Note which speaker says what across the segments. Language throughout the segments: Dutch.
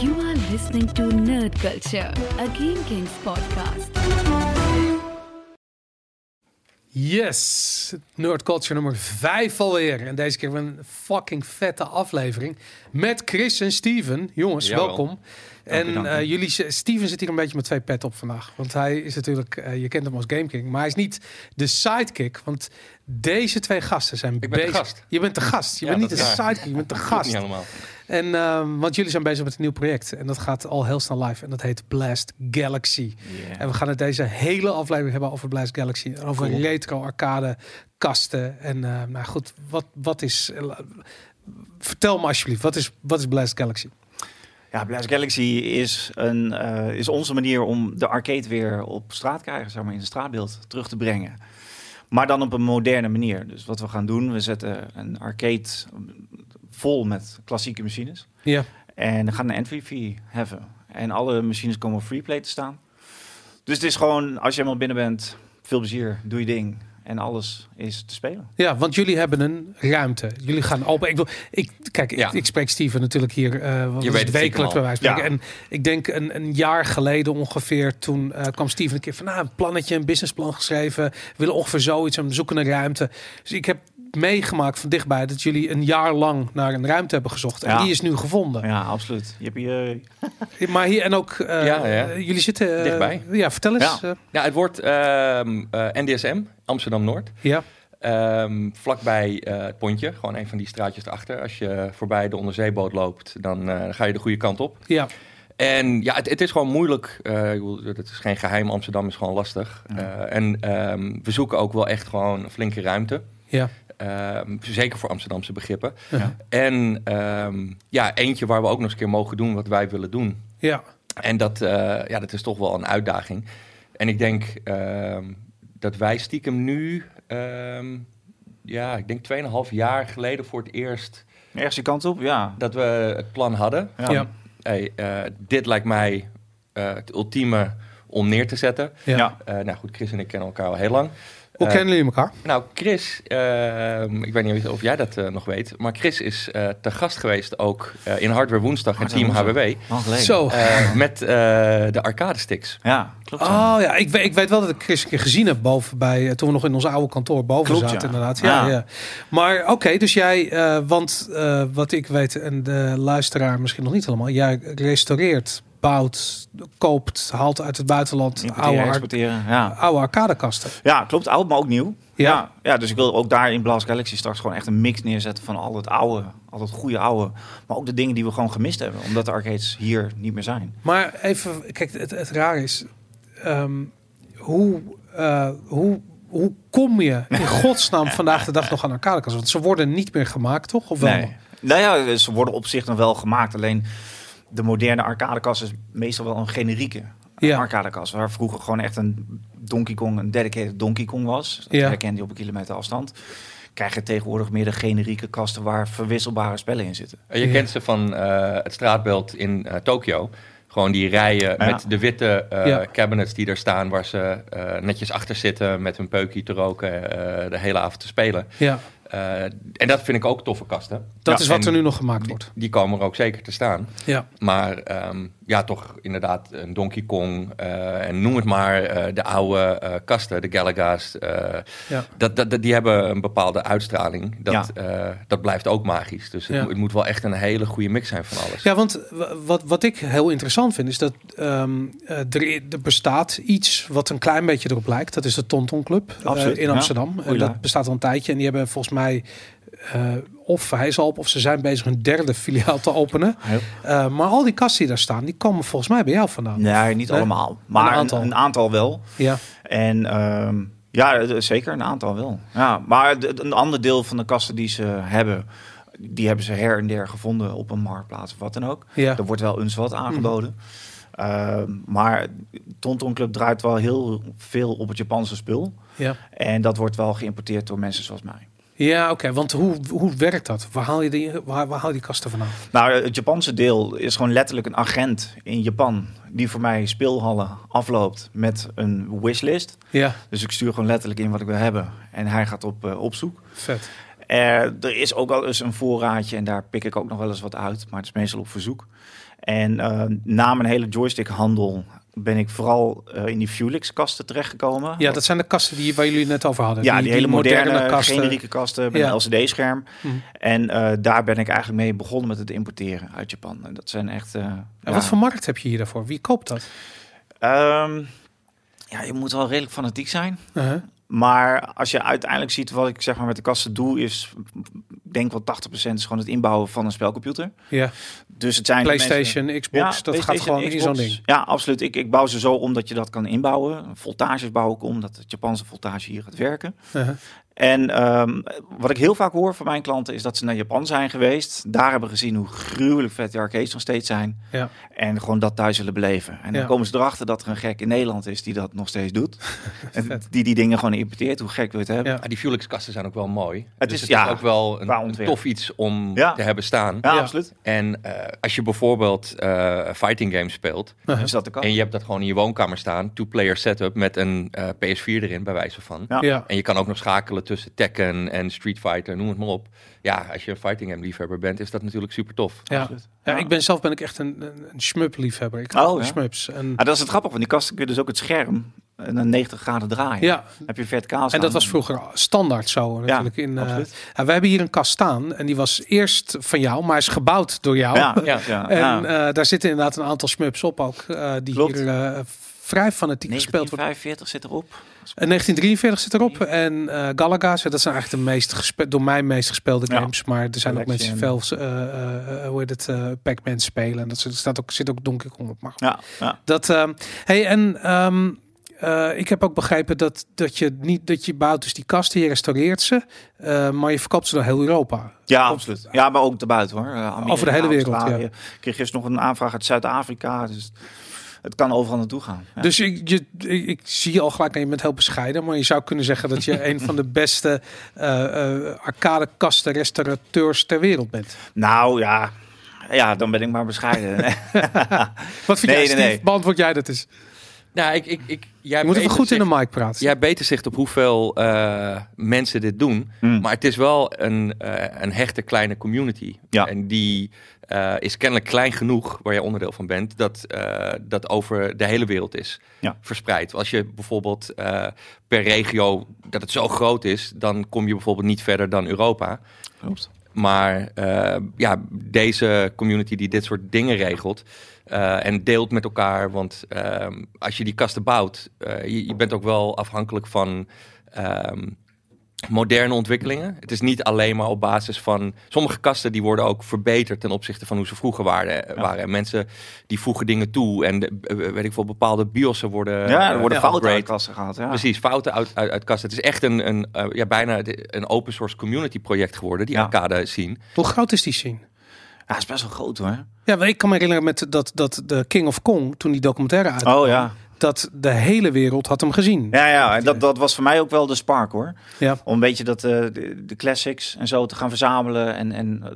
Speaker 1: You are listening to Nerd Culture, a Game Kings podcast.
Speaker 2: Yes, Nerd Culture nummer 5 alweer. En deze keer weer een fucking vette aflevering. Met Chris en Steven. Jongens,
Speaker 3: Jawel.
Speaker 2: welkom.
Speaker 3: Dank u,
Speaker 2: en
Speaker 3: dank u.
Speaker 2: eh, jullie, Steven zit hier een beetje met twee pet op vandaag. Want hij is natuurlijk, eh, je kent hem als Game King. Maar hij is niet de sidekick. Want deze twee gasten zijn
Speaker 3: ben de
Speaker 2: bezig.
Speaker 3: gast.
Speaker 2: Je bent de gast. Je
Speaker 3: Ja,
Speaker 2: bent niet de
Speaker 3: dat is waar.
Speaker 2: sidekick, je bent de
Speaker 3: Klopt
Speaker 2: gast.
Speaker 3: Niet helemaal.
Speaker 2: En, ehm, want jullie zijn bezig met een nieuw project. En dat gaat al heel snel live. En dat heet Blast Galaxy. En we gaan het deze hele aflevering hebben over Blast Galaxy. En over
Speaker 3: Cool.
Speaker 2: retro arcade kasten. En eh, nou goed, wat, wat is... eh, la- vertel me alsjeblieft, wat is, wat is Blast Galaxy?
Speaker 4: Ja, Blast Galaxy is, een, eh, is onze manier om de arcade weer op straat te krijgen, zeg maar, in het straatbeeld terug te brengen. Maar dan op een moderne manier. Dus wat we gaan doen, we zetten een arcade vol met klassieke machines.
Speaker 2: Ja,
Speaker 4: En dan gaan een entry fee heffen. En alle machines komen op freeplay te staan. Dus het is gewoon, als je helemaal binnen bent, veel plezier, doe je ding. En alles is te spelen.
Speaker 2: ja, want jullie hebben een ruimte. Jullie gaan open. Ik wil, ik, kijk, ik-
Speaker 3: Ja.
Speaker 2: ik, spreek Steven natuurlijk hier eh, wat
Speaker 3: Je
Speaker 2: is
Speaker 3: weet
Speaker 2: het,
Speaker 3: het
Speaker 2: wekelijks bij
Speaker 3: al.
Speaker 2: wijze van
Speaker 4: Ja.
Speaker 2: spreken. En ik denk een, een jaar geleden ongeveer, toen eh, kwam Steven een keer van, nou, een plannetje, een businessplan geschreven. We willen ongeveer zoiets en we zoeken een ruimte. Dus ik heb meegemaakt van dichtbij dat jullie een jaar lang naar een ruimte hebben gezocht. En
Speaker 4: Ja.
Speaker 2: die is nu gevonden.
Speaker 4: Ja, absoluut. Je hebt hier...
Speaker 2: Maar hier en ook, eh,
Speaker 3: Ja, ja.
Speaker 2: eh, jullie zitten eh,
Speaker 3: Dichtbij.
Speaker 2: Ja, vertel eens. eh,
Speaker 4: Ja.
Speaker 3: Ja, Nou, het wordt ehm, eh, NDSM, Amsterdam-Noord.
Speaker 2: ja.
Speaker 3: Ehm, vlakbij eh, het pontje, gewoon een van die straatjes erachter. Als je voorbij de onderzeeboot loopt, dan eh, ga je de goede kant op.
Speaker 2: ja.
Speaker 3: En ja, het, het is gewoon moeilijk. Eh, ik bedoel, het is geen geheim, Amsterdam is gewoon lastig. Eh, en ehm, we zoeken ook wel echt gewoon een flinke ruimte.
Speaker 2: Ja.
Speaker 3: Ehm, zeker voor Amsterdamse begrippen.
Speaker 2: Ja.
Speaker 3: En ehm, ja, eentje waar we ook nog eens een keer mogen doen wat wij willen doen.
Speaker 2: Ja.
Speaker 3: En dat, eh, ja, dat is toch wel een uitdaging. En ik denk ehm, dat wij stiekem nu, ehm, ja, ik denk 2,5 jaar geleden voor het eerst
Speaker 4: eh, Ergens je kant op, ja.
Speaker 3: dat we het plan hadden.
Speaker 2: Ja. Ja.
Speaker 3: Hey, eh, dit lijkt mij eh, het ultieme om neer te zetten.
Speaker 4: Ja.
Speaker 3: Eh, nou goed, Chris en ik kennen elkaar al heel lang.
Speaker 2: Hoe
Speaker 3: Eh,
Speaker 2: kennen jullie elkaar?
Speaker 3: Nou, Chris, ehm, ik weet niet of jij dat eh, nog weet, maar Chris is eh, te gast geweest ook eh, in Hardware Woensdag en Team
Speaker 4: Hardware
Speaker 3: HWW.
Speaker 4: Lang geleden.
Speaker 2: Zo.
Speaker 3: eh, met eh, de arcade sticks.
Speaker 4: Ja, klopt.
Speaker 2: Oh ja, ik, we- ik weet wel dat ik Chris een keer gezien heb boven bij eh, toen we nog in ons oude kantoor boven
Speaker 4: Klopt,
Speaker 2: zaten
Speaker 4: ja.
Speaker 2: inderdaad. Ja,
Speaker 4: Ah.
Speaker 2: ja. Maar oké, dus jij, eh, want eh, wat ik weet en de luisteraar misschien nog niet helemaal, jij restaureert, bouwt, koopt, haalt uit het buitenland oude,
Speaker 4: Importeren,
Speaker 2: ar-
Speaker 4: exporteren, ja.
Speaker 2: oude arcadekasten.
Speaker 4: Ja, klopt. Oud, maar ook nieuw.
Speaker 2: Ja.
Speaker 4: Ja. ja. dus ik wil ook daar in Blast Galaxy straks gewoon echt een mix neerzetten van al het oude, al het goede oude. Maar ook de dingen die we gewoon gemist hebben, omdat de arcades hier niet meer zijn.
Speaker 2: Maar even, kijk, het, het raar is, ehm, hoe, eh, hoe, hoe kom je in godsnaam vandaag de dag nog aan arcadekasten? Want ze worden niet meer gemaakt, toch? Of wel?
Speaker 4: Nee. Nou ja, ze worden op zich nog wel gemaakt. Alleen de moderne arcadekast is meestal wel een generieke
Speaker 2: Ja.
Speaker 4: arcadekast. Waar vroeger gewoon echt een Donkey Kong, een dedicated Donkey Kong was. Dat
Speaker 2: Ja.
Speaker 4: herkende je op een kilometer afstand. Krijg je tegenwoordig meer de generieke kasten waar verwisselbare spellen in zitten.
Speaker 3: Eh, Je
Speaker 2: Ja.
Speaker 3: kent ze van eh, het straatbeeld in eh, Tokio. Gewoon die rijen
Speaker 4: Ja.
Speaker 3: met de witte eh,
Speaker 2: Ja.
Speaker 3: cabinets die daar staan, waar ze eh, netjes achter zitten met hun peukie te roken, eh, de hele avond te spelen.
Speaker 2: Ja,
Speaker 3: Eh, en dat vind ik ook toffe kasten.
Speaker 2: dat
Speaker 3: Ja.
Speaker 2: is wat
Speaker 3: En
Speaker 2: er nu nog gemaakt
Speaker 3: Die,
Speaker 2: wordt.
Speaker 3: die komen er ook zeker te staan.
Speaker 2: Ja.
Speaker 3: Maar ehm, ja, toch inderdaad een Donkey Kong eh, en noem het maar eh, de oude eh, kasten, de Galaga's. eh,
Speaker 2: Ja.
Speaker 3: dat, dat, dat- die hebben een bepaalde uitstraling. Dat, eh, dat blijft ook magisch. Dus het,
Speaker 2: Ja.
Speaker 3: moet- het moet wel echt een hele goede mix zijn van alles.
Speaker 2: Ja, want w- wat, wat ik heel interessant vind is dat ehm, eh, er, i- er bestaat iets wat een klein beetje erop lijkt. Dat is de Tonton Club eh,
Speaker 4: Absoluut,
Speaker 2: in
Speaker 4: ja.
Speaker 2: Amsterdam. En
Speaker 4: Oei,
Speaker 2: dat
Speaker 4: ja.
Speaker 2: bestaat al een tijdje. En die hebben volgens mij eh, of hij is al op of ze zijn bezig een derde filiaal te openen. Eh, maar al die kasten die daar staan, die komen volgens mij bij jou vandaan.
Speaker 4: Nee, niet
Speaker 2: Nee?
Speaker 4: allemaal. Maar een
Speaker 2: aantal.
Speaker 4: aantal, een aantal wel.
Speaker 2: Ja,
Speaker 4: En ehm, ja, d- zeker een aantal wel. Ja, maar d- d- een ander deel van de kasten die ze hebben, die hebben ze her en der gevonden op een marktplaats of wat dan ook.
Speaker 2: ja. Mhm.
Speaker 4: Er wordt wel eens wat aangeboden. Ehm, maar Tonton Club draait wel heel veel op het Japanse spul.
Speaker 2: ja.
Speaker 4: En dat wordt wel geïmporteerd door mensen zoals mij.
Speaker 2: ja oké. Want hoe, hoe werkt dat? Waar haal je die, waar, waar haal je die kasten vandaan?
Speaker 4: Nou, het Japanse deel is gewoon letterlijk een agent in Japan... die voor mij speelhallen afloopt met een wishlist.
Speaker 2: Ja,
Speaker 4: Dus ik stuur gewoon letterlijk in wat ik wil hebben. En hij gaat op, eh, op zoek.
Speaker 2: vet.
Speaker 4: Eh, er is ook wel eens een voorraadje en daar pik ik ook nog wel eens wat uit, maar het is meestal op verzoek. En eh, na mijn hele joystickhandel ben ik vooral eh, in die Fuelix-kasten terechtgekomen.
Speaker 2: Ja, dat zijn de kasten die, waar jullie het net over hadden.
Speaker 4: Ja, die, hele moderne, generieke kasten met
Speaker 2: Ja.
Speaker 4: een LCD-scherm.
Speaker 2: Hm.
Speaker 4: En eh, daar ben ik eigenlijk mee begonnen met het importeren uit Japan. En dat zijn echt... eh,
Speaker 2: En
Speaker 4: ja,
Speaker 2: wat voor markt heb je hier daarvoor? Wie koopt dat?
Speaker 4: ehm, ja, je moet wel redelijk fanatiek zijn.
Speaker 2: Uh-huh.
Speaker 4: Maar als je uiteindelijk ziet wat ik zeg maar met de kasten doe, is ik denk wel 80% is gewoon het inbouwen van een spelcomputer.
Speaker 2: Ja,
Speaker 4: Dus het zijn de mensen-
Speaker 2: PlayStation, Xbox, dat gaat
Speaker 4: PlayStation,
Speaker 2: gewoon in zo'n
Speaker 4: Xbox.
Speaker 2: ding.
Speaker 4: Ja, absoluut. Ik, ik bouw ze zo om dat je dat kan inbouwen. Voltages bouw ik om dat het Japanse voltage hier gaat werken.
Speaker 2: Uh-huh.
Speaker 4: En ehm, wat ik heel vaak hoor van mijn klanten is dat ze naar Japan zijn geweest. Daar hebben gezien hoe gruwelijk vet de arcades nog steeds zijn.
Speaker 2: Ja.
Speaker 4: En gewoon dat thuis willen beleven. En dan
Speaker 2: Ja.
Speaker 4: komen ze erachter dat er een gek in Nederland is die dat nog steeds doet. en die die dingen gewoon importeert. Hoe gek wil je het hebben?
Speaker 2: Ja.
Speaker 3: Ah, die Fuelix-kasten zijn ook wel mooi. Dus
Speaker 4: Het
Speaker 3: Het
Speaker 4: is-
Speaker 3: is,
Speaker 4: ja,
Speaker 3: ook wel een,
Speaker 4: qua
Speaker 3: een
Speaker 4: ontwerp.
Speaker 3: tof iets om
Speaker 4: Ja.
Speaker 3: te hebben staan.
Speaker 4: Ja,
Speaker 2: Ja.
Speaker 4: absoluut.
Speaker 3: En eh, als je bijvoorbeeld eh, fighting games speelt
Speaker 4: Is dat de kans?
Speaker 3: en je hebt dat gewoon in je woonkamer staan, two-player setup met een eh, PS4 erin, bij wijze van.
Speaker 4: Ja.
Speaker 2: Ja.
Speaker 3: En je kan ook nog schakelen tussen Tekken en Street Fighter, noem het maar op. Ja, als je een fighting game liefhebber bent, is dat natuurlijk super tof.
Speaker 2: Ja.
Speaker 4: Absoluut.
Speaker 2: ja,
Speaker 4: Ja.
Speaker 2: ik ben zelf ben ik echt een, een, een schmup-liefhebber. Ik
Speaker 4: Oh,
Speaker 2: hou van
Speaker 4: ja.
Speaker 2: schmups. En,
Speaker 4: Ah, dat is het grappige, want die kasten kun je dus ook het scherm eh, naar 90 graden draaien.
Speaker 2: ja,
Speaker 4: Dan heb je verticaal
Speaker 2: en
Speaker 4: staan.
Speaker 2: dat was vroeger standaard zo natuurlijk. in, eh,
Speaker 4: absoluut.
Speaker 2: ja, we hebben hier een kast staan en die was eerst van jou, maar is gebouwd door jou.
Speaker 4: Ja, ja,
Speaker 3: Ja.
Speaker 4: ja.
Speaker 2: En eh, daar zitten inderdaad een aantal smups op ook, eh, die
Speaker 4: Klopt.
Speaker 2: hier eh, vrij fanatiek gespeeld worden.
Speaker 4: 1945 zit erop.
Speaker 2: En 1943 Eh, zit erop en eh Galaga, zo, dat zijn eigenlijk de meest gespe- door mij meest gespeelde
Speaker 4: Ja.
Speaker 2: games. Maar er zijn ook mensen die
Speaker 4: Collection.
Speaker 2: veel, eh, eh, hoe heet het, eh, Pac-Man spelen. En dat soort- er staat ook, zit ook Donkey Kong op. Maar goed.
Speaker 4: Ja, ja.
Speaker 2: Dat, ehm, hey, en ehm, eh, ik heb ook begrepen dat, dat je niet dat je bouwt dus die kasten, je restaureert ze, eh, maar je verkoopt ze door heel Europa.
Speaker 4: ja absoluut. Ja, maar ook daarbuiten hoor. Eh, Amerika,
Speaker 2: Over de hele wereld,
Speaker 4: Australië. Ik kreeg gisteren nog een aanvraag uit Zuid-Afrika. Dus het kan overal naartoe gaan. Ja.
Speaker 2: Dus ik, je, ik, ik zie je al gelijk, nee, je bent heel bescheiden, maar je zou kunnen zeggen dat je een van de beste eh eh arcadekasten restaurateurs ter wereld bent.
Speaker 4: Nou ja. ja, dan ben ik maar bescheiden.
Speaker 2: Wat vind jij,
Speaker 4: Nee, nee,
Speaker 2: Steve?
Speaker 4: nee.
Speaker 2: Beantwoord jij dat eens.
Speaker 3: Nou, ik, ik, ik, jij
Speaker 2: Je moet even
Speaker 3: beter
Speaker 2: goed in de
Speaker 3: zicht-
Speaker 2: mic praten.
Speaker 3: Jij hebt beter zicht op hoeveel eh, mensen dit doen.
Speaker 4: Hmm.
Speaker 3: Maar het is wel een, eh, een hechte kleine community.
Speaker 4: Ja.
Speaker 3: En die eh, is kennelijk klein genoeg, waar jij onderdeel van bent, dat eh, dat over de hele wereld is
Speaker 4: Ja.
Speaker 3: verspreid. Als je bijvoorbeeld eh, per regio, dat het zo groot is, dan kom je bijvoorbeeld niet verder dan Europa.
Speaker 4: Klopt.
Speaker 3: Maar eh, ja, deze community die dit soort dingen regelt eh, en deelt met elkaar. Want ehm, als je die kasten bouwt, eh, je, je bent ook wel afhankelijk van ehm, moderne ontwikkelingen. Het is niet alleen maar op basis van... Sommige kasten die worden ook verbeterd ten opzichte van hoe ze vroeger waren. eh, waren. En mensen die voegen dingen toe en de- eh, weet ik veel, bepaalde biosen worden
Speaker 4: ja, er
Speaker 3: eh,
Speaker 4: worden fouten uit
Speaker 3: geupgrade.
Speaker 4: de kassen gehaald. Ja.
Speaker 3: Precies, fouten uit, uit, uit kasten. Het is echt een, een eh, ja, bijna de- een open source community project geworden, die
Speaker 4: Ja.
Speaker 3: arcade zien.
Speaker 2: Hoe groot is die scene?
Speaker 4: Ja, is best wel groot hoor.
Speaker 2: Ja, maar ik kan me herinneren met dat, dat de King of Kong, toen die documentaire uit,
Speaker 4: Oh ja.
Speaker 2: dat de hele wereld had hem gezien.
Speaker 4: Ja, ja. En dat, dat was voor mij ook wel de spark hoor.
Speaker 2: Ja.
Speaker 4: Om een beetje dat, eh, de, de classics en zo te gaan verzamelen. En, en eh,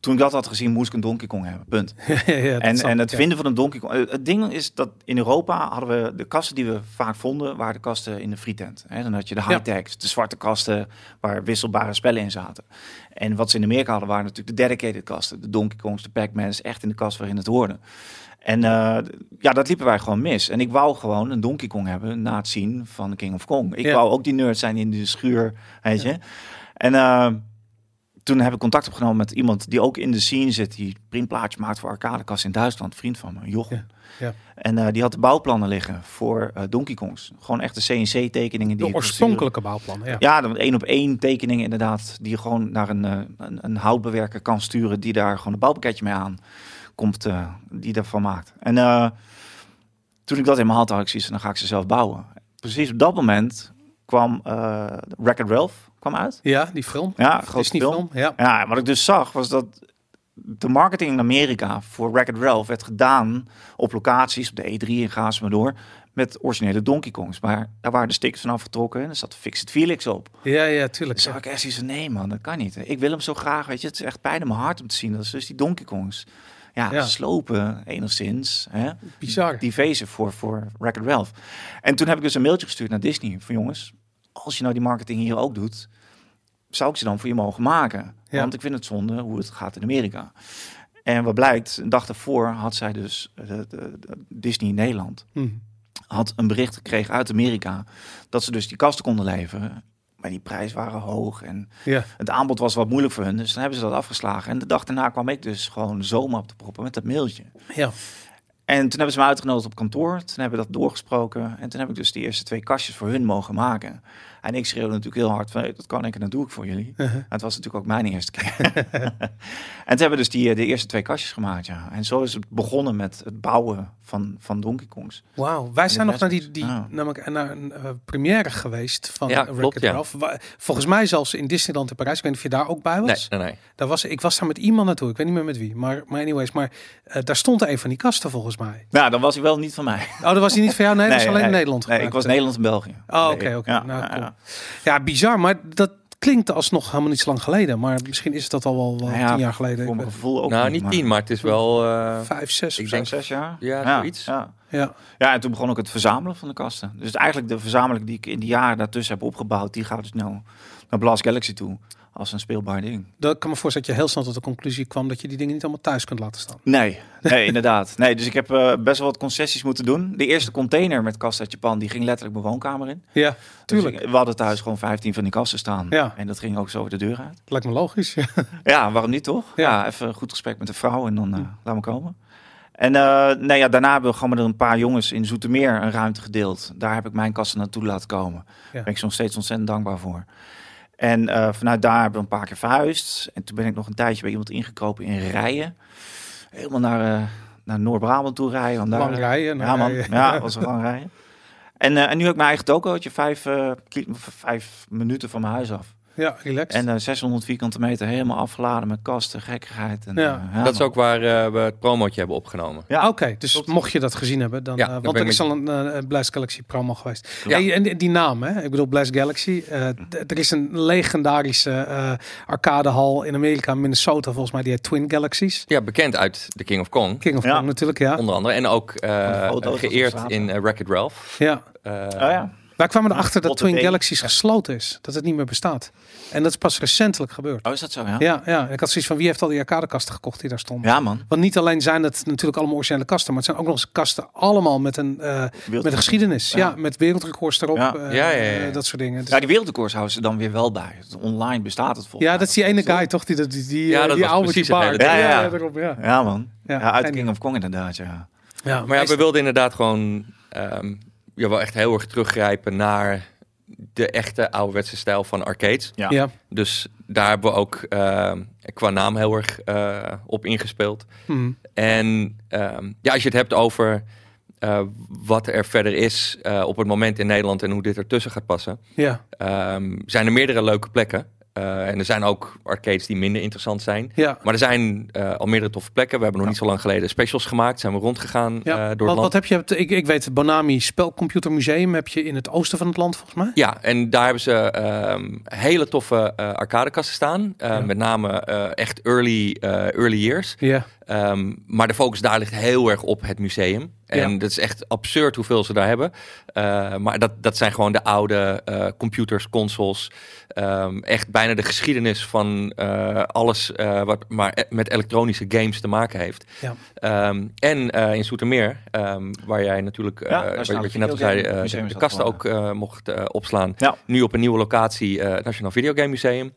Speaker 4: toen ik dat had gezien, moest ik een Donkey Kong hebben. Punt.
Speaker 2: Ja, dat
Speaker 4: en
Speaker 2: snap
Speaker 4: en
Speaker 2: ik,
Speaker 4: het
Speaker 2: ja.
Speaker 4: vinden van een Donkey Kong. eh, Het ding is dat in Europa hadden we de kasten die we vaak vonden, waren de kasten in de frietent. Hè? Dan had je de
Speaker 2: Ja.
Speaker 4: high-tech, de zwarte kasten waar wisselbare spellen in zaten. En wat ze in Amerika hadden, waren natuurlijk de dedicated kasten. De Donkey Kongs, de Pac-Mans, echt in de kast waarin het hoorde. En eh, ja, dat liepen wij gewoon mis. En ik wou gewoon een Donkey Kong hebben na het zien van King of Kong. Ik
Speaker 2: Ja.
Speaker 4: wou ook die nerd zijn in de schuur, weet je. En eh, toen heb ik contact opgenomen met iemand die ook in de scene zit. Die printplaatjes maakt voor arcadekast in Duitsland. Vriend van me, Jochem.
Speaker 2: Ja, ja.
Speaker 4: En eh, die had de bouwplannen liggen voor eh, Donkey Kongs. Gewoon echt de CNC-tekeningen. die
Speaker 2: De
Speaker 4: je kon
Speaker 2: oorspronkelijke bouwplannen. Ja.
Speaker 4: sturen. Ja, dan één op één tekeningen inderdaad. Die je gewoon naar een, eh, een, een houtbewerker kan sturen. Die daar gewoon een bouwpakketje mee aan komt. eh, die daarvan maakt. En eh, toen ik dat in mijn hand had, had ik zoiets van, dan ga ik ze zelf bouwen. Precies op dat moment kwam eh Wreck-It Ralph kwam uit.
Speaker 2: Ja, die film.
Speaker 4: Ja, groot
Speaker 2: Is die
Speaker 4: film.
Speaker 2: film? Ja.
Speaker 4: Ja, en wat ik dus zag was dat de marketing in Amerika voor Wreck-It Ralph werd gedaan op locaties, op de E3 en ga ze maar door, met originele Donkey Kongs. Maar daar waren de stickers van afgetrokken en er zat Fixit Felix op.
Speaker 2: Ja, ja,
Speaker 4: Dan
Speaker 2: tuurlijk.
Speaker 4: zag
Speaker 2: Ja.
Speaker 4: ik echt iets van, nee man, dat kan niet. Ik wil hem zo graag, weet je. Het is echt pijn in mijn hart om te zien dat ze dus die Donkey Kongs ja,
Speaker 2: Ja.
Speaker 4: slopen enigszins. Hè?
Speaker 2: Bizar.
Speaker 4: Die vezen voor, voor Wreck-It Ralph. En toen heb ik dus een mailtje gestuurd naar Disney van jongens, als je nou die marketing hier ook doet, zou ik ze dan voor je mogen maken?
Speaker 2: Ja.
Speaker 4: Want ik vind het zonde hoe het gaat in Amerika. En wat blijkt, een dag daarvoor had zij dus eh, de- de- de Disney Nederland
Speaker 2: Hm.
Speaker 4: had een bericht gekregen uit Amerika dat ze dus die kasten konden leveren. Maar die prijzen waren hoog en
Speaker 2: Ja.
Speaker 4: het aanbod was wat moeilijk voor hun. Dus dan hebben ze dat afgeslagen. En de dag daarna kwam ik dus gewoon zomaar op de proppen met dat mailtje.
Speaker 2: Ja.
Speaker 4: En toen hebben ze me uitgenodigd op kantoor. Toen hebben we dat doorgesproken. En toen heb ik dus die eerste twee kastjes voor hun mogen maken. En ik schreeuwde natuurlijk heel hard van, "Hey, dat kan ik en dat doe ik voor jullie.
Speaker 2: Uh-huh.
Speaker 4: Maar het was natuurlijk ook mijn eerste keer. en toen hebben we dus die, eh, de eerste twee kastjes gemaakt, ja. En zo is het begonnen met het bouwen van, van Donkey Kongs.
Speaker 2: Wauw, wij zijn
Speaker 4: de
Speaker 2: nog naar die, die
Speaker 4: Best Buys. Ah.
Speaker 2: namelijk naar een eh, première geweest van
Speaker 3: Ja,
Speaker 2: ja,
Speaker 3: klopt,
Speaker 2: Wreck-It
Speaker 3: ja.
Speaker 2: Ralph. Wa- Volgens mij zelfs in Disneyland in Parijs. Ik weet niet of je daar ook bij was.
Speaker 3: Nee, nee, nee.
Speaker 2: Daar was ik was daar met iemand naartoe. Ik weet niet meer met wie. Maar, maar anyways, maar eh, daar stond een van die kasten volgens mij.
Speaker 4: Nou, dan was hij wel niet van mij.
Speaker 2: Oh, dat was die niet van jou. Nee, dat was alleen in Nederland.
Speaker 4: Nee, ik
Speaker 2: gemaakt.
Speaker 4: was Nederland en België.
Speaker 2: Oh, oké,
Speaker 4: Nee,
Speaker 2: oké.
Speaker 4: ja,
Speaker 2: Nou,
Speaker 4: ja,
Speaker 2: cool.
Speaker 4: ja.
Speaker 2: Ja, bizar, maar dat klinkt alsnog helemaal niet zo lang geleden. Maar misschien is dat al wel wel
Speaker 4: Nou ja,
Speaker 2: tien jaar geleden.
Speaker 4: Voor
Speaker 2: Ik
Speaker 4: mijn
Speaker 2: weet-
Speaker 4: gevoel ook
Speaker 3: nou,
Speaker 4: niet
Speaker 3: niet
Speaker 4: maar
Speaker 3: tien, maar het is wel... eh,
Speaker 2: Vijf, zes.
Speaker 3: Ik
Speaker 2: of
Speaker 3: denk-
Speaker 2: zo.
Speaker 4: Zes jaar?
Speaker 3: Ja, zoiets.
Speaker 4: Ja.
Speaker 2: Ja.
Speaker 4: ja, en toen begon ook het verzamelen van de kasten. Dus eigenlijk de verzameling die ik in de jaren daartussen heb opgebouwd... die gaat dus nou naar Blast Galaxy toe als een speelbaar ding.
Speaker 2: Dat ik kan me voorstellen dat je heel snel tot de conclusie kwam dat je die dingen niet allemaal thuis kunt laten staan.
Speaker 4: Nee, nee inderdaad. Nee, dus ik heb eh, best wel wat concessies moeten doen. De eerste container met kasten uit Japan... die ging letterlijk mijn woonkamer in.
Speaker 2: Ja,
Speaker 4: Dus
Speaker 2: tuurlijk.
Speaker 4: ik- we hadden thuis gewoon 15 van die kasten staan.
Speaker 2: Ja.
Speaker 4: En dat ging ook zo de deur uit.
Speaker 2: Lijkt me logisch.
Speaker 4: Nou,
Speaker 2: Ja.
Speaker 4: Ja, waarom niet toch?
Speaker 2: Ja.
Speaker 4: Ja, even een goed gesprek met de vrouw en dan eh, laat me komen. En eh nee, ja, daarna hebben we gewoon met een paar jongens in Zoetermeer een ruimte gedeeld. Daar heb ik mijn kasten naartoe laten komen. Daar ben ik ze nog steeds ontzettend dankbaar voor. En eh, vanuit daar hebben we een paar keer verhuisd. En toen ben ik nog een tijdje bij iemand ingekropen in Rijen. Helemaal naar, eh, naar Noord-Brabant toe rijden. want daar-
Speaker 2: Lang rijden. nou,
Speaker 4: ja, man.
Speaker 2: rijden.
Speaker 4: Ja, was een lang rijden. En, eh, en nu heb ik mijn eigen tokootje, vijf, eh, kli- vijf minuten van mijn huis af.
Speaker 2: Ja, relaxed.
Speaker 4: En eh, 600 vierkante meter helemaal afgeladen met kasten, gekkigheid. En,
Speaker 2: Ja.
Speaker 4: eh,
Speaker 3: dat is
Speaker 4: man.
Speaker 3: ook waar eh, we het promotje hebben opgenomen.
Speaker 4: Ja.
Speaker 2: Oké, dus mocht je dat gezien hebben, dan.
Speaker 3: Ja,
Speaker 2: eh,
Speaker 3: dan
Speaker 2: want
Speaker 3: ben
Speaker 2: er
Speaker 3: ik
Speaker 2: is al een eh, Blast Galaxy promo geweest.
Speaker 3: Ja.
Speaker 2: Hey, en die- die naam, hè? ik bedoel Blast Galaxy. eh, d- er is een legendarische eh, arcadehal in Amerika, Minnesota volgens mij, die heet Twin Galaxies.
Speaker 3: Ja, bekend uit The King of Kong,
Speaker 2: King of
Speaker 4: Ja.
Speaker 2: Kong natuurlijk, ja.
Speaker 3: onder andere. En ook eh,
Speaker 4: foto's op
Speaker 3: geëerd
Speaker 4: straat.
Speaker 3: in eh, Wreck-It Ralph.
Speaker 2: ja.
Speaker 3: Eh,
Speaker 4: Oh, ja.
Speaker 2: Wij kwamen erachter dat
Speaker 4: Botte
Speaker 2: Twin
Speaker 4: Bee.
Speaker 2: Galaxies gesloten is, dat het niet meer bestaat. En dat is pas recentelijk gebeurd.
Speaker 4: oh, is dat zo? Ja, ja.
Speaker 2: Ja, ja. ik had zoiets van wie heeft al die arcadekasten gekocht die daar stonden.
Speaker 4: man.
Speaker 2: Want niet alleen zijn het natuurlijk allemaal originele kasten, maar het zijn ook nog eens kasten allemaal met een, eh, met een geschiedenis. Ja,
Speaker 4: Ja.
Speaker 2: met wereldrecords erop,
Speaker 4: Ja.
Speaker 2: eh,
Speaker 3: Ja, ja, ja, ja.
Speaker 2: dat soort dingen. Dus-
Speaker 4: Ja, die wereldrecords houden ze dan weer wel bij. Online bestaat het volgens
Speaker 2: ja,
Speaker 4: mij
Speaker 2: dat is die
Speaker 4: nog
Speaker 2: ene
Speaker 4: steeds,
Speaker 2: guy toch, die, die, die, die,
Speaker 3: Ja,
Speaker 2: eh,
Speaker 3: dat
Speaker 2: die
Speaker 3: was
Speaker 2: oude
Speaker 3: precies
Speaker 2: die
Speaker 3: het
Speaker 2: baard.
Speaker 4: hele ding.
Speaker 2: ja,
Speaker 4: Ja,
Speaker 2: ja,
Speaker 4: ja.
Speaker 2: daarop, ja.
Speaker 4: toch? Ja, man.
Speaker 2: Ja,
Speaker 4: Ja, uit
Speaker 2: geen
Speaker 4: de King of Kong inderdaad, ja.
Speaker 2: ja,
Speaker 3: Maar ja, we wilden inderdaad gewoon ehm, ja, wel echt heel erg teruggrijpen naar de echte ouderwetse stijl van arcades.
Speaker 4: Ja.
Speaker 2: Ja,
Speaker 3: Dus daar hebben we ook ehm, qua naam heel erg eh, op ingespeeld.
Speaker 2: hm,
Speaker 3: En ehm, ja, als je het hebt over eh, wat er verder is eh, op het moment in Nederland en hoe dit ertussen gaat passen,
Speaker 2: ja,
Speaker 3: ehm, zijn er meerdere leuke plekken. Eh, en er zijn ook arcades die minder interessant zijn.
Speaker 2: ja.
Speaker 3: Maar er zijn eh, al meerdere toffe plekken. We hebben nog niet zo lang geleden specials gemaakt. Zijn we rondgegaan eh,
Speaker 2: ja.
Speaker 3: door
Speaker 2: wat,
Speaker 3: het
Speaker 2: wat
Speaker 3: land.
Speaker 2: heb je, hebt- ik, ik weet, het Bonami Spelcomputer Museum heb je in het oosten van het land volgens mij.
Speaker 3: Ja, en daar hebben ze ehm, hele toffe eh, arcadekasten staan. Eh,
Speaker 2: Ja.
Speaker 3: Met name eh, echt early, eh, early years.
Speaker 2: Ja,
Speaker 3: Ehm, maar de focus daar ligt heel erg op het museum. En
Speaker 2: Ja.
Speaker 3: dat is echt absurd hoeveel ze daar hebben. Eh, maar dat, dat zijn gewoon de oude eh, computers, consoles. Ehm, echt bijna de geschiedenis van eh, alles eh, wat maar e- met elektronische games te maken heeft.
Speaker 2: Ja.
Speaker 3: Ehm, en eh, in Soetermeer, ehm, waar jij natuurlijk, eh,
Speaker 4: Ja,
Speaker 3: waar-
Speaker 4: Nationale
Speaker 3: wat je net al zei,
Speaker 4: Videogame
Speaker 3: eh,
Speaker 4: Museum
Speaker 3: de,
Speaker 4: is
Speaker 3: de
Speaker 4: dat
Speaker 3: kasten ook
Speaker 4: geworden.
Speaker 3: eh, mocht eh, opslaan.
Speaker 4: Ja.
Speaker 3: Nu op een nieuwe locatie, eh, het Nationaal Videogame Museum.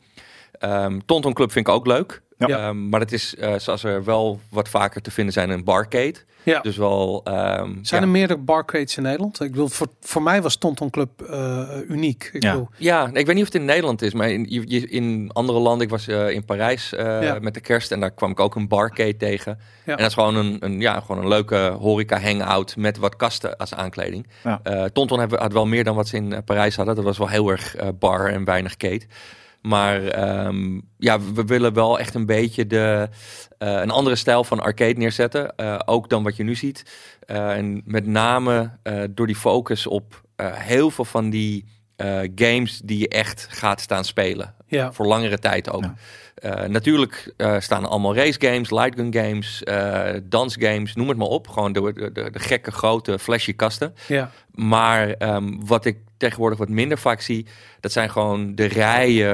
Speaker 3: Ehm Tonton Club vind ik ook leuk.
Speaker 4: Ja.
Speaker 3: Ehm, maar het is, eh, zoals er wel wat vaker te vinden zijn, een barcade.
Speaker 2: ja.
Speaker 3: Dus wel... ehm,
Speaker 2: Zijn er
Speaker 3: ja.
Speaker 2: meerdere barcades in Nederland? Ik bedoel, voor, voor mij was Tonton Club eh, uniek. Ik
Speaker 4: Ja.
Speaker 2: bedoel,
Speaker 3: Ja, ik weet niet of het in Nederland is, maar in, je- je- in andere landen. Ik was eh, in Parijs eh,
Speaker 2: Ja.
Speaker 3: met de kerst en daar kwam ik ook een barcade tegen.
Speaker 2: Ja.
Speaker 3: En dat is gewoon een, een, ja, gewoon een leuke horeca-hangout met wat kasten als aankleding.
Speaker 4: Ja.
Speaker 3: Eh, Tonton hebben- had wel meer dan wat ze in eh, Parijs hadden. Dat was wel heel erg eh, bar en weinig kate. Maar ehm, ja, we willen wel echt een beetje de, eh, een andere stijl van arcade neerzetten. eh, ook dan wat je nu ziet. Eh, en met name eh, door die focus op eh, heel veel van die eh, games die je echt gaat staan spelen.
Speaker 2: ja.
Speaker 3: Voor langere tijd ook.
Speaker 4: Ja.
Speaker 3: Eh, natuurlijk eh, staan er allemaal race games, light gun games, eh dansgames, noem het maar op. Gewoon de, de, de, de gekke grote flashy kasten.
Speaker 2: ja.
Speaker 3: Maar ehm, wat ik tegenwoordig wat minder vaak zie, dat zijn gewoon de rijen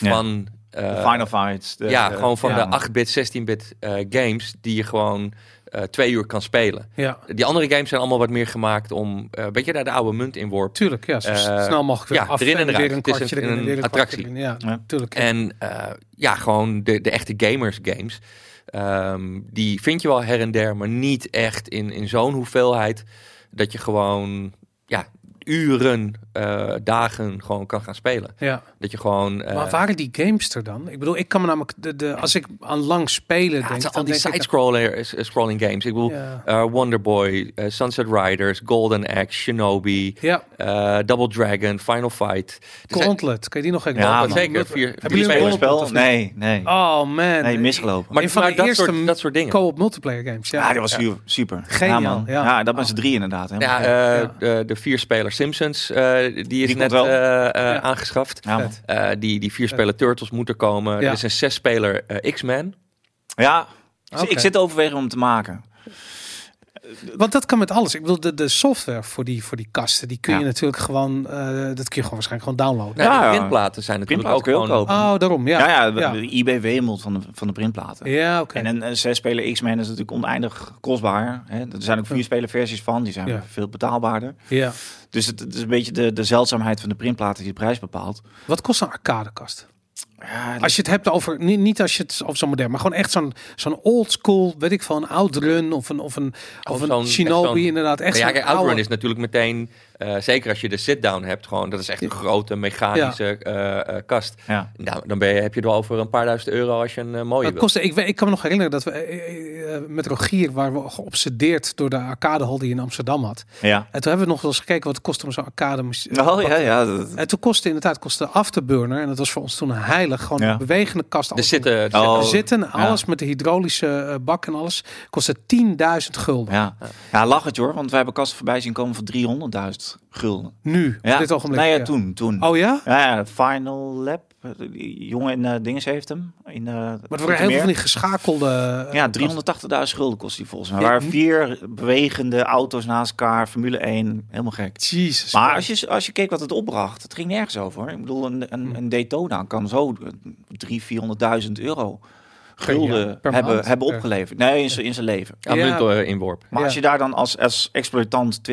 Speaker 4: Ja.
Speaker 3: van... eh,
Speaker 4: de Final Fights. de-
Speaker 3: ja,
Speaker 4: de-
Speaker 3: gewoon van
Speaker 4: ja.
Speaker 3: de 8-bit, 16-bit eh, games die je gewoon eh, twee uur kan spelen.
Speaker 2: Ja,
Speaker 3: Die andere games zijn allemaal wat meer gemaakt om, eh weet je, daar de oude munt in worp.
Speaker 2: tuurlijk. Ja, zo
Speaker 3: Eh,
Speaker 2: snel mogelijk weer
Speaker 3: ja,
Speaker 2: af.
Speaker 3: erin en eruit.
Speaker 2: weer een
Speaker 3: Het is een-
Speaker 2: kwartje erin en
Speaker 3: een
Speaker 2: weer een
Speaker 3: attractie.
Speaker 2: kwartje erin. Ja,
Speaker 4: Ja.
Speaker 2: tuurlijk.
Speaker 3: En eh, ja, gewoon de, de echte gamers games. Ehm, die vind je wel her en der, maar niet echt in, in zo'n hoeveelheid dat je gewoon ja, uren, eh, dagen gewoon kan gaan spelen.
Speaker 2: ja.
Speaker 3: Dat je gewoon... eh,
Speaker 2: Maar waren die games er dan? Ik bedoel, ik kan me namelijk... De, de, als ik aan lang spelen
Speaker 3: ja,
Speaker 2: denk,
Speaker 3: het
Speaker 2: dan
Speaker 3: zijn al die eh,
Speaker 2: denk ik-
Speaker 3: side-scrolling games. Ik bedoel,
Speaker 2: Ja.
Speaker 3: eh, Wonderboy, eh, Sunset Riders, Golden Axe, Shinobi,
Speaker 2: Ja,
Speaker 3: eh, Double Dragon, Final Fight. Er zijn-
Speaker 2: Gauntlet. Kan je die nog even?
Speaker 4: Ja,
Speaker 2: Ja,
Speaker 4: man.
Speaker 3: zeker. Vier,
Speaker 2: Hebben
Speaker 3: vier
Speaker 2: jullie
Speaker 4: Spelen
Speaker 2: een
Speaker 3: spelers.
Speaker 2: Spel of
Speaker 4: spel?
Speaker 2: niet?
Speaker 4: Nee, nee.
Speaker 2: Oh man.
Speaker 4: nee, misgelopen.
Speaker 3: Maar,
Speaker 2: Een van
Speaker 3: maar
Speaker 2: de
Speaker 3: dat,
Speaker 2: eerste
Speaker 3: soort, dat soort dingen.
Speaker 2: Co-op multiplayer games. Ja,
Speaker 4: Ja, dat was su- super.
Speaker 2: Geniaal,
Speaker 4: Ja, man.
Speaker 2: ja.
Speaker 4: ja. dat waren ze drie inderdaad. Hè.
Speaker 3: Ja,
Speaker 4: ja,
Speaker 3: eh,
Speaker 2: Ja.
Speaker 3: De, de vier speler Simpsons, eh, die is
Speaker 4: komt
Speaker 3: net
Speaker 4: wel.
Speaker 3: eh, eh,
Speaker 2: Ja.
Speaker 3: aangeschaft.
Speaker 4: man.
Speaker 3: Eh, die, die vier speler Turtles moeten komen.
Speaker 2: Ja.
Speaker 3: Er is een zes speler X-Men.
Speaker 4: ja.
Speaker 2: Oké.
Speaker 4: Ik zit overwegen om het te maken.
Speaker 2: Want dat kan met alles. Ik bedoel, de, de software voor die, voor die kasten, die kun je
Speaker 4: Ja.
Speaker 2: natuurlijk gewoon, eh, dat kun je gewoon waarschijnlijk gewoon downloaden.
Speaker 3: Nou,
Speaker 4: Ja,
Speaker 3: de
Speaker 4: ja.
Speaker 3: printplaten zijn natuurlijk ook
Speaker 4: Printplaten kun je
Speaker 3: gewoon...
Speaker 4: ook kopen.
Speaker 2: Oh, daarom, ja.
Speaker 4: Ja, ja, de,
Speaker 2: ja.
Speaker 4: de IB wemelt van de, van de printplaten.
Speaker 2: Ja, oké.
Speaker 4: En een, een zes-speler X-Men is natuurlijk oneindig kostbaar. Hè. Er zijn ook vier-speler versies van, die zijn
Speaker 2: Ja.
Speaker 4: veel betaalbaarder.
Speaker 2: Ja.
Speaker 4: Dus het, het is een beetje de, de zeldzaamheid van de printplaten die de prijs bepaalt.
Speaker 2: Wat kost een arcadekast?
Speaker 4: Ja, dat-
Speaker 2: Als je het hebt over, niet, niet als je het over zo'n modern, maar gewoon echt zo'n zo'n old school, weet ik veel, een Outrun of een, of een, of
Speaker 3: zo'n-
Speaker 2: een
Speaker 3: echt
Speaker 2: Shinobi
Speaker 3: zo'n-
Speaker 2: inderdaad. Echt
Speaker 3: Maar ja,
Speaker 2: zo'n
Speaker 3: kijk, Outrun
Speaker 2: oude-
Speaker 3: is natuurlijk meteen, eh, zeker als je de sit-down hebt, gewoon, dat is echt een grote mechanische eh, eh, kast.
Speaker 4: ja.
Speaker 3: Nou, dan ben je, heb je het wel over een paar duizend euro als je een eh, mooie
Speaker 2: Dat
Speaker 3: wil.
Speaker 2: kostte, ik, weet- ik kan me nog herinneren dat we eh, eh, met Rogier waren we geobsedeerd door de arcadehal die in Amsterdam had.
Speaker 4: ja.
Speaker 2: En toen hebben we nog wel eens gekeken wat het kostte om zo'n arcade.
Speaker 4: Oh, ja, ja. dat-
Speaker 2: En toen kostte inderdaad kostte Afterburner, en dat was voor ons toen een heilig, gewoon
Speaker 4: Ja.
Speaker 2: een bewegende kast.
Speaker 3: Er
Speaker 2: alles
Speaker 3: zitten... er zitten-
Speaker 4: Oh.
Speaker 2: met- zitten, alles met de hydraulische eh, bak en alles, kostte 10.000 gulden.
Speaker 4: ja. ja, lach het hoor, want wij hebben kasten voorbij zien komen van 300.000 gulden.
Speaker 2: Nu,
Speaker 4: Ja.
Speaker 2: op dit ogenblik.
Speaker 4: Nee, ja,
Speaker 2: ja.
Speaker 4: toen. toen.
Speaker 2: Oh ja?
Speaker 4: Ja, ja, Final Lab. eh, Die jongen in eh Dinges heeft hem. In, eh
Speaker 2: Maar er waren heel veel van
Speaker 4: Zoetermeer.
Speaker 2: die geschakelde... eh,
Speaker 4: Ja,
Speaker 2: kasten.
Speaker 4: 380.000 gulden kost die volgens mij.
Speaker 2: Ja,
Speaker 4: Er waren vier bewegende auto's naast elkaar. Formule 1. Helemaal gek.
Speaker 2: Jezus.
Speaker 4: Maar als je, als je keek wat het opbracht, het ging nergens over. hoor. Ik bedoel, een, een,
Speaker 2: Hm.
Speaker 4: een Daytona kan zo 300.000, 400.000 euro
Speaker 2: jaar,
Speaker 4: gulden
Speaker 2: per
Speaker 4: hebben,
Speaker 2: maand,
Speaker 4: hebben
Speaker 2: per-
Speaker 4: opgeleverd. Nee, in, zijn- in zijn leven.
Speaker 3: aan
Speaker 2: Ja.
Speaker 3: munt, eh, inworp.
Speaker 4: Maar
Speaker 2: Ja.
Speaker 4: als je daar dan als, als exploitant 20.000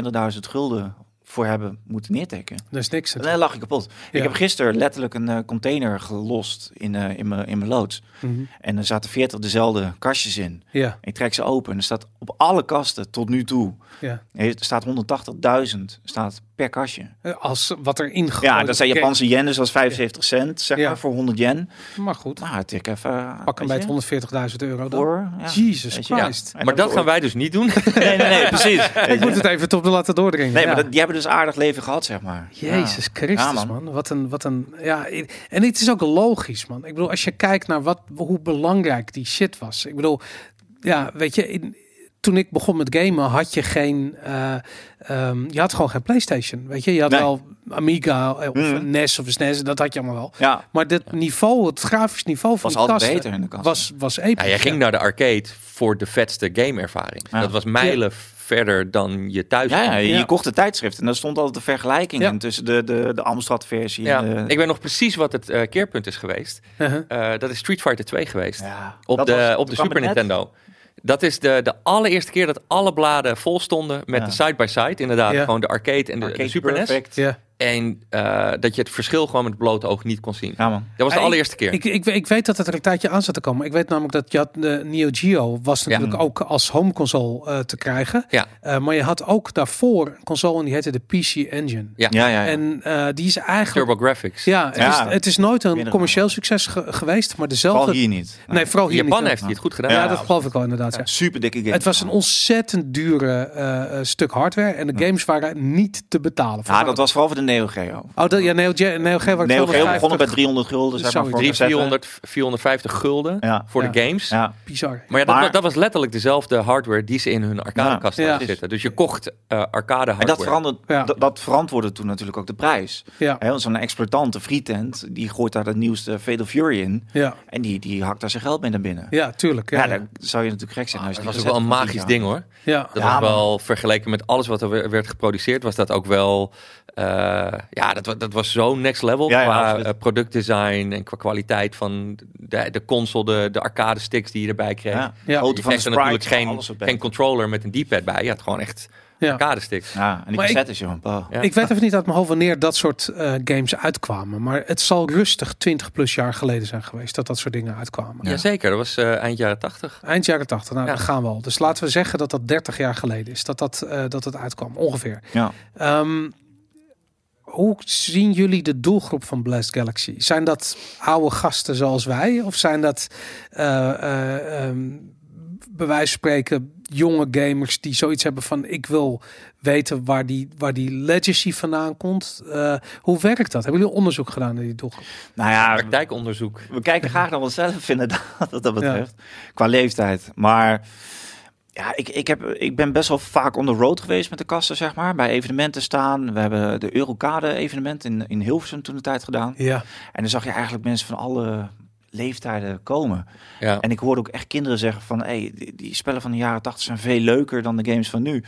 Speaker 4: gulden voor hebben moeten neerteken,
Speaker 2: Dat is niks.
Speaker 4: dan lag ik kapot.
Speaker 2: Ja.
Speaker 4: Ik heb gisteren letterlijk een eh, container gelost in, eh, in mijn in mijn loods.
Speaker 2: Mhm.
Speaker 4: En er zaten 40 dezelfde kastjes in.
Speaker 2: Ja,
Speaker 4: Ik trek ze open en er staat op alle kasten tot nu toe,
Speaker 2: ja.
Speaker 4: er staat 180.000 staat per kastje.
Speaker 2: Eh, Als wat er ingegooid
Speaker 4: Ja, dat zijn
Speaker 2: Oké,
Speaker 4: Japanse yen, dus dat is 75 cent, zeg
Speaker 2: Ja.
Speaker 4: maar, voor 100 yen.
Speaker 2: Maar goed,
Speaker 4: Nou, het ik even... eh,
Speaker 2: pak hem bij
Speaker 4: weet
Speaker 2: het
Speaker 4: je,
Speaker 2: 140.000 euro dan.
Speaker 4: Door, ja.
Speaker 2: Jesus
Speaker 4: Weet je, ja.
Speaker 2: Christ.
Speaker 4: En
Speaker 3: Maar dat
Speaker 4: dan-
Speaker 3: gaan wij dus niet doen.
Speaker 4: Nee, nee, nee, precies.
Speaker 2: Ik moet het even tot de laten doordringen.
Speaker 4: Nee,
Speaker 2: ja.
Speaker 4: maar dat, die hebben dus aardig leven gehad, zeg maar. Ja.
Speaker 2: Jezus Christus,
Speaker 4: Ja,
Speaker 2: man.
Speaker 4: man.
Speaker 2: Wat een, wat een, ja. i- En het is ook logisch, man. Ik bedoel, als je kijkt naar wat, hoe belangrijk die shit was. Ik bedoel, ja, weet je, in, toen ik begon met gamen had je geen, eh, ehm, je had gewoon geen PlayStation, weet je. Je had
Speaker 4: Nee.
Speaker 2: wel Amiga eh, of
Speaker 4: Mhm.
Speaker 2: een NES of een SNES, dat had je allemaal wel.
Speaker 4: Ja,
Speaker 2: Maar dit niveau, het grafisch niveau van
Speaker 4: was
Speaker 2: die
Speaker 4: altijd
Speaker 2: kasten
Speaker 4: beter in de kast.
Speaker 2: was, was episch.
Speaker 3: Ja, Nou, jij ging naar de arcade voor de vetste gameervaring.
Speaker 4: Ja.
Speaker 3: Dat was mijlen verder dan je thuis.
Speaker 4: Ja, ja, je
Speaker 2: Ja.
Speaker 4: kocht de tijdschrift en daar stond altijd de vergelijking
Speaker 2: Ja.
Speaker 4: in tussen de, de, de Amstrad-versie.
Speaker 3: Ja,
Speaker 4: en de-
Speaker 3: ik weet nog precies wat het eh, keerpunt is geweest.
Speaker 2: Uh-huh.
Speaker 3: Eh, dat is Street Fighter 2 geweest.
Speaker 4: Ja,
Speaker 3: Op
Speaker 4: dat
Speaker 3: de,
Speaker 4: was-
Speaker 3: op
Speaker 4: dat
Speaker 3: de
Speaker 4: kwam
Speaker 3: Super
Speaker 4: er net.
Speaker 3: Nintendo. Dat is de, de allereerste keer dat alle bladen vol stonden met
Speaker 4: Ja.
Speaker 3: de side-by-side. Inderdaad,
Speaker 2: Ja.
Speaker 3: gewoon de arcade en de, de
Speaker 4: Arcade
Speaker 3: Super NES.
Speaker 4: Perfect.
Speaker 2: Ja.
Speaker 3: En eh, dat je het verschil gewoon met het blote oog niet kon zien.
Speaker 4: Ja, man.
Speaker 3: Dat was de
Speaker 2: Ja,
Speaker 3: allereerste keer.
Speaker 2: Ik, ik, ik weet dat het er een tijdje aan zat te komen. Ik weet namelijk dat je had, de Neo Geo was natuurlijk
Speaker 4: Ja.
Speaker 2: ook als home console eh, te krijgen.
Speaker 3: ja,
Speaker 2: Eh, maar je had ook daarvoor een console en die heette de PC Engine.
Speaker 3: ja.
Speaker 4: Ja, ja, ja.
Speaker 2: En eh, die is eigenlijk...
Speaker 3: Turbo Graphics.
Speaker 2: Ja, het,
Speaker 4: Ja.
Speaker 2: Is, het is nooit een
Speaker 4: Minder
Speaker 2: commercieel succes ge- geweest, maar dezelfde...
Speaker 4: Vooral hier niet.
Speaker 2: Nee, vooral hier
Speaker 3: Japan
Speaker 2: niet.
Speaker 3: heeft die het goed gedaan.
Speaker 2: Ja,
Speaker 4: Ja,
Speaker 2: dat geloof ik wel inderdaad. ja.
Speaker 4: Super dikke game.
Speaker 2: Het was een ontzettend dure eh, eh, stuk hardware en de games waren niet te betalen.
Speaker 4: ja, dat was vooral voor de Neo Geo.
Speaker 2: Oh, dat, ja, Neo, Ge- Neo Geo werd
Speaker 4: Neo Geo
Speaker 2: 250.
Speaker 4: begonnen bij 300 gulden, zeg maar,
Speaker 2: Zoiets.
Speaker 4: voor
Speaker 3: 300,
Speaker 4: een cassette.
Speaker 3: 400, 450 gulden
Speaker 4: Ja.
Speaker 3: voor de
Speaker 2: Ja.
Speaker 3: games.
Speaker 4: Ja.
Speaker 2: Bizar.
Speaker 3: Maar, ja, dat,
Speaker 4: Maar-
Speaker 3: was, dat was letterlijk dezelfde hardware die ze in hun arcadekast
Speaker 2: Ja.
Speaker 3: hadden
Speaker 2: Ja.
Speaker 3: zitten. Dus je kocht eh, arcade hardware.
Speaker 4: En dat, verandert,
Speaker 2: Ja.
Speaker 4: dat, dat verantwoordde toen natuurlijk ook de prijs.
Speaker 2: Ja,
Speaker 4: Hè, want Zo'n exploitant, de frietent, die gooit daar het nieuwste Fatal Fury in.
Speaker 2: ja,
Speaker 4: En die, die hakt daar zijn geld mee naar binnen. Ja,
Speaker 2: ja tuurlijk. Ja, ja.
Speaker 4: dan zou je natuurlijk gek zijn. als je
Speaker 3: Ah, dat
Speaker 4: die
Speaker 3: was ook wel een
Speaker 4: cassette van
Speaker 3: magisch
Speaker 4: tien
Speaker 3: ding hoor.
Speaker 2: Ja.
Speaker 3: Dat
Speaker 4: dus Ja,
Speaker 3: was wel vergeleken met alles wat er we- werd geproduceerd, was dat ook wel eh, eh, ja, dat, wa- dat was zo next level
Speaker 4: Ja, ja,
Speaker 3: qua
Speaker 4: absoluut.
Speaker 3: eh, productdesign en qua kwaliteit van de, de console, de, de arcade sticks die je erbij kreeg.
Speaker 4: Ja.
Speaker 2: Ja.
Speaker 4: Grootte
Speaker 3: Je
Speaker 4: van de
Speaker 3: kreeg er natuurlijk
Speaker 4: sprites,
Speaker 3: geen,
Speaker 4: alles wat beter.
Speaker 3: geen controller met een D-pad bij. Je had gewoon echt
Speaker 2: Ja.
Speaker 3: arcade sticks.
Speaker 4: Ja, en die
Speaker 2: Maar ik-
Speaker 4: cassettes, joh. Oh.
Speaker 3: Ja.
Speaker 2: Ik weet even niet uit mijn hoofd wanneer dat soort eh, games uitkwamen. Maar het zal rustig 20 plus jaar geleden zijn geweest dat dat soort dingen uitkwamen.
Speaker 3: Jazeker, dat was eh, eind jaren tachtig.
Speaker 2: Eind jaren 80, nou
Speaker 3: Ja.
Speaker 2: daar gaan we al. Dus laten we zeggen dat dat 30 jaar geleden is, dat dat, eh, dat, dat uitkwam, ongeveer.
Speaker 4: Ja.
Speaker 2: Ehm, hoe zien jullie de doelgroep van Blast Galaxy? Zijn dat oude gasten zoals wij? Of zijn dat, eh, eh, ehm, bij wijze van spreken, jonge gamers die zoiets hebben van... ik wil weten waar die, waar die legacy vandaan komt. Eh, hoe werkt dat? Hebben jullie onderzoek gedaan naar die doelgroep?
Speaker 4: Nou ja,
Speaker 3: Praktijkonderzoek.
Speaker 4: we kijken graag naar onszelf inderdaad, wat dat betreft. Qua leeftijd. Maar ja, ik, ik, heb, ik ben best wel vaak on the road geweest met de kasten, zeg maar. Bij evenementen staan. We hebben de Eurocade evenement in, in Hilversum toen de tijd gedaan.
Speaker 2: Ja,
Speaker 4: En dan zag je eigenlijk mensen van alle leeftijden komen.
Speaker 3: Ja.
Speaker 4: En ik hoorde ook echt kinderen zeggen van... Hey, die, die spellen van de jaren 80 zijn veel leuker dan de games van nu.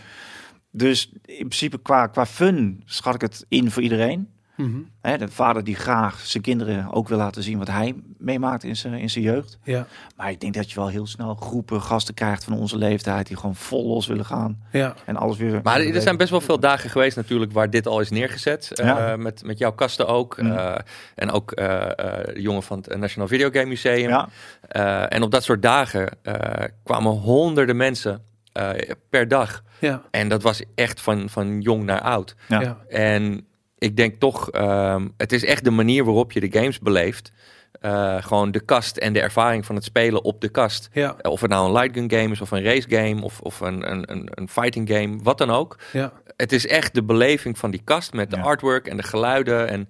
Speaker 4: Dus in principe qua, qua fun schat ik het in voor iedereen.
Speaker 2: Mhm.
Speaker 4: Hè, de vader die graag zijn kinderen ook wil laten zien wat hij meemaakt in zijn, in zijn jeugd.
Speaker 2: ja,
Speaker 4: Maar ik denk dat je wel heel snel groepen gasten krijgt van onze leeftijd die gewoon vol los willen gaan
Speaker 2: ja.
Speaker 4: en alles weer.
Speaker 3: Maar er zijn best wel veel dagen geweest natuurlijk waar dit al is neergezet. Eh,
Speaker 4: Ja.
Speaker 3: met, met jouw kasten ook.
Speaker 4: Mhm.
Speaker 3: Eh, en ook eh, eh, de jongen van het National Video Game Museum.
Speaker 4: Ja,
Speaker 3: Eh, en op dat soort dagen eh, kwamen honderden mensen eh, per dag.
Speaker 2: ja.
Speaker 3: En dat was echt van, van jong naar oud.
Speaker 4: Ja.
Speaker 2: ja.
Speaker 3: En ik denk toch, ehm, het is echt de manier waarop je de games beleeft. Eh, gewoon de kast en de ervaring van het spelen op de kast.
Speaker 2: ja.
Speaker 3: Of het nou een light gun game is, of een race game, of, of een, een, een, een fighting game, wat dan ook.
Speaker 2: ja.
Speaker 3: Het is echt de beleving van die kast met de
Speaker 4: Ja.
Speaker 3: artwork en de geluiden. En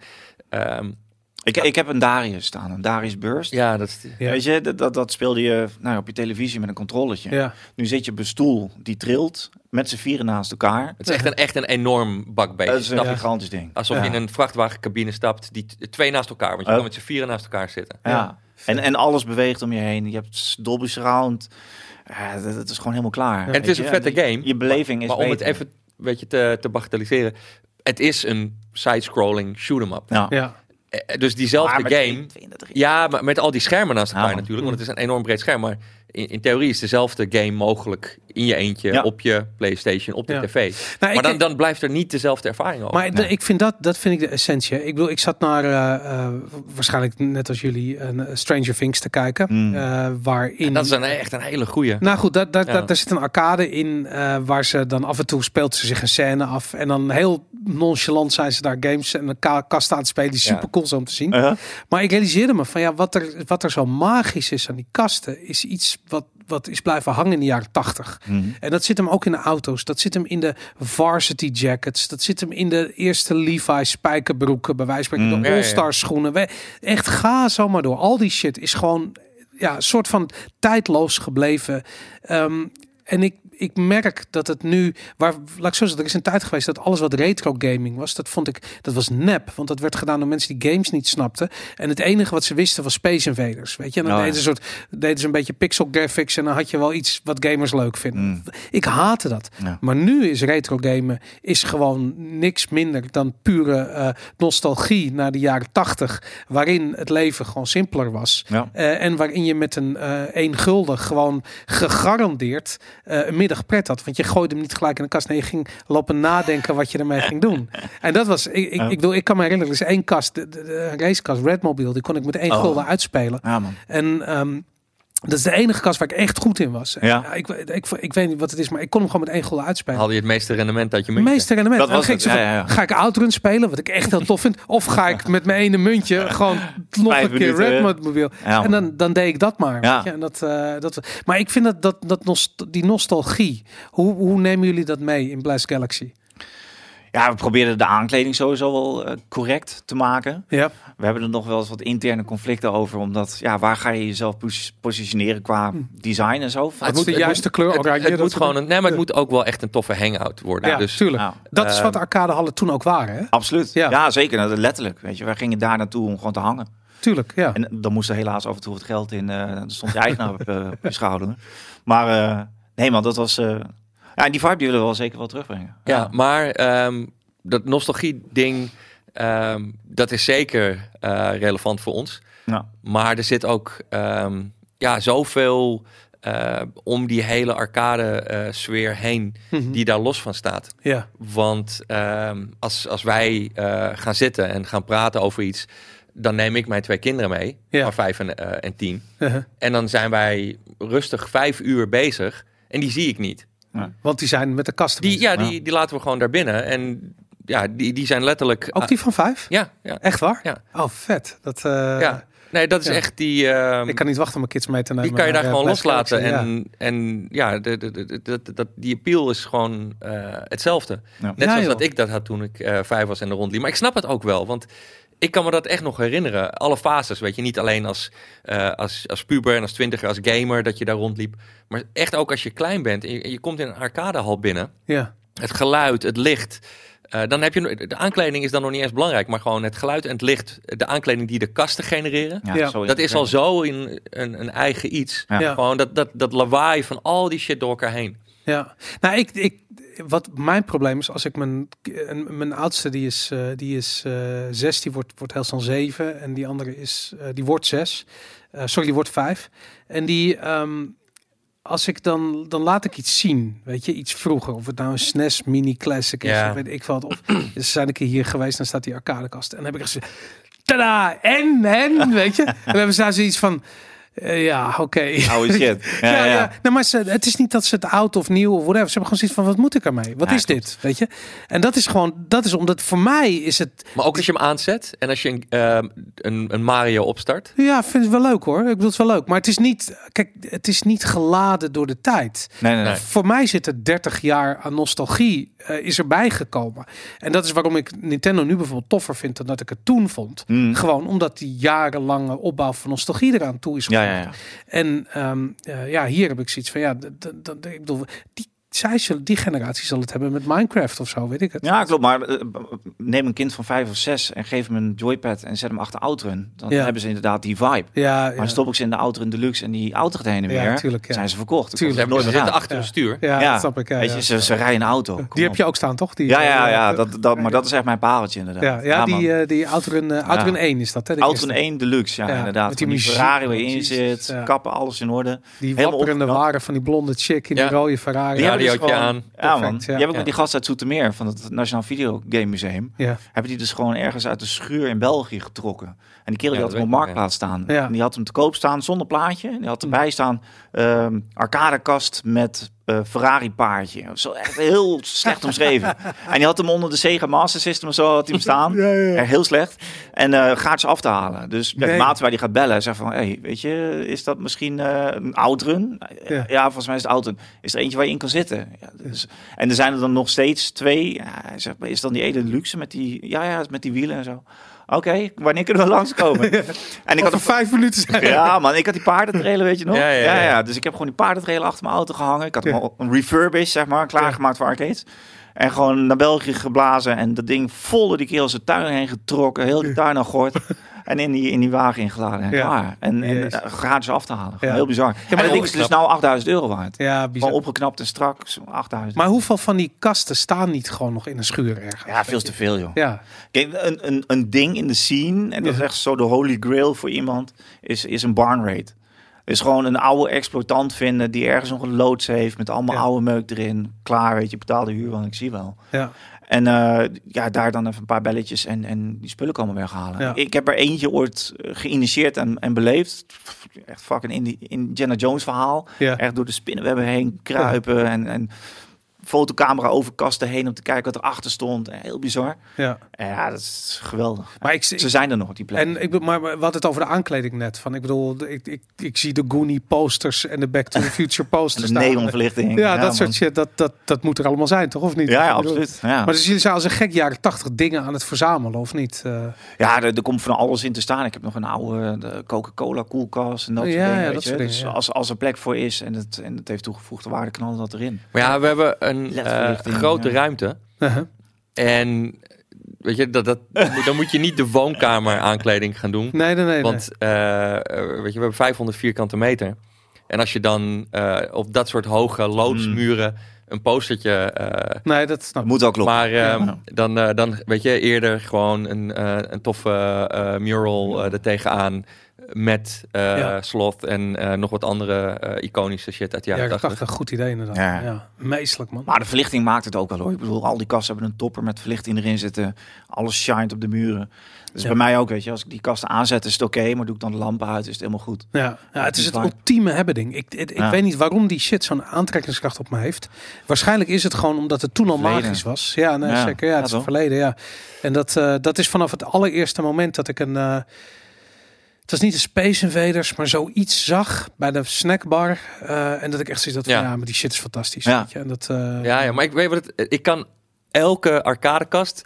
Speaker 3: ehm,
Speaker 4: ik, ik heb een Darius staan, een Darius Burst.
Speaker 3: ja, dat is.
Speaker 2: Ja.
Speaker 4: Weet je, dat, dat, dat speelde je nou, op je televisie met een controllertje.
Speaker 2: ja.
Speaker 4: Nu zit je op een stoel die trilt met z'n vieren naast elkaar.
Speaker 3: Het is echt een, echt een enorm bakbeest.
Speaker 4: Dat is een
Speaker 3: Snap je?
Speaker 2: Ja.
Speaker 4: gigantisch ding.
Speaker 3: Alsof je
Speaker 2: Ja.
Speaker 3: in een vrachtwagencabine stapt, die t- twee naast elkaar, want je
Speaker 4: Oh.
Speaker 3: kan met z'n vieren naast elkaar zitten.
Speaker 4: Ja. En, en alles beweegt om je heen. Je hebt s- Dolby Surround. Ja, dat, dat is gewoon helemaal klaar.
Speaker 3: En het is een vette game.
Speaker 4: Je beleving is
Speaker 3: maar om het
Speaker 4: beter.
Speaker 3: even een beetje te, te bagatelliseren, het is een side-scrolling shoot-em-up.
Speaker 4: Ja.
Speaker 2: ja. Nou,
Speaker 3: Eh, eh, Dus diezelfde
Speaker 4: Maar met
Speaker 3: game,
Speaker 4: 22,
Speaker 3: ja, maar met al die schermen naast elkaar
Speaker 4: Ja, man. Mm.
Speaker 3: natuurlijk, want het is een enorm breed scherm, maar in, in theorie is dezelfde game mogelijk in je eentje,
Speaker 4: Ja.
Speaker 3: op je Playstation, op de
Speaker 2: Ja.
Speaker 3: tv.
Speaker 2: Nou, ik-
Speaker 3: maar dan, dan blijft er niet dezelfde ervaring over.
Speaker 2: Maar de-
Speaker 4: Nee.
Speaker 2: ik vind dat, dat vind ik de essentie. Ik bedoel, ik zat naar eh, eh, waarschijnlijk net als jullie een eh, Stranger Things te kijken,
Speaker 4: Mm.
Speaker 2: eh, waarin.
Speaker 3: en dat is een, echt een hele goeie.
Speaker 2: Nou goed, daar, daar,
Speaker 3: Ja.
Speaker 2: daar, daar zit een arcade in eh, waar ze dan af en toe speelt ze zich een scène af. En dan heel nonchalant zijn ze daar games en een ka- kast aan het spelen die
Speaker 3: Ja.
Speaker 2: super cool zijn om te zien.
Speaker 4: Uh-huh.
Speaker 2: Maar ik realiseerde me van ja, wat er, wat er zo magisch is aan die kasten, is iets wat, wat is blijven hangen in de jaren tachtig.
Speaker 4: Mhm.
Speaker 2: En dat zit hem ook in de auto's. Dat zit hem in de varsity jackets. Dat zit hem in de eerste Levi spijkerbroeken. Bij wijze van spreken de
Speaker 3: Mhm. Ja, ja, ja.
Speaker 2: All-Star schoenen. We- Echt, ga zo maar door. Al die shit is gewoon ja, een soort van tijdloos gebleven. Ehm, en ik, ik merk dat het nu, waar, laat ik zo zeggen, er is een tijd geweest dat alles wat retro gaming was, dat vond ik, dat was nep. Want dat werd gedaan door mensen die games niet snapten. En het enige wat ze wisten was Space Invaders, weet je. En dan
Speaker 4: Oh, ja.
Speaker 2: deden, ze een soort, deden ze een beetje pixel graphics en dan had je wel iets wat gamers leuk vinden.
Speaker 4: Mm.
Speaker 2: Ik haatte dat.
Speaker 4: Ja.
Speaker 2: Maar nu is retro gamen is gewoon niks minder dan pure eh, nostalgie naar de jaren tachtig. Waarin het leven gewoon simpeler was.
Speaker 4: Ja.
Speaker 2: Eh, en waarin je met een eh één gulden gewoon gegarandeerd eh, een middag pret had. Want je gooide hem niet gelijk in de kast. Nee, je ging lopen nadenken wat je ermee ging doen. En dat was, ik, ik,
Speaker 4: Ja.
Speaker 2: ik, wil, ik kan me herinneren, er is één kast, de, de, de racekast, Redmobile, die kon ik met één
Speaker 4: Oh.
Speaker 2: gulden uitspelen.
Speaker 4: Ja, man.
Speaker 2: En ehm, dat is de enige kast waar ik echt goed in was. En,
Speaker 4: Ja.
Speaker 2: ja, ik, ik, ik weet niet wat het is, maar ik kon hem gewoon met één goal uitspelen.
Speaker 3: Haal je het meeste rendement uit je
Speaker 2: Het
Speaker 3: muntje?
Speaker 2: meeste rendement.
Speaker 4: Dat
Speaker 2: En dan
Speaker 4: was
Speaker 2: ging
Speaker 4: het,
Speaker 2: ik zo
Speaker 4: ja,
Speaker 2: van,
Speaker 4: ja, ja.
Speaker 2: Ga ik Outrun spelen, wat ik echt heel tof vind. Of ga ik met mijn ene muntje gewoon nog
Speaker 4: Vijf
Speaker 2: een keer
Speaker 4: minuten, hè?
Speaker 2: Redmobile.
Speaker 4: Ja,
Speaker 2: en
Speaker 4: man.
Speaker 2: dan, dan deed ik dat maar.
Speaker 4: Ja.
Speaker 2: weet je. En dat, eh, dat, maar ik vind dat, dat, dat nost- die nostalgie, hoe, hoe nemen jullie dat mee in Blast Galaxy?
Speaker 4: ja, we probeerden de aankleding sowieso wel eh, correct te maken.
Speaker 2: Ja,
Speaker 4: We hebben er nog wel eens wat interne conflicten over. Omdat, ja, waar ga je jezelf pos- positioneren qua design en zo?
Speaker 2: het moet de
Speaker 3: het
Speaker 2: juiste kleur
Speaker 3: Het,
Speaker 2: oranje.
Speaker 3: het
Speaker 2: dat
Speaker 3: moet
Speaker 2: soort
Speaker 3: gewoon een, nee, maar het
Speaker 2: Ja.
Speaker 3: moet ook wel echt een toffe hangout worden.
Speaker 2: Ja,
Speaker 3: dus
Speaker 2: tuurlijk.
Speaker 4: Nou,
Speaker 2: Dat is
Speaker 3: eh,
Speaker 2: wat de arcadehallen toen ook waren, hè?
Speaker 4: Absoluut.
Speaker 2: Ja.
Speaker 4: Ja, zeker. Nou, letterlijk. Weet je, wij gingen daar naartoe om gewoon te hangen.
Speaker 2: Tuurlijk, ja.
Speaker 4: En dan moest er helaas af en toe wat geld in. eh dan stond je eigenaar op, eh, op je schouder. Maar eh, nee, man, dat was. eh, ja, en die vibe die willen we wel zeker wel terugbrengen.
Speaker 3: Ja, maar ehm, dat nostalgie-ding, Ehm, dat is zeker eh, relevant voor ons.
Speaker 4: Ja.
Speaker 3: Maar er zit ook ehm, ja, zoveel eh, om die hele arcade-sfeer heen
Speaker 2: Mhm.
Speaker 3: die daar los van staat.
Speaker 2: Ja,
Speaker 3: Want ehm, als, als wij eh, gaan zitten en gaan praten over iets, dan neem ik mijn twee kinderen mee,
Speaker 2: Ja.
Speaker 3: van vijf en, eh, en tien.
Speaker 2: Uh-huh.
Speaker 3: En dan zijn wij rustig vijf uur bezig en die zie ik niet.
Speaker 2: want die zijn met de kasten.
Speaker 3: Die,
Speaker 2: bezig.
Speaker 3: ja, die, die laten we gewoon daar binnen. En ja, die, die zijn letterlijk... ah,
Speaker 2: Ook die van vijf?
Speaker 3: Ja, ja,
Speaker 2: Echt waar?
Speaker 3: Ja.
Speaker 2: Oh, vet. Dat, eh,
Speaker 3: ja. Nee, dat is
Speaker 2: ja.
Speaker 3: echt die... ehm,
Speaker 2: Ik kan niet wachten om mijn kids mee te nemen.
Speaker 3: die kan je daar
Speaker 2: naar, eh,
Speaker 3: gewoon
Speaker 2: Blast
Speaker 3: loslaten.
Speaker 2: Galaxy,
Speaker 3: En ja, en, ja de, de, de- de- dat- dat- die appeal is gewoon eh, hetzelfde.
Speaker 4: Ja.
Speaker 3: Net
Speaker 2: Ja,
Speaker 3: zoals
Speaker 2: joh.
Speaker 3: dat ik dat had toen ik eh, vijf was en er rondliep. Maar ik snap het ook wel, want ik kan me dat echt nog herinneren. Alle fases, weet je. Niet alleen als, eh, als, als puber en als twintiger, als gamer, dat je daar rondliep. Maar echt ook als je klein bent en je, en je komt in een arcadehal binnen.
Speaker 2: Ja. ja.
Speaker 3: Het geluid, het licht. eh, dan heb je, no- de aankleding is dan nog niet eens belangrijk, maar gewoon het geluid en het licht. De aankleding die de kasten genereren.
Speaker 2: Ja.
Speaker 4: zo
Speaker 3: Dat
Speaker 4: het.
Speaker 3: is al zo in een, een eigen iets.
Speaker 4: Ja.
Speaker 2: Ja.
Speaker 3: Gewoon dat, dat, dat lawaai van al die shit door elkaar heen.
Speaker 2: Ja, nou, ik, ik, wat mijn probleem is, als ik mijn, en mijn oudste, die is, eh, die is eh, zes, die wordt, wordt heel snel zeven. En die andere is, eh, die wordt zes. Eh, sorry, die wordt vijf. En die, ehm, als ik dan, dan laat ik iets zien, weet je, iets vroeger. Of het nou een SNES Mini Classic is,
Speaker 3: Ja.
Speaker 2: of weet ik wat. Of ze zijn een keer hier geweest, dan staat die arcadekast. En dan heb ik gezegd, tada, en, en, weet je. En we hebben ze zoiets van, eh, ja, oké.
Speaker 4: Oude shit. Ja, ja, ja.
Speaker 2: Nee, Nou, maar ze, het is niet dat ze het oud of nieuw of whatever. Ze hebben gewoon zoiets van, wat moet ik ermee? Wat
Speaker 4: Ja,
Speaker 2: is dit? Weet je? En dat is gewoon, dat is omdat voor mij is het...
Speaker 3: Maar ook als je hem aanzet en als je een, ehm, een, een Mario opstart.
Speaker 2: Ja, vind het wel leuk hoor. Ik bedoel, het wel leuk. Maar het is niet, kijk, het is niet geladen door de tijd.
Speaker 4: Nee, nee, nee.
Speaker 2: Voor mij zit er 30 jaar aan nostalgie eh, is erbij gekomen. En dat is waarom ik Nintendo nu bijvoorbeeld toffer vind dan dat ik het toen vond.
Speaker 4: Mm.
Speaker 2: Gewoon omdat die jarenlange opbouw van nostalgie eraan toe is
Speaker 4: Ja, ja,
Speaker 2: gevoegd.
Speaker 4: ja.
Speaker 2: En ehm, eh, ja, hier heb ik zoiets van, ja, d- d- d- ik bedoel, die, zij zullen, die generatie zal het hebben met Minecraft of zo, weet ik het.
Speaker 4: Ja, klopt. Maar eh, neem een kind van vijf of zes en geef hem een joypad en zet hem achter Outrun. Dan
Speaker 2: Ja.
Speaker 4: hebben ze inderdaad die vibe.
Speaker 2: ja, ja.
Speaker 4: Maar stop ik ze in de Outrun Deluxe en die auto gaat heen en
Speaker 2: Ja,
Speaker 4: weer,
Speaker 2: tuurlijk, ja.
Speaker 4: zijn ze verkocht.
Speaker 2: Tuurlijk.
Speaker 3: Ze, hebben, ze
Speaker 4: Nooit meer
Speaker 3: zitten
Speaker 4: aan.
Speaker 3: achter een stuur.
Speaker 2: ja,
Speaker 4: Ja.
Speaker 2: dat snap ik. Ja,
Speaker 4: Weet
Speaker 2: ja.
Speaker 4: je, ze, ze rijden een auto. Kom
Speaker 2: die heb
Speaker 4: op.
Speaker 2: je ook staan, toch? Die,
Speaker 4: Ja, ja,
Speaker 2: eh,
Speaker 4: ja
Speaker 2: eh,
Speaker 4: dat, dat, maar dat is echt mijn pareltje inderdaad.
Speaker 2: Ja, ja,
Speaker 4: man.
Speaker 2: die, eh die Outrun, eh, Outrun
Speaker 4: Ja.
Speaker 2: 1 is dat, hè? de
Speaker 4: Outrun
Speaker 2: eerste.
Speaker 4: 1 Deluxe, ja,
Speaker 2: Ja, met
Speaker 4: inderdaad. Met
Speaker 2: die
Speaker 4: die,
Speaker 2: muziek,
Speaker 4: Ferrari waar je in
Speaker 2: precies,
Speaker 4: zit,
Speaker 2: ja.
Speaker 4: kappen, alles in orde.
Speaker 2: Die
Speaker 4: helemaal
Speaker 2: wapperende
Speaker 4: opgeknapt.
Speaker 2: waren van die blonde chick in
Speaker 3: Ja.
Speaker 2: die rode Ferrari.
Speaker 3: Ja,
Speaker 4: Ja,
Speaker 3: die
Speaker 4: dat is
Speaker 3: had je
Speaker 4: gewoon-
Speaker 3: aan.
Speaker 4: Ja, man.
Speaker 2: Perfect, ja.
Speaker 4: Die heb ik
Speaker 3: Ja.
Speaker 4: met die gast uit Zoetermeer van het Nationaal Videogame Museum.
Speaker 2: Ja.
Speaker 4: Hebben die dus gewoon ergens uit de schuur in België getrokken. En die kerel
Speaker 3: Ja,
Speaker 4: die
Speaker 3: dat
Speaker 4: had hem op
Speaker 3: weet ik nog,
Speaker 4: marktplaats staan.
Speaker 2: Ja. Mm.
Speaker 4: En die had hem te koop staan zonder plaatje. En die had erbij staan ehm arcadekast met eh, Ferrari paardje. Zo echt heel slecht omschreven. En die had hem onder de Sega Master System of zo had hij hem staan.
Speaker 2: Ja, ja, ja.
Speaker 4: Echt heel slecht. En eh gaat ze af te halen. Dus ja, de
Speaker 2: Nee.
Speaker 4: maat waar die gaat bellen zegt van, hey, weet je, is dat misschien eh, een outrun?
Speaker 2: Ja.
Speaker 4: Ja. volgens mij is het outrun. Is er eentje waar je in kan zitten? Ja, dus, en er zijn er dan nog steeds twee. Ja, hij zegt, maar is dan die ene luxe met die, ja, ja, met die wielen en zo? Oké, wanneer kunnen we langskomen? En ik
Speaker 2: Over
Speaker 4: had een
Speaker 2: vijf minuten zijn.
Speaker 4: ja, man, ik had die paardentrailer, weet je nog?
Speaker 3: Ja, ja, ja.
Speaker 4: Dus ik heb gewoon die paardentrailer achter mijn auto gehangen. Ik had hem
Speaker 2: Ja.
Speaker 4: al een refurbish, zeg maar, klaargemaakt voor arcades. En gewoon naar België geblazen en dat ding vol door die kerel zijn tuin heen getrokken. Heel die tuin aan gehoord. En in die, in die wagen ingeladen en
Speaker 2: Ja.
Speaker 4: klaar. En, en
Speaker 2: Jezus.
Speaker 4: eh, gratis af te halen. Gewoon
Speaker 2: Ja.
Speaker 4: Heel bizar. en dat ding is dus
Speaker 3: opgeknapt.
Speaker 4: nou 8000 euro waard.
Speaker 2: Ja, bizar.
Speaker 4: Gewoon opgeknapt en strak, zo'n 8000.
Speaker 2: Maar hoeveel van die kasten staan niet gewoon nog in een schuur ergens?
Speaker 4: ja, veel te veel, joh.
Speaker 2: Ja,
Speaker 4: Kijk, een, een, een ding in de scene, en dat is echt zo de holy grail voor iemand, is, is een barn raid. Is gewoon een oude exploitant vinden die ergens nog een loods heeft met allemaal
Speaker 2: Ja.
Speaker 4: oude meuk erin. Klaar, weet je, betaal de huur, want ik zie wel.
Speaker 2: ja.
Speaker 4: En eh, ja, daar dan even een paar belletjes en, en die spullen komen weghalen.
Speaker 2: Ja.
Speaker 4: Ik heb er eentje ooit eh, geïnitieerd en, en beleefd. Echt fucking Indi- Indiana Jones verhaal.
Speaker 2: Ja.
Speaker 4: Echt door de spinnenwebben heen kruipen en, en fotocamera over kasten heen om te kijken wat erachter stond. Heel bizar.
Speaker 2: ja.
Speaker 4: Ja, dat is geweldig.
Speaker 2: Maar ik,
Speaker 4: Ze zijn er nog, die plekken.
Speaker 2: En ik, be- maar maar we hadden het over de aankleding net. Van, ik bedoel, de- ik, ik, ik zie de Goonie posters en de Back to the Future
Speaker 4: En
Speaker 2: posters.
Speaker 4: de
Speaker 2: daar.
Speaker 4: neonverlichting.
Speaker 2: Ja, dat
Speaker 4: man.
Speaker 2: soort shit. Dat, dat, dat moet er allemaal zijn, toch? Of niet?
Speaker 4: Ja, ja,
Speaker 2: Ik bedoel-
Speaker 4: absoluut. Ja,
Speaker 2: Maar dus jullie zijn als een gek jaren 80 dingen aan het verzamelen, of niet? Eh,
Speaker 4: ja er, er komt van alles in te staan. Ik heb nog een oude eh, de Coca-Cola koelkast en dat soort
Speaker 2: Ja,
Speaker 4: dingen.
Speaker 2: ja,
Speaker 4: weet
Speaker 2: dat
Speaker 4: je.
Speaker 2: soort dingen,
Speaker 4: dus
Speaker 2: ja.
Speaker 4: als, als er plek voor is en het, en het heeft toegevoegde waarde, knallen dat erin.
Speaker 3: Maar ja, we hebben een eh,
Speaker 4: Ledverlichting,
Speaker 3: grote
Speaker 4: ja.
Speaker 3: ruimte.
Speaker 2: uh-huh.
Speaker 3: En weet je, dat, dat, dan moet je niet de woonkamer aankleding gaan doen.
Speaker 2: Nee, nee, nee.
Speaker 3: Want eh, eh, weet je, we
Speaker 2: Hmm.
Speaker 3: hebben 500 vierkante meter. En als je dan eh, op dat soort hoge loodsmuren een postertje. eh,
Speaker 2: Nee, dat snap ik.
Speaker 4: Moet wel kloppen.
Speaker 3: maar eh,
Speaker 4: Ja.
Speaker 3: dan, eh, dan weet je eerder gewoon een, eh, een toffe eh, mural eh er tegenaan. Met eh,
Speaker 2: Ja.
Speaker 3: Sloth en eh, nog wat andere eh, iconische shit uit de
Speaker 2: Ja,
Speaker 3: jaren
Speaker 2: ik dacht
Speaker 3: 80.
Speaker 2: echt een goed idee inderdaad. Ja.
Speaker 4: Ja.
Speaker 2: Meestelijk man.
Speaker 4: Maar de verlichting maakt het ook wel hoor. Ik bedoel, al die kasten hebben een topper met verlichting erin zitten. Alles shined op de muren. Dus
Speaker 2: Ja.
Speaker 4: bij mij ook, weet je. Als ik die kasten aanzet is het oké, maar doe ik dan de lampen uit is het helemaal goed.
Speaker 2: Ja, ja, het
Speaker 4: is
Speaker 2: is het
Speaker 4: waar.
Speaker 2: ultieme hebben ding. Ik, ik, ik
Speaker 4: Ja.
Speaker 2: weet niet waarom die shit zo'n aantrekkingskracht op me heeft. Waarschijnlijk is het gewoon omdat het toen al
Speaker 4: Verleden.
Speaker 2: magisch was. Ja, nee,
Speaker 4: Ja,
Speaker 2: zeker. Ja,
Speaker 4: ja,
Speaker 2: het is
Speaker 4: toch?
Speaker 2: verleden, ja. En dat, eh, dat is vanaf het allereerste moment dat ik een... eh, het was niet de Space Invaders, maar zoiets zag bij de snackbar. eh, en dat ik echt zoiets had van, ja.
Speaker 3: Ja.
Speaker 2: maar die shit is fantastisch.
Speaker 4: Ja.
Speaker 2: Weet je? En dat, eh,
Speaker 3: Ja, ja, maar ik weet wat het, ik kan elke arcadekast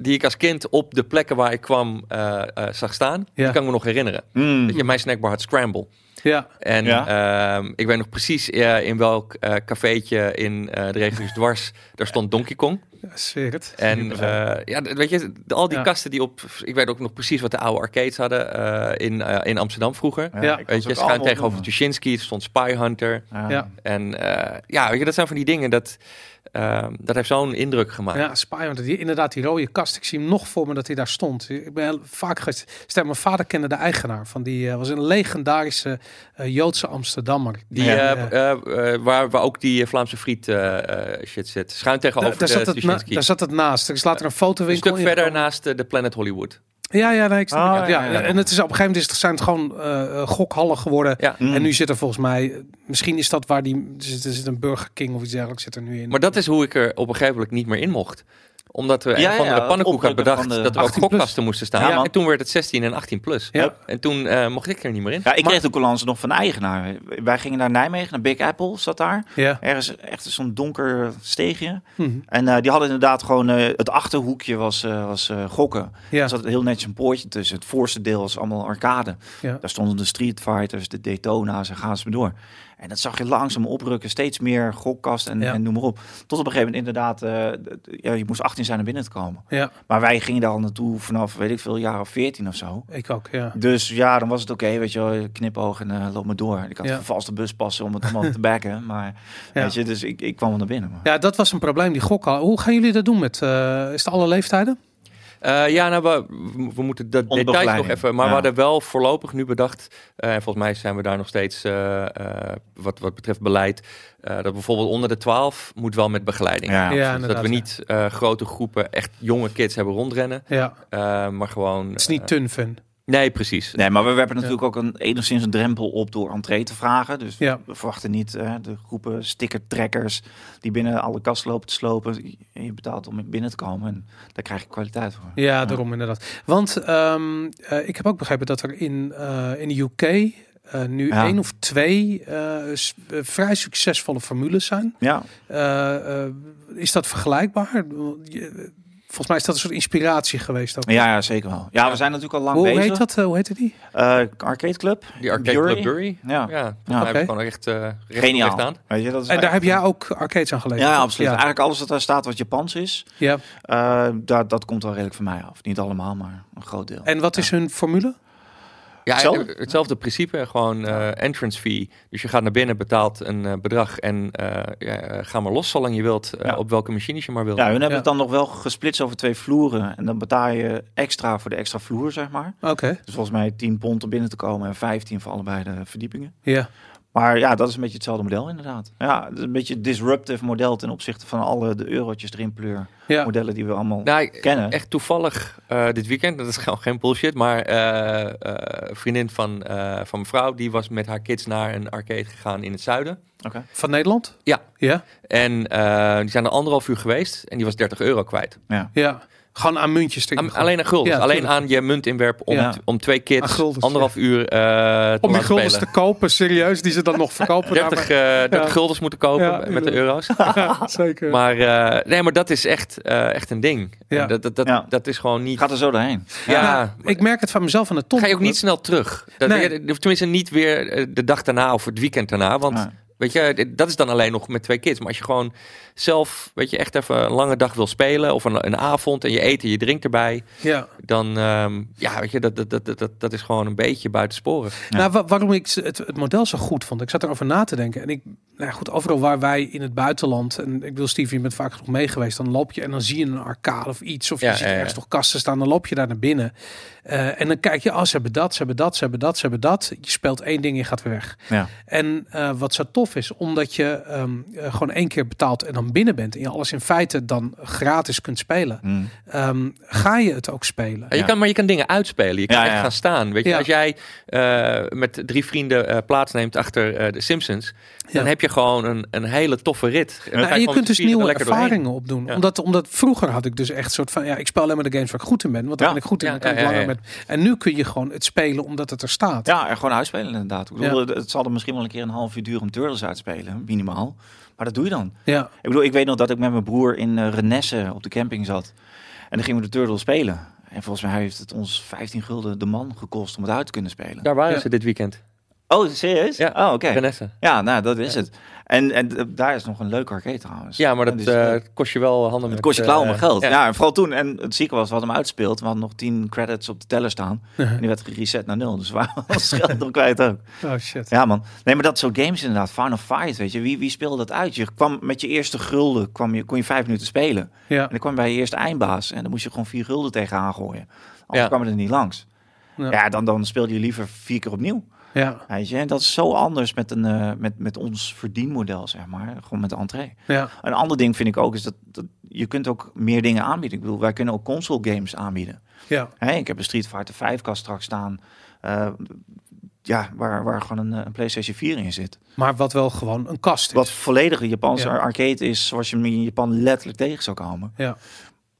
Speaker 3: die ik als kind op de plekken waar ik kwam eh, eh, zag staan,
Speaker 2: Ja.
Speaker 3: die kan ik me nog herinneren.
Speaker 4: Hmm.
Speaker 3: Weet je, mijn snackbar had Scramble.
Speaker 2: ja.
Speaker 3: En ehm, ik weet nog precies eh, in welk eh cafeetje in eh, de regio's dwars, daar stond Donkey Kong.
Speaker 2: Ja, zweer het.
Speaker 3: En eh, ja, d- weet je, d- al die
Speaker 2: Ja.
Speaker 3: kasten die op, ik weet ook nog precies wat de oude arcades hadden eh, in, eh, in Amsterdam vroeger.
Speaker 2: Ja.
Speaker 4: ik kan
Speaker 3: Weet
Speaker 4: ze
Speaker 3: je,
Speaker 4: ook
Speaker 3: schuin
Speaker 4: allemaal
Speaker 3: tegenover
Speaker 4: opnoemen.
Speaker 3: Tuschinski, er stond Spy Hunter.
Speaker 2: Ja.
Speaker 3: En eh, ja, weet je, dat zijn van die dingen dat, ehm, dat heeft zo'n indruk gemaakt.
Speaker 2: Ja, Spyro, die, inderdaad, die rode kast. Ik zie hem nog voor me dat hij daar stond. Ik ben heel vaak geweest. Stel, mijn vader kende de eigenaar van die. eh, was een legendarische eh, Joodse Amsterdammer.
Speaker 3: Die,
Speaker 2: Ja.
Speaker 3: eh,
Speaker 2: Ja.
Speaker 3: eh, eh, waar, waar ook die eh, Vlaamse friet eh, eh, shit zit. Schuin
Speaker 2: Da-
Speaker 3: tegenover
Speaker 2: daar,
Speaker 3: de
Speaker 2: zat het na-
Speaker 3: Tuschinski.
Speaker 2: daar zat het naast. Er is later een
Speaker 3: Een
Speaker 2: fotowinkel.
Speaker 3: stuk verder
Speaker 2: ingekomen.
Speaker 3: naast eh, de Planet Hollywood.
Speaker 2: Ja, ja, nee, ik snap
Speaker 4: Ah,
Speaker 2: het. ja,
Speaker 4: ja, ja, ja.
Speaker 2: En het is op een gegeven moment is het, zijn het gewoon eh, eh, gokhallen geworden.
Speaker 3: Ja.
Speaker 4: Mm.
Speaker 2: En nu zit er volgens mij, misschien is dat waar die, er zit, er zit een Burger King of iets dergelijks zit er nu in.
Speaker 3: Maar dat is hoe ik er op een gegeven moment niet meer in mocht. Omdat we een
Speaker 4: Ja,
Speaker 3: of andere
Speaker 4: ja, het
Speaker 3: pannenkoek had
Speaker 4: opdrukken
Speaker 3: bedacht
Speaker 4: van de
Speaker 3: dat er ook
Speaker 2: 18 plus.
Speaker 3: gokkasten moesten staan.
Speaker 4: Ja, man.
Speaker 3: en toen werd het 16 en 18 plus.
Speaker 2: Ja.
Speaker 3: En toen eh, mocht ik er niet meer in.
Speaker 4: Ja, ik
Speaker 2: Maar-
Speaker 4: kreeg de collance nog van de eigenaar. Wij gingen naar Nijmegen, naar Big Apple zat daar.
Speaker 2: ja.
Speaker 4: Ergens echt zo'n donker steegje.
Speaker 2: Mhm.
Speaker 4: En eh, die hadden inderdaad gewoon... eh, het achterhoekje was, eh, was eh, gokken.
Speaker 2: ja.
Speaker 4: Er zat heel netjes een poortje tussen. Het voorste deel was allemaal arcade.
Speaker 2: Ja.
Speaker 4: Daar stonden de Street Fighters, de Daytona's en gaan ze maar door. En dat zag je langzaam oprukken. Steeds meer gokkast en,
Speaker 2: Ja.
Speaker 4: en noem maar op. Tot op een gegeven moment inderdaad... eh, d- ja, je moest 18 zijn om binnen te komen.
Speaker 2: ja,
Speaker 4: Maar wij gingen daar al naartoe vanaf, weet ik veel, jaren 14 of zo.
Speaker 2: ik ook. Ja.
Speaker 4: Dus ja, dan was het oké, weet je wel, knipoog en eh, loop maar door. Ik had
Speaker 2: Ja.
Speaker 4: een vervalste bus passen om het allemaal te backen, maar
Speaker 2: Ja.
Speaker 4: weet je, dus ik, ik kwam wel naar binnen. Maar.
Speaker 2: ja, dat was een probleem, die gokhal. Hoe gaan jullie dat doen met, eh, is het alle leeftijden?
Speaker 3: Eh, ja, nou, we, we- we moeten dat
Speaker 4: Onder
Speaker 3: details nog
Speaker 4: begeleiding.
Speaker 3: even. Maar we
Speaker 4: Ja.
Speaker 3: hadden wel voorlopig nu bedacht. eh, en volgens mij zijn we daar nog steeds. eh, eh, wat, wat betreft beleid. eh, dat bijvoorbeeld onder de 12 moet wel met begeleiding.
Speaker 2: Ja,
Speaker 4: Ja.
Speaker 3: Dus dat we
Speaker 2: inderdaad,
Speaker 3: niet eh, grote groepen echt jonge kids hebben rondrennen.
Speaker 2: Ja,
Speaker 3: eh, maar gewoon.
Speaker 2: het is niet tun fun.
Speaker 3: nee, precies.
Speaker 4: Nee, maar we werpen natuurlijk ook een, enigszins een drempel op door entree te vragen. Dus
Speaker 2: Ja.
Speaker 4: we verwachten niet eh, de groepen stickertrekkers die binnen alle kasten lopen te slopen. Je betaalt om binnen te komen en daar krijg je kwaliteit voor.
Speaker 2: Ja, daarom inderdaad. Want ehm, eh, ik heb ook begrepen dat er in, eh, in de UK eh, nu
Speaker 4: Ja.
Speaker 2: één of twee eh, s- eh, vrij succesvolle formules zijn.
Speaker 4: Ja,
Speaker 2: Eh, eh, is dat vergelijkbaar? Je- Volgens mij is dat een soort inspiratie geweest ook.
Speaker 4: ja, ja zeker wel. Ja, we zijn natuurlijk al lang
Speaker 2: Hoe
Speaker 4: bezig.
Speaker 2: heet dat? eh, hoe heette die?
Speaker 4: Eh, arcade Club.
Speaker 3: Die Arcade
Speaker 4: Bury.
Speaker 3: Club Bury.
Speaker 4: Ja,
Speaker 3: Ja, volgens
Speaker 4: Ja,
Speaker 3: mij heb ik
Speaker 2: oké.
Speaker 3: gewoon echt. eh recht- recht
Speaker 4: geniaal.
Speaker 3: aan.
Speaker 4: Weet je, dat is
Speaker 2: En daar
Speaker 4: echt-
Speaker 2: heb jij ook arcades aan geleverd.
Speaker 4: ja,
Speaker 2: toch?
Speaker 4: absoluut.
Speaker 2: Ja,
Speaker 4: Eigenlijk alles wat daar staat wat Japans is,
Speaker 2: ja.
Speaker 4: Eh, dat, dat komt wel redelijk van mij af. Niet allemaal, maar een groot deel.
Speaker 2: En wat is hun formule?
Speaker 3: Ja,
Speaker 4: Zo?
Speaker 3: hetzelfde principe, gewoon eh, entrance fee. Dus je gaat naar binnen, betaalt een eh, bedrag en eh, ja, eh, ga maar los zolang je wilt, eh,
Speaker 4: Ja.
Speaker 3: op welke machines je maar wilt.
Speaker 4: ja, hun hebben
Speaker 2: Ja.
Speaker 4: het dan nog wel gesplitst over twee vloeren. En dan betaal je extra voor de extra vloer, zeg maar.
Speaker 2: Oké,
Speaker 4: Dus volgens mij 10 pond om binnen te komen en 15 voor allebei de verdiepingen.
Speaker 2: ja.
Speaker 4: Maar ja, dat is een beetje hetzelfde model inderdaad. Ja, het is een beetje disruptive model ten opzichte van alle de eurotjes erin pleur
Speaker 2: ja.
Speaker 4: modellen die we allemaal
Speaker 3: Nou, ik-
Speaker 4: kennen.
Speaker 3: echt toevallig eh, dit weekend, dat is gewoon geen bullshit, maar eh, eh, een vriendin van, eh, van mijn vrouw, die was met haar kids naar een arcade gegaan in het zuiden.
Speaker 4: Oké.
Speaker 2: Van Nederland?
Speaker 3: Ja.
Speaker 2: Ja,
Speaker 3: En eh, die zijn er anderhalf uur geweest en die was 30 euro kwijt.
Speaker 2: ja. Gewoon aan muntjes.
Speaker 3: Aan-
Speaker 2: tikken.
Speaker 3: alleen aan gulden,
Speaker 2: Ja,
Speaker 3: alleen
Speaker 2: tuurlijk.
Speaker 3: aan je muntinwerp om,
Speaker 4: Ja.
Speaker 3: t- om twee
Speaker 2: Aan
Speaker 3: kids
Speaker 2: guldens,
Speaker 3: anderhalf uur eh te
Speaker 2: Om die
Speaker 3: laten
Speaker 2: guldens
Speaker 3: spelen.
Speaker 2: te kopen, serieus, die ze dan nog verkopen.
Speaker 3: 30, eh 30
Speaker 2: Ja.
Speaker 3: guldens moeten kopen
Speaker 2: Ja,
Speaker 3: met de euro's.
Speaker 2: Ja, zeker.
Speaker 3: Maar, eh, nee, maar dat is echt, eh, echt een ding.
Speaker 2: Ja.
Speaker 3: En Dat, dat, dat,
Speaker 4: Ja.
Speaker 3: dat is gewoon niet.
Speaker 4: Gaat er zo doorheen.
Speaker 3: ja,
Speaker 2: Ja,
Speaker 3: maar
Speaker 2: ik merk het van mezelf aan de ton.
Speaker 3: ga je ook niet snel terug. Dat,
Speaker 2: Nee.
Speaker 3: je- of tenminste, niet weer eh, de dag daarna of het weekend daarna. Want
Speaker 4: Ja.
Speaker 3: Weet je, dit- dat is dan alleen nog met twee kids. Maar als je gewoon zelf, weet je, echt even een lange dag wil spelen of een, een avond en je eet en je drinkt erbij,
Speaker 2: Ja.
Speaker 3: dan, ehm, ja, weet je, dat, dat, dat, dat, dat is gewoon een beetje buitensporig.
Speaker 4: Ja.
Speaker 2: Nou, wa- waarom ik het, het model zo goed vond. Ik zat erover na te denken. En ik, nou ja, goed, overal waar wij in het buitenland. En ik wil, Steve, je bent vaak genoeg mee geweest. Dan loop je en dan zie je een arcade of iets. Of je
Speaker 3: Ja,
Speaker 2: ziet
Speaker 3: ja, ja.
Speaker 2: ergens toch kasten staan. Dan loop je daar naar binnen. Eh, en dan kijk je, oh, ze hebben dat, ze hebben dat, ze hebben dat, ze hebben dat. Je speelt één ding en je gaat weer weg.
Speaker 4: Ja.
Speaker 2: En eh, wat zo tof is, omdat je ehm, eh, gewoon één keer betaalt en dan binnen bent. En je alles in feite dan gratis kunt spelen.
Speaker 4: Mm.
Speaker 2: ehm, ga je het ook spelen?
Speaker 3: Ja, Je
Speaker 4: Ja.
Speaker 3: kan, maar je kan dingen uitspelen. Je kan
Speaker 4: Ja,
Speaker 3: echt
Speaker 4: ja.
Speaker 3: gaan staan. Weet je,
Speaker 2: Ja.
Speaker 3: als jij eh, met drie vrienden eh, plaatsneemt achter eh, de Simpsons, dan
Speaker 2: Ja.
Speaker 3: heb je gewoon een, een hele toffe rit. En dan
Speaker 2: Nou,
Speaker 3: ga
Speaker 2: en je
Speaker 3: gewoon
Speaker 2: kunt
Speaker 3: met
Speaker 2: dus
Speaker 3: z'n vieren
Speaker 2: nieuwe
Speaker 3: lekker doorheen.
Speaker 2: ervaringen opdoen.
Speaker 3: Ja.
Speaker 2: Omdat, omdat vroeger had ik dus echt soort van... Ja, ik speel alleen maar de games waar ik goed in ben. Want daar
Speaker 4: Ja.
Speaker 2: ben ik goed in.
Speaker 3: Ja,
Speaker 2: dan kan
Speaker 3: ja,
Speaker 2: ik
Speaker 3: ja,
Speaker 2: langer Met, en nu kun je gewoon het spelen omdat het er staat.
Speaker 4: Ja, er gewoon uitspelen inderdaad. Ik bedoel, Het zal er misschien wel een keer een half uur duren om Turtles uit te spelen, minimaal. Maar dat doe je dan.
Speaker 2: Ja.
Speaker 4: Ik bedoel, ik weet nog dat ik met mijn broer in eh, Renesse op de camping zat. En dan gingen we de Turtles spelen. En volgens mij heeft het ons 15 gulden de man gekost om het uit te kunnen spelen.
Speaker 3: Daar waren
Speaker 2: Ja.
Speaker 3: ze dit weekend.
Speaker 4: Oh, serieus?
Speaker 3: Ja.
Speaker 4: Oh, oké.
Speaker 3: Renesse.
Speaker 4: Ja, nou, dat is het. En, en eh, daar is nog een leuke arcade trouwens.
Speaker 3: Ja, maar dat
Speaker 4: Dus,
Speaker 3: eh,
Speaker 4: eh,
Speaker 3: kost je wel handen
Speaker 4: het
Speaker 3: met,
Speaker 4: kost je
Speaker 3: eh,
Speaker 4: klauw mijn geld.
Speaker 3: ja.
Speaker 4: Ja. en vooral toen. En het zieke was, we hadden hem uitgespeeld. We hadden nog 10 credits op de teller staan. En die werd gereset naar nul. Dus we waren ons geld nog kwijt ook.
Speaker 2: Oh shit.
Speaker 4: Ja, man. Nee, maar dat soort games inderdaad. Final Fight, weet je. Wie, wie speelde dat uit? Je kwam met je eerste gulden, kwam je, kon je vijf minuten spelen.
Speaker 2: Ja.
Speaker 4: En dan kwam je bij je eerste eindbaas. En dan moest je gewoon vier gulden tegenaan gooien. Anders
Speaker 3: Ja.
Speaker 4: kwam je er niet langs.
Speaker 2: Ja.
Speaker 4: Ja, dan, dan speelde je liever vier keer opnieuw.
Speaker 2: Ja.
Speaker 4: Weet je, en dat is zo anders met, een, eh, met, met ons verdienmodel, zeg maar. Gewoon met de entree.
Speaker 2: Ja.
Speaker 4: Een ander ding vind ik ook is dat, dat je kunt ook meer dingen aanbieden. Ik bedoel, wij kunnen ook console games aanbieden.
Speaker 2: Ja.
Speaker 4: Hè, ik heb een Street Fighter 5 kast straks staan. eh, ja, waar, waar gewoon een, eh, een PlayStation 4 in zit.
Speaker 2: Maar wat wel gewoon een kast is.
Speaker 4: Wat volledig een Japanse
Speaker 2: Ja.
Speaker 4: arcade is, zoals je hem in Japan letterlijk tegen zou komen.
Speaker 2: Ja.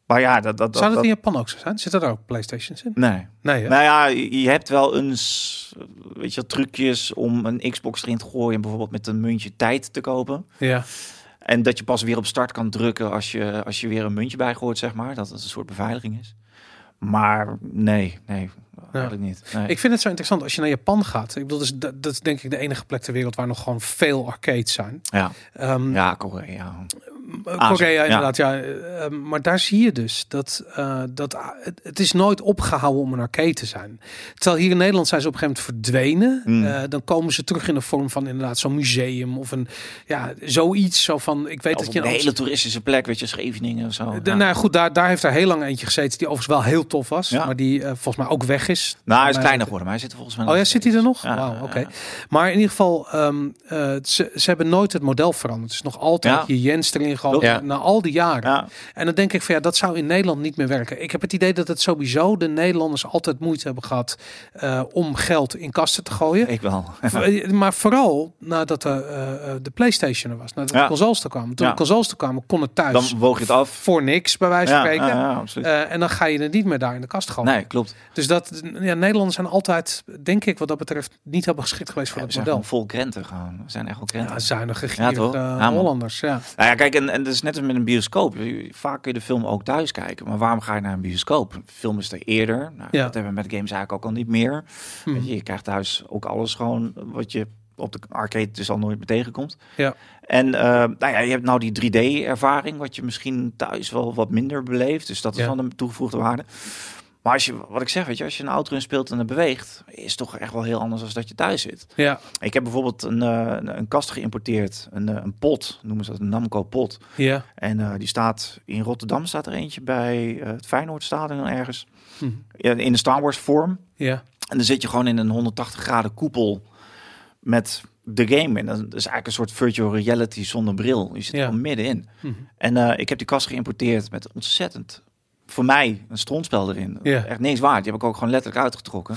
Speaker 4: Maar ja, dat... dat,
Speaker 2: Zou dat,
Speaker 4: dat,
Speaker 2: in Japan ook zo zijn? Zitten daar ook Playstations in?
Speaker 4: Nee.
Speaker 2: Nee. hè?
Speaker 4: Nou ja, je je hebt wel eens, eh, weet je, wel, trucjes om een Xbox erin te gooien. Bijvoorbeeld met een muntje tijd te kopen.
Speaker 2: Ja.
Speaker 4: En dat je pas weer op start kan drukken als je, als je weer een muntje bijgooit, zeg maar. Dat het een soort beveiliging is. Maar nee, nee, eigenlijk niet. Nee.
Speaker 2: Ik vind het zo interessant als je naar Japan gaat. Ik bedoel, dus dat, dat is denk ik de enige plek ter wereld waar nog gewoon veel arcades zijn.
Speaker 4: ja,
Speaker 2: Ehm,
Speaker 4: ja, Korea.
Speaker 2: Eh,
Speaker 4: Azië,
Speaker 2: Korea
Speaker 4: ja.
Speaker 2: inderdaad, ja. Eh, eh, maar daar zie je dus dat, eh, dat ah, het, het is nooit opgehouden om een arcade te zijn. Terwijl hier in Nederland zijn ze op een gegeven moment verdwenen.
Speaker 4: Mm.
Speaker 2: Eh, dan komen ze terug in de vorm van inderdaad zo'n museum of een, ja, zoiets. Zo van, ik weet
Speaker 4: Of
Speaker 2: dat
Speaker 4: op
Speaker 2: je...
Speaker 4: een
Speaker 2: in
Speaker 4: hele toeristische plek, weet je, Scheveningen of zo.
Speaker 2: Amst-
Speaker 4: Ja.
Speaker 2: De- nou ja, goed, daar, daar heeft er heel lang eentje gezeten die overigens wel heel tof was.
Speaker 4: Ja.
Speaker 2: Maar die eh, volgens mij ook weg is.
Speaker 4: Nou, hij is
Speaker 2: Maar-
Speaker 4: kleiner geworden, maar hij zit er volgens mij
Speaker 2: Oh ja,
Speaker 4: nog
Speaker 2: zit hij er nog?
Speaker 4: Ja,
Speaker 2: Wauw, oké.
Speaker 4: ja, ja.
Speaker 2: Maar in ieder geval, ehm, eh, ze, ze hebben nooit het model veranderd. Het is nog altijd
Speaker 4: Ja.
Speaker 2: je Jens erin gehad
Speaker 3: Ja.
Speaker 2: na al die jaren.
Speaker 4: Ja.
Speaker 2: En dan denk ik van ja, dat zou in Nederland niet meer werken. Ik heb het idee dat het sowieso de Nederlanders altijd moeite hebben gehad eh, om geld in kasten te gooien.
Speaker 4: Ik wel.
Speaker 2: V- eh, Maar vooral nadat de, eh, eh, de PlayStation er was, nadat
Speaker 4: Ja.
Speaker 2: de consoles er kwamen. Toen
Speaker 4: Ja.
Speaker 2: de consoles er kwamen, kon het thuis
Speaker 4: Dan woog je het af.
Speaker 2: voor niks, bij wijze van
Speaker 4: Ja, ja,
Speaker 2: spreken.
Speaker 4: ja, absoluut.
Speaker 2: Eh, en dan ga je het niet meer daar in de kast gooien.
Speaker 4: nee, klopt.
Speaker 2: Dus dat, ja, Nederlanders zijn altijd, denk ik, wat dat betreft, niet helemaal geschikt geweest voor
Speaker 4: Ja, we
Speaker 2: dat
Speaker 4: zijn
Speaker 2: model.
Speaker 4: gewoon vol krenten gewoon. We zijn echt wel krenten.
Speaker 2: Ja, zuinige,
Speaker 4: Ja, toch?
Speaker 2: gierige
Speaker 4: Ja, man.
Speaker 2: Hollanders. Ja.
Speaker 4: Nou ja, kijk, en, en dat is net als met een bioscoop. Je- Vaak kun je de film ook thuis kijken. Maar waarom ga je naar een bioscoop? Een film is er eerder. Nou,
Speaker 2: Ja.
Speaker 4: Dat hebben we met games eigenlijk ook al niet meer.
Speaker 2: Hm.
Speaker 4: Weet je, je krijgt thuis ook alles gewoon wat je op de arcade dus al nooit meer tegenkomt.
Speaker 2: Ja.
Speaker 4: En eh, nou ja, je hebt nou die 3D-ervaring, wat je misschien thuis wel wat minder beleeft. Dus dat is
Speaker 2: Ja.
Speaker 4: wel een toegevoegde waarde. Maar als je, wat ik zeg, weet je, als je een outrun speelt en het beweegt, is het toch echt wel heel anders dan dat je thuis zit.
Speaker 2: Ja,
Speaker 4: Ik heb bijvoorbeeld een, eh, een, een kast geïmporteerd, een, eh, een pot, noemen ze dat, een Namco pot.
Speaker 2: ja.
Speaker 4: En eh, die staat in Rotterdam, staat er eentje bij eh het Feyenoordstadion ergens.
Speaker 2: Hm.
Speaker 4: Ja, In de Star Wars vorm.
Speaker 2: Ja,
Speaker 4: En dan zit je gewoon in een 180 graden koepel met de game. En dat is eigenlijk een soort virtual reality zonder bril. Je zit
Speaker 2: Ja.
Speaker 4: er gewoon middenin.
Speaker 2: Mhm.
Speaker 4: En eh, ik heb die kast geïmporteerd met ontzettend, voor mij, een strontspel erin.
Speaker 2: Ja.
Speaker 4: Echt niks waard. Die heb ik ook gewoon letterlijk uitgetrokken.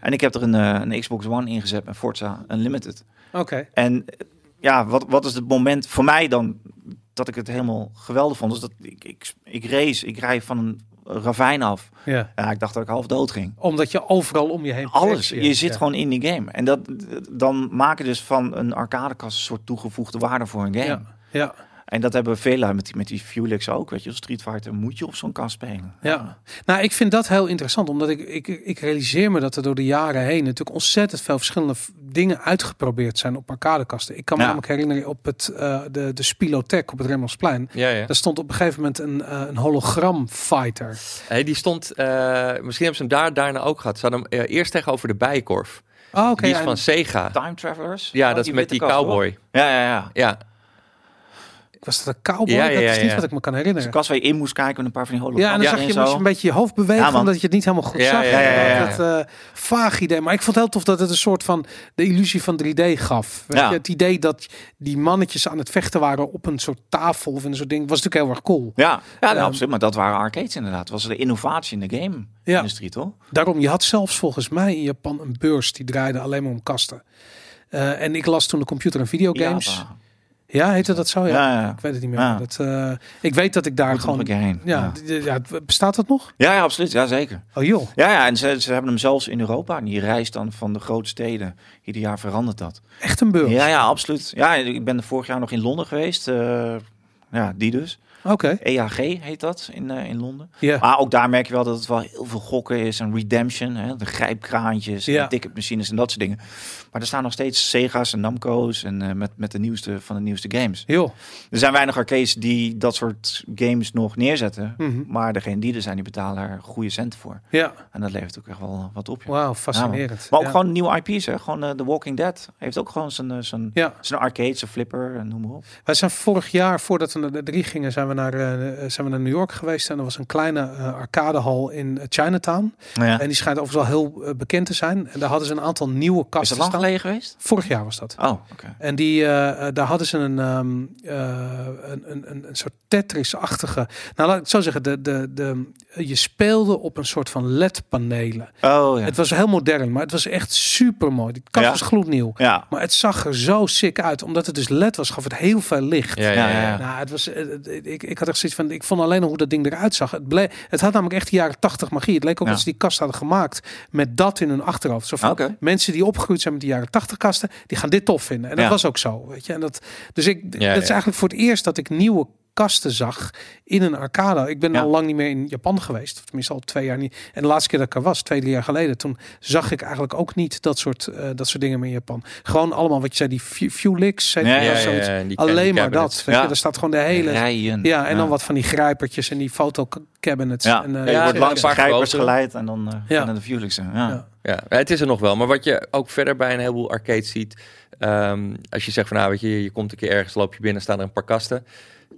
Speaker 4: en ik heb er een, eh, een Xbox One ingezet met Forza Unlimited.
Speaker 2: oké.
Speaker 4: En eh, ja, wat, wat is het moment voor mij dan dat ik het helemaal geweldig vond? Dus dat ik, ik, ik race, ik rij van een ravijn af.
Speaker 2: Ja.
Speaker 4: Ja, ik dacht dat ik half dood ging.
Speaker 2: Omdat je overal om je heen...
Speaker 4: Alles. Je
Speaker 2: projecteert.
Speaker 4: zit
Speaker 2: Ja.
Speaker 4: gewoon in die game. En dat, dan maak je dus van een arcadekast een soort toegevoegde waarde voor een game.
Speaker 2: Ja, ja.
Speaker 4: En dat hebben veel met die, met die Fuelix ook. Weet je, Street Fighter moet je op zo'n kast spelen.
Speaker 2: Ja, nou, ik vind dat heel interessant, omdat ik, ik, ik realiseer me dat er door de jaren heen natuurlijk ontzettend veel verschillende v- dingen uitgeprobeerd zijn op arcadekasten. Ik kan me
Speaker 4: Ja.
Speaker 2: namelijk herinneren op het, eh, de, de Spilotech op het Remmelsplein.
Speaker 3: Ja, ja.
Speaker 2: Daar stond op een gegeven moment een, eh, een hologram fighter.
Speaker 3: Hey, die stond, eh, misschien hebben ze hem daar daarna ook gehad. Ze hadden hem eh, eerst tegenover de Bijenkorf.
Speaker 2: Oh, oké.
Speaker 3: die is
Speaker 2: ja,
Speaker 3: van Sega.
Speaker 4: Time Travelers.
Speaker 3: Ja,
Speaker 4: Oh,
Speaker 3: dat is met
Speaker 4: witte
Speaker 3: die
Speaker 4: kast, hoor.
Speaker 3: cowboy.
Speaker 4: Ja, ja, ja.
Speaker 3: Ja,
Speaker 2: Was dat een cowboy?
Speaker 3: Ja, ja,
Speaker 2: dat is
Speaker 3: ja,
Speaker 2: niet
Speaker 3: ja.
Speaker 2: wat ik me kan
Speaker 4: Dus een
Speaker 2: herinneren.
Speaker 4: kast waar je in moest kijken met een paar van die hologrammen.
Speaker 2: Ja, en dan zag je,
Speaker 4: zo.
Speaker 2: moest je een beetje je hoofd bewegen,
Speaker 4: Ja, man.
Speaker 2: omdat je het niet helemaal goed
Speaker 3: Ja,
Speaker 2: zag.
Speaker 3: ja,
Speaker 4: ja, ja, ja.
Speaker 2: Dat eh, vaag idee. Maar ik vond het heel tof dat het een soort van de illusie van 3D gaf. Weet
Speaker 4: Ja.
Speaker 2: je, het idee dat die mannetjes aan het vechten waren op een soort tafel of een soort ding, was natuurlijk heel erg cool.
Speaker 4: Ja, ja nou,
Speaker 2: Ehm.
Speaker 4: absoluut. Maar dat waren arcades inderdaad. Dat was de innovatie in de game-industrie, toch?
Speaker 2: Daarom, je had zelfs volgens mij in Japan een beurs die draaide alleen maar om kasten. Eh, en ik las toen de computer en videogames.
Speaker 4: Java.
Speaker 2: Ja, heette dat zo? Ja.
Speaker 4: Ja, ja.
Speaker 2: Ik weet het niet meer.
Speaker 4: Ja.
Speaker 2: Dat, eh, ik weet dat ik daar
Speaker 4: Moet er nog
Speaker 2: gewoon...
Speaker 4: een keer heen.
Speaker 2: Ja,
Speaker 4: Ja.
Speaker 2: d- d- ja, het- bestaat dat nog?
Speaker 4: Ja, ja, absoluut. Ja, zeker.
Speaker 2: Oh joh.
Speaker 4: Ja, ja en ze, ze hebben hem zelfs in Europa. En die reis dan van de grote steden. Ieder jaar verandert dat.
Speaker 2: Echt een beurs.
Speaker 4: Ja, ja, absoluut. Ja, ik ben vorig jaar nog in Londen geweest. eh, ja, die dus.
Speaker 2: Oké.
Speaker 4: EAG heet dat in, eh, in Londen.
Speaker 2: Ja.
Speaker 4: Maar ook daar merk je wel dat het wel heel veel gokken is. En redemption, hè, de grijpkraantjes,
Speaker 2: Ja.
Speaker 4: en ticketmachines en dat soort dingen. Maar er staan nog steeds Sega's en Namco's en eh, met, met de nieuwste van de nieuwste games.
Speaker 2: Joh.
Speaker 4: Er zijn weinig arcades die dat soort games nog neerzetten.
Speaker 2: Mhm.
Speaker 4: Maar degene die er zijn, die betalen er goede centen voor.
Speaker 2: Ja.
Speaker 4: En dat levert ook echt wel wat op. joh.
Speaker 2: Wauw,
Speaker 4: Ja,
Speaker 2: fascinerend.
Speaker 4: man. maar ook
Speaker 2: Ja.
Speaker 4: gewoon nieuwe IP's. Hè? Gewoon eh, The Walking Dead heeft ook gewoon zijn, eh, zijn,
Speaker 2: Ja.
Speaker 4: zijn arcade, zijn flipper, en noem maar op.
Speaker 2: Wij zijn vorig jaar, voordat we naar de drie gingen, zijn we naar, eh, eh, zijn we naar New York geweest. En er was een kleine eh, arcadehal in eh, Chinatown.
Speaker 4: Ja.
Speaker 2: En die schijnt overigens wel heel eh, bekend te zijn. En daar hadden ze een aantal nieuwe
Speaker 4: Is
Speaker 2: kasten
Speaker 4: dat lang
Speaker 2: staan.
Speaker 4: geleden geweest?
Speaker 2: Vorig jaar was dat.
Speaker 4: Oh, oké.
Speaker 2: En die, eh, eh, daar hadden ze een, ehm, eh, een, een, een, een soort Tetris-achtige. Nou, laat ik het zo zeggen. De, de, de, je speelde op een soort van LED-panelen.
Speaker 4: Oh, ja.
Speaker 2: Het was heel modern, maar het was echt super mooi. Die kast
Speaker 4: Ja.
Speaker 2: was gloednieuw.
Speaker 4: ja.
Speaker 2: Maar het zag er zo sick uit. Omdat het dus LED was, gaf het heel veel licht.
Speaker 3: ja, ja, ja.
Speaker 4: Ja, ja.
Speaker 2: Nou, het was, eh, eh, ik, ik had echt zoiets van, ik vond alleen al hoe dat ding eruit zag. Het, ble- het had namelijk echt de jaren 80 magie. Het leek ook
Speaker 4: Ja.
Speaker 2: dat ze die kast hadden gemaakt met dat in hun achterhoofd. Zo van,
Speaker 4: Oké.
Speaker 2: Mensen die opgegroeid zijn met die jaren 80 kasten, die gaan dit tof vinden. En dat
Speaker 4: Ja.
Speaker 2: was ook zo, weet je. En dat, dus ik, d- dat
Speaker 3: Ja,
Speaker 2: is
Speaker 3: ja.
Speaker 2: eigenlijk voor het eerst dat ik nieuwe kasten zag in een arcade. Ik ben
Speaker 4: Ja.
Speaker 2: al lang niet meer in Japan geweest. Of tenminste al twee jaar niet. En de laatste keer dat ik er was, twee, drie jaar geleden, toen zag ik eigenlijk ook niet dat soort, eh, dat soort dingen meer in Japan. Gewoon allemaal wat je zei, die Fu- Fulix, zei
Speaker 4: Ja,
Speaker 2: je,
Speaker 4: ja,
Speaker 2: of
Speaker 4: ja,
Speaker 2: zoiets.
Speaker 3: ja, die
Speaker 2: Alleen
Speaker 3: candy
Speaker 2: maar dat.
Speaker 3: cabinets.
Speaker 2: weet je.
Speaker 4: Ja.
Speaker 2: Daar staat gewoon de hele...
Speaker 4: Rijen.
Speaker 2: Ja, en dan wat van die grijpertjes en die fotocabinets.
Speaker 4: Ja,
Speaker 2: En, eh,
Speaker 4: je
Speaker 3: ja,
Speaker 4: wordt
Speaker 3: ja,
Speaker 4: langs de
Speaker 3: een paar
Speaker 4: grijpers
Speaker 3: grote.
Speaker 4: geleid en dan eh
Speaker 2: Ja.
Speaker 4: ja. naar de Fuelixen. Ja.
Speaker 2: Ja.
Speaker 4: Ja.
Speaker 3: Ja, het is er nog wel. Maar wat je ook verder bij een heleboel arcades ziet. ehm, als je zegt van nou, weet je, je komt een keer ergens, loop je binnen, staan er een paar kasten.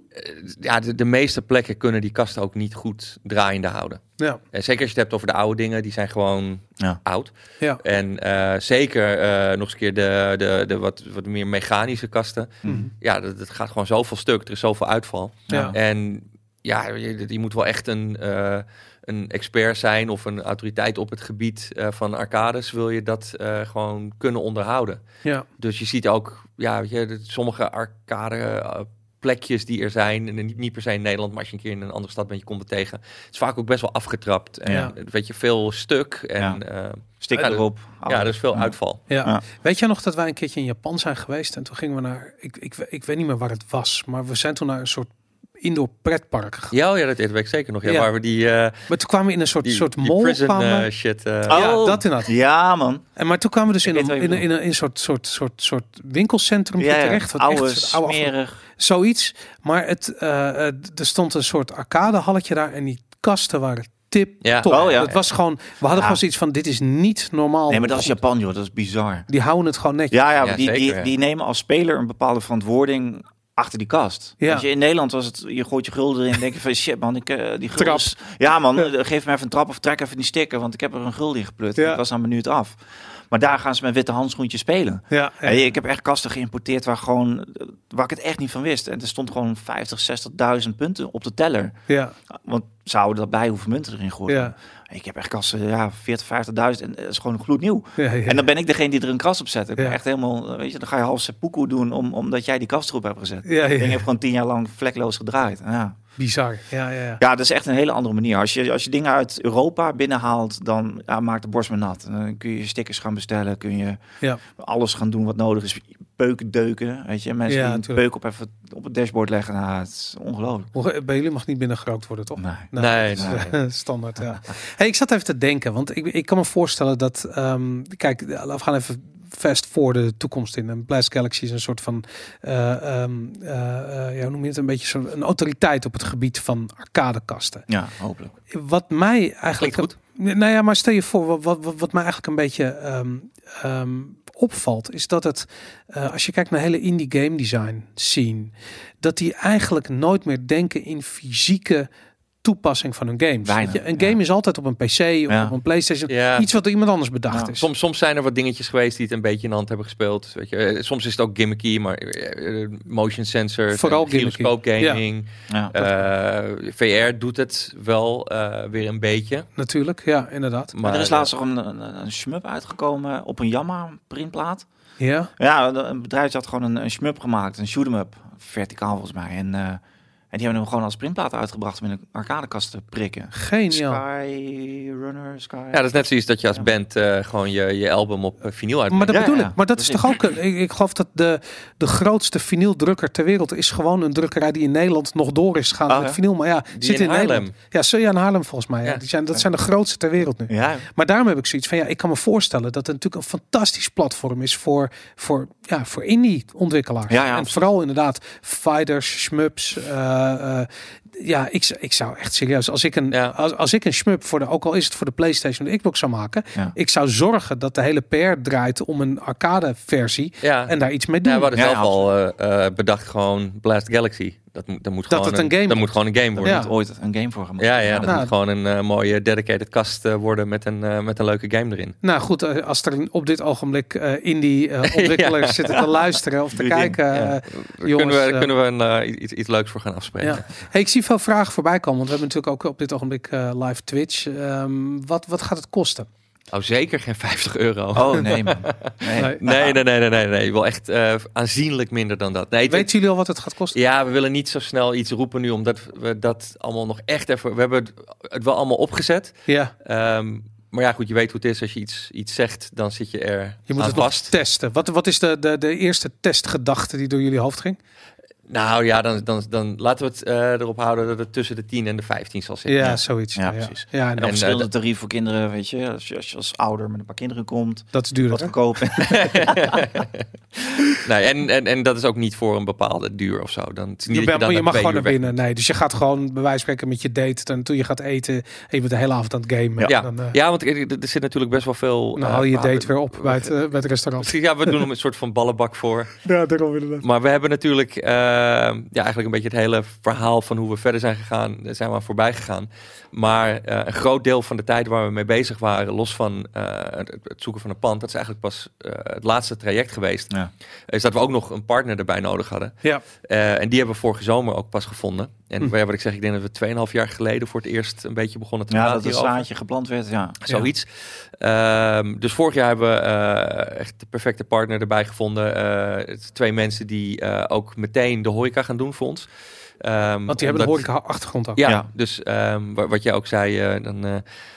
Speaker 3: Eh, Ja, de, de meeste plekken kunnen die kasten ook niet goed draaiende houden.
Speaker 2: ja,
Speaker 3: En zeker als je het hebt over de oude dingen, die zijn gewoon
Speaker 4: Ja.
Speaker 3: oud.
Speaker 2: ja.
Speaker 3: En eh, zeker eh, nog eens een keer de, de, de wat, wat meer mechanische kasten.
Speaker 2: Mhm.
Speaker 3: Ja, dat, dat gaat gewoon zoveel stuk. Er is zoveel uitval.
Speaker 2: Ja.
Speaker 3: En ja, je, je moet wel echt een, eh, een expert zijn of een autoriteit op het gebied eh, van arcades. Wil je dat eh, gewoon kunnen onderhouden.
Speaker 2: ja.
Speaker 3: Dus je ziet ook, ja, weet je, dat sommige arcade eh, plekjes die er zijn. En niet, niet per se in Nederland, maar als je een keer in een andere stad bent, je komt het tegen. Het is vaak ook best wel afgetrapt. En eh,
Speaker 2: Ja.
Speaker 3: weet je, veel stuk. En
Speaker 4: Ja.
Speaker 3: eh,
Speaker 4: Stik
Speaker 3: Ja, dat-
Speaker 4: erop.
Speaker 3: ja, dus- er is veel uitval.
Speaker 2: Oh. Ja.
Speaker 4: Ja.
Speaker 2: weet jij nog dat wij een keertje in Japan zijn geweest en toen gingen we naar, ik, ik, ik weet niet meer waar het was, maar we zijn toen naar een soort indoor pretpark gegaan.
Speaker 3: Ja, oh ja, dat weet ik zeker nog. Ja,
Speaker 2: Ja.
Speaker 3: Waar we die, eh
Speaker 2: Maar toen kwamen we in een soort,
Speaker 3: die,
Speaker 2: soort
Speaker 3: die
Speaker 2: mall.
Speaker 3: prison
Speaker 2: kwamen we.
Speaker 3: eh, shit. eh,
Speaker 2: Ja, dat inderdaad.
Speaker 4: Ja, man.
Speaker 2: En maar toen kwamen we dus in
Speaker 4: weet
Speaker 2: een,
Speaker 4: wat je
Speaker 2: in, een, in,
Speaker 4: bedoelt.
Speaker 2: een, in een soort, soort, soort, soort winkelcentrum
Speaker 4: Ja, ja.
Speaker 2: terecht. wat echt
Speaker 4: Oude,
Speaker 2: een soort oude afge-
Speaker 4: smerig.
Speaker 2: Zoiets. Maar het, eh, eh, d- er stond een soort arcadehalletje daar en die kasten waren tip
Speaker 3: Ja.
Speaker 2: top.
Speaker 4: Oh, ja.
Speaker 2: Het was gewoon, we hadden
Speaker 4: Ja.
Speaker 2: gewoon zoiets van, dit is niet normaal.
Speaker 4: Nee, maar dat is
Speaker 2: goed.
Speaker 4: Japan, joh. Dat is bizar.
Speaker 2: Die houden het gewoon netjes.
Speaker 4: Ja, ja,
Speaker 3: Ja,
Speaker 4: die,
Speaker 3: zeker,
Speaker 4: die,
Speaker 3: ja.
Speaker 4: die nemen als speler een bepaalde verantwoording achter die kast.
Speaker 2: Ja.
Speaker 4: Weet je, in Nederland was het, je gooit je gulden erin en denk je van shit man, ik, eh, die gulden...
Speaker 2: Trap.
Speaker 4: is- Ja man, eh, geef me even een trap of trek even die sticker, want ik heb er een gulden in geplut.
Speaker 2: Ja.
Speaker 4: Ik was aan minuut af. Maar daar gaan ze met witte handschoentjes spelen.
Speaker 2: Ja, ja.
Speaker 4: Hey, ik heb echt kasten geïmporteerd waar, gewoon, eh, waar ik het echt niet van wist. En er stond gewoon 50, 60.000 punten op de teller.
Speaker 2: ja,
Speaker 4: Want ze houden dat bij hoeveel munten erin gooien.
Speaker 2: ja.
Speaker 4: Ik heb echt kasten, ja, 40, 50.000 en eh, dat is gewoon gloednieuw.
Speaker 2: Ja, ja.
Speaker 4: En dan ben ik degene die er een kras op zet. Ik ben
Speaker 2: Ja.
Speaker 4: echt helemaal, eh, weet je, dan ga je half seppuku doen om, omdat jij die kast erop hebt gezet.
Speaker 2: Ja,
Speaker 4: Ik
Speaker 2: ja.
Speaker 4: heb gewoon tien jaar lang vlekloos gedraaid. Ja.
Speaker 2: Bizar. Ja, ja, ja.
Speaker 4: ja, dat is echt een hele andere manier. Als je, als je dingen uit Europa binnenhaalt, dan ja, maakt de borst me nat. En Dan kun je stickers gaan bestellen, kun je
Speaker 2: Ja.
Speaker 4: alles gaan doen wat nodig is. peuken deuken. Weet je, mensen
Speaker 2: Ja,
Speaker 4: die een
Speaker 2: tuurlijk.
Speaker 4: peuk op, even op het dashboard leggen. Nou, het is ongelooflijk.
Speaker 2: Hoe- Bij jullie mag niet binnengerookt worden, toch?
Speaker 4: Nee.
Speaker 3: Nee,
Speaker 2: dat is,
Speaker 3: nee.
Speaker 2: eh, standaard. Ja. Hey, ik zat even te denken, want ik, ik kan me voorstellen dat. ehm, kijk, we gaan even fast voor de toekomst in. En Blast Galaxy is een soort van. eh, ehm, eh, eh, ja, hoe noem je het? Een beetje zo'n een autoriteit op het gebied van arcadekasten.
Speaker 4: Ja, hopelijk.
Speaker 2: Wat mij eigenlijk.
Speaker 3: Klinkt
Speaker 2: Nou ja, maar stel je voor, wat, wat, wat- wat mij eigenlijk een beetje ehm, ehm, opvalt, is dat het, eh, als je kijkt naar hele indie game design scene, dat die eigenlijk nooit meer denken in fysieke toepassing van hun games.
Speaker 4: Weinig,
Speaker 2: Weet je, een
Speaker 4: ja.
Speaker 2: game is altijd op een PC of
Speaker 4: Ja.
Speaker 2: op een PlayStation,
Speaker 3: Ja.
Speaker 2: iets wat door iemand anders bedacht
Speaker 4: Ja.
Speaker 2: is.
Speaker 3: Soms, soms zijn er wat dingetjes geweest die het een beetje in de hand hebben gespeeld. Weet je. Eh, Soms is het ook gimmicky, maar eh, eh, motion sensor,
Speaker 2: Vooral gimmicky.
Speaker 3: gyroscoop gaming.
Speaker 4: Ja.
Speaker 3: eh, VR doet het wel eh, weer een beetje.
Speaker 2: Natuurlijk, ja, inderdaad.
Speaker 3: Maar
Speaker 4: er is laatst nog een, een, een shmup uitgekomen op een Yamaha printplaat.
Speaker 2: Ja,
Speaker 4: Ja, een bedrijf had gewoon een, een shmup gemaakt, een shoot 'em up, verticaal volgens mij. En, eh, en die hebben hem gewoon als printplaat uitgebracht om in een arcadekast te prikken.
Speaker 2: geniaal.
Speaker 4: Sky Runner, Sky.
Speaker 3: Ja, dat is net zoiets dat je als
Speaker 4: Ja.
Speaker 3: band eh, gewoon je, je album op eh, vinyl uitbrengt.
Speaker 2: Maar dat
Speaker 4: Ja,
Speaker 2: bedoel
Speaker 4: ja,
Speaker 2: ik. Maar dat is
Speaker 4: precies.
Speaker 2: toch ook een. Ik, ik geloof dat de, de grootste vinyldrukker ter wereld is gewoon een drukkerij die in Nederland nog door is gegaan
Speaker 4: Ah,
Speaker 2: met
Speaker 4: ja.
Speaker 2: vinyl. Maar ja,
Speaker 3: Die
Speaker 2: zit
Speaker 3: in
Speaker 2: in,
Speaker 3: Haarlem.
Speaker 2: Nederland. Ja, Suja en Haarlem volgens mij. Ja.
Speaker 3: Ja.
Speaker 2: Die zijn, dat zijn de grootste ter wereld nu.
Speaker 4: Ja,
Speaker 2: Maar daarom heb ik zoiets van ja, ik kan me voorstellen dat het natuurlijk een fantastisch platform is voor, voor, ja, voor indie ontwikkelaars.
Speaker 4: Ja, ja,
Speaker 2: en
Speaker 4: absoluut.
Speaker 2: vooral inderdaad fighters, shmups. eh, eh, ja, ik, z- ik zou echt serieus, als ik een,
Speaker 3: Ja.
Speaker 2: als, als ik een shmup voor de, ook al is het voor de PlayStation of de Xbox zou maken,
Speaker 4: Ja.
Speaker 2: ik zou zorgen dat de hele PR draait om een arcade versie
Speaker 3: Ja.
Speaker 2: en daar iets mee doen.
Speaker 3: Ja, we hadden
Speaker 4: Ja,
Speaker 3: zelf al eh, eh, bedacht gewoon Blast Galaxy. Dat, moet- dat, moet,
Speaker 2: Dat
Speaker 3: gewoon
Speaker 2: het een game
Speaker 3: dat moet
Speaker 2: wordt.
Speaker 3: gewoon een game worden.
Speaker 2: Ja.
Speaker 4: Heeft ooit een game voor gemaakt.
Speaker 3: Ja, ja, dat
Speaker 2: Nou.
Speaker 3: moet gewoon een eh, mooie dedicated kast eh, worden met een, eh, met een leuke game erin.
Speaker 2: Nou goed, eh, als er op dit ogenblik eh, indie eh, ontwikkelaars zitten te luisteren of te
Speaker 4: Doe je ding,
Speaker 2: kijken,
Speaker 3: ja.
Speaker 2: eh,
Speaker 3: Daar
Speaker 2: jongens,
Speaker 3: kunnen we,
Speaker 2: eh,
Speaker 3: kunnen we een, eh, iets, iets leuks voor gaan afspreken.
Speaker 2: Ja. Hey, ik zie veel vragen voorbij komen, want we hebben natuurlijk ook op dit ogenblik eh, live Twitch. Ehm, wat, wat gaat het kosten?
Speaker 3: Oh, zeker geen 50 euro.
Speaker 4: Oh nee, man. Nee.
Speaker 2: Nee.
Speaker 3: Nee, nee, nee, nee, nee, nee. Wel echt eh, aanzienlijk minder dan dat. Nee, het-
Speaker 2: Weten jullie al wat het gaat kosten?
Speaker 3: Ja, we willen niet zo snel iets roepen nu, omdat we dat allemaal nog echt even... We hebben het, het wel allemaal opgezet.
Speaker 2: Ja,
Speaker 3: Ehm, maar ja, goed, je weet hoe het is. Als je iets, iets zegt, dan zit je er
Speaker 2: je moet
Speaker 3: aan
Speaker 2: het
Speaker 3: Nou, vast.
Speaker 2: nog testen. Wat, wat is de, de, de eerste testgedachte die door jullie hoofd ging?
Speaker 3: Nou ja, dan, dan, dan laten we het eh, erop houden dat het tussen de 10 en de 15 zal
Speaker 2: Ja,
Speaker 3: zitten.
Speaker 2: zoiets.
Speaker 4: Ja,
Speaker 2: Ja,
Speaker 4: precies.
Speaker 2: Ja,
Speaker 4: En
Speaker 2: en
Speaker 4: dan
Speaker 3: En,
Speaker 4: verschillende
Speaker 3: eh,
Speaker 4: tarieven voor kinderen, weet je. Als je, als je als ouder met een paar kinderen komt,
Speaker 2: dat is duurder.
Speaker 4: wat
Speaker 2: hè?
Speaker 4: goedkoop.
Speaker 3: Nee, en, en, en dat is ook niet voor een bepaalde duur of zo. Dan, het is niet
Speaker 2: Je,
Speaker 3: dat
Speaker 2: bent-
Speaker 3: dan
Speaker 2: je
Speaker 3: na
Speaker 2: mag
Speaker 3: twee
Speaker 2: gewoon naar
Speaker 3: uur weg
Speaker 2: binnen. Nee, dus je gaat gewoon bij wijze van spreken met je date. En toen je gaat eten, en je bent de hele avond aan het gamen.
Speaker 3: Ja,
Speaker 2: Dan, eh,
Speaker 3: ja want er, er zit natuurlijk best wel veel...
Speaker 2: dan
Speaker 3: eh,
Speaker 2: haal je je
Speaker 3: praten.
Speaker 2: date weer op bij het, eh, bij het restaurant.
Speaker 3: Precies, ja, we doen hem een soort van ballenbak voor.
Speaker 2: Ja, daarom inderdaad.
Speaker 3: Maar we hebben natuurlijk eh, ja, eigenlijk een beetje het hele verhaal van hoe we verder zijn gegaan, daar zijn we aan voorbij gegaan. Maar eh, een groot deel van de tijd waar we mee bezig waren, los van eh, het, het zoeken van een pand, dat is eigenlijk pas eh, het laatste traject geweest,
Speaker 4: Ja.
Speaker 3: is dat we ook nog een partner erbij nodig hadden.
Speaker 2: Ja,
Speaker 3: Eh, en die hebben we vorige zomer ook pas gevonden. En
Speaker 2: Hm.
Speaker 3: waar wat ik zeg, ik denk dat we 2,5 jaar geleden voor het eerst een beetje begonnen te
Speaker 4: ja,
Speaker 3: praten
Speaker 4: dat het
Speaker 3: hierover.
Speaker 4: zaadje geplant werd, ja.
Speaker 3: Zoiets. Ehm, dus vorig jaar hebben we eh, echt de perfecte partner erbij gevonden. Eh, het- twee mensen die eh, ook meteen de horeca gaan doen voor ons. Ehm,
Speaker 2: want die hebben
Speaker 3: omdat-
Speaker 2: een horeca achtergrond ook.
Speaker 3: Ja,
Speaker 4: Ja.
Speaker 3: dus ehm, wa- wat jij ook zei, eh, dan eh,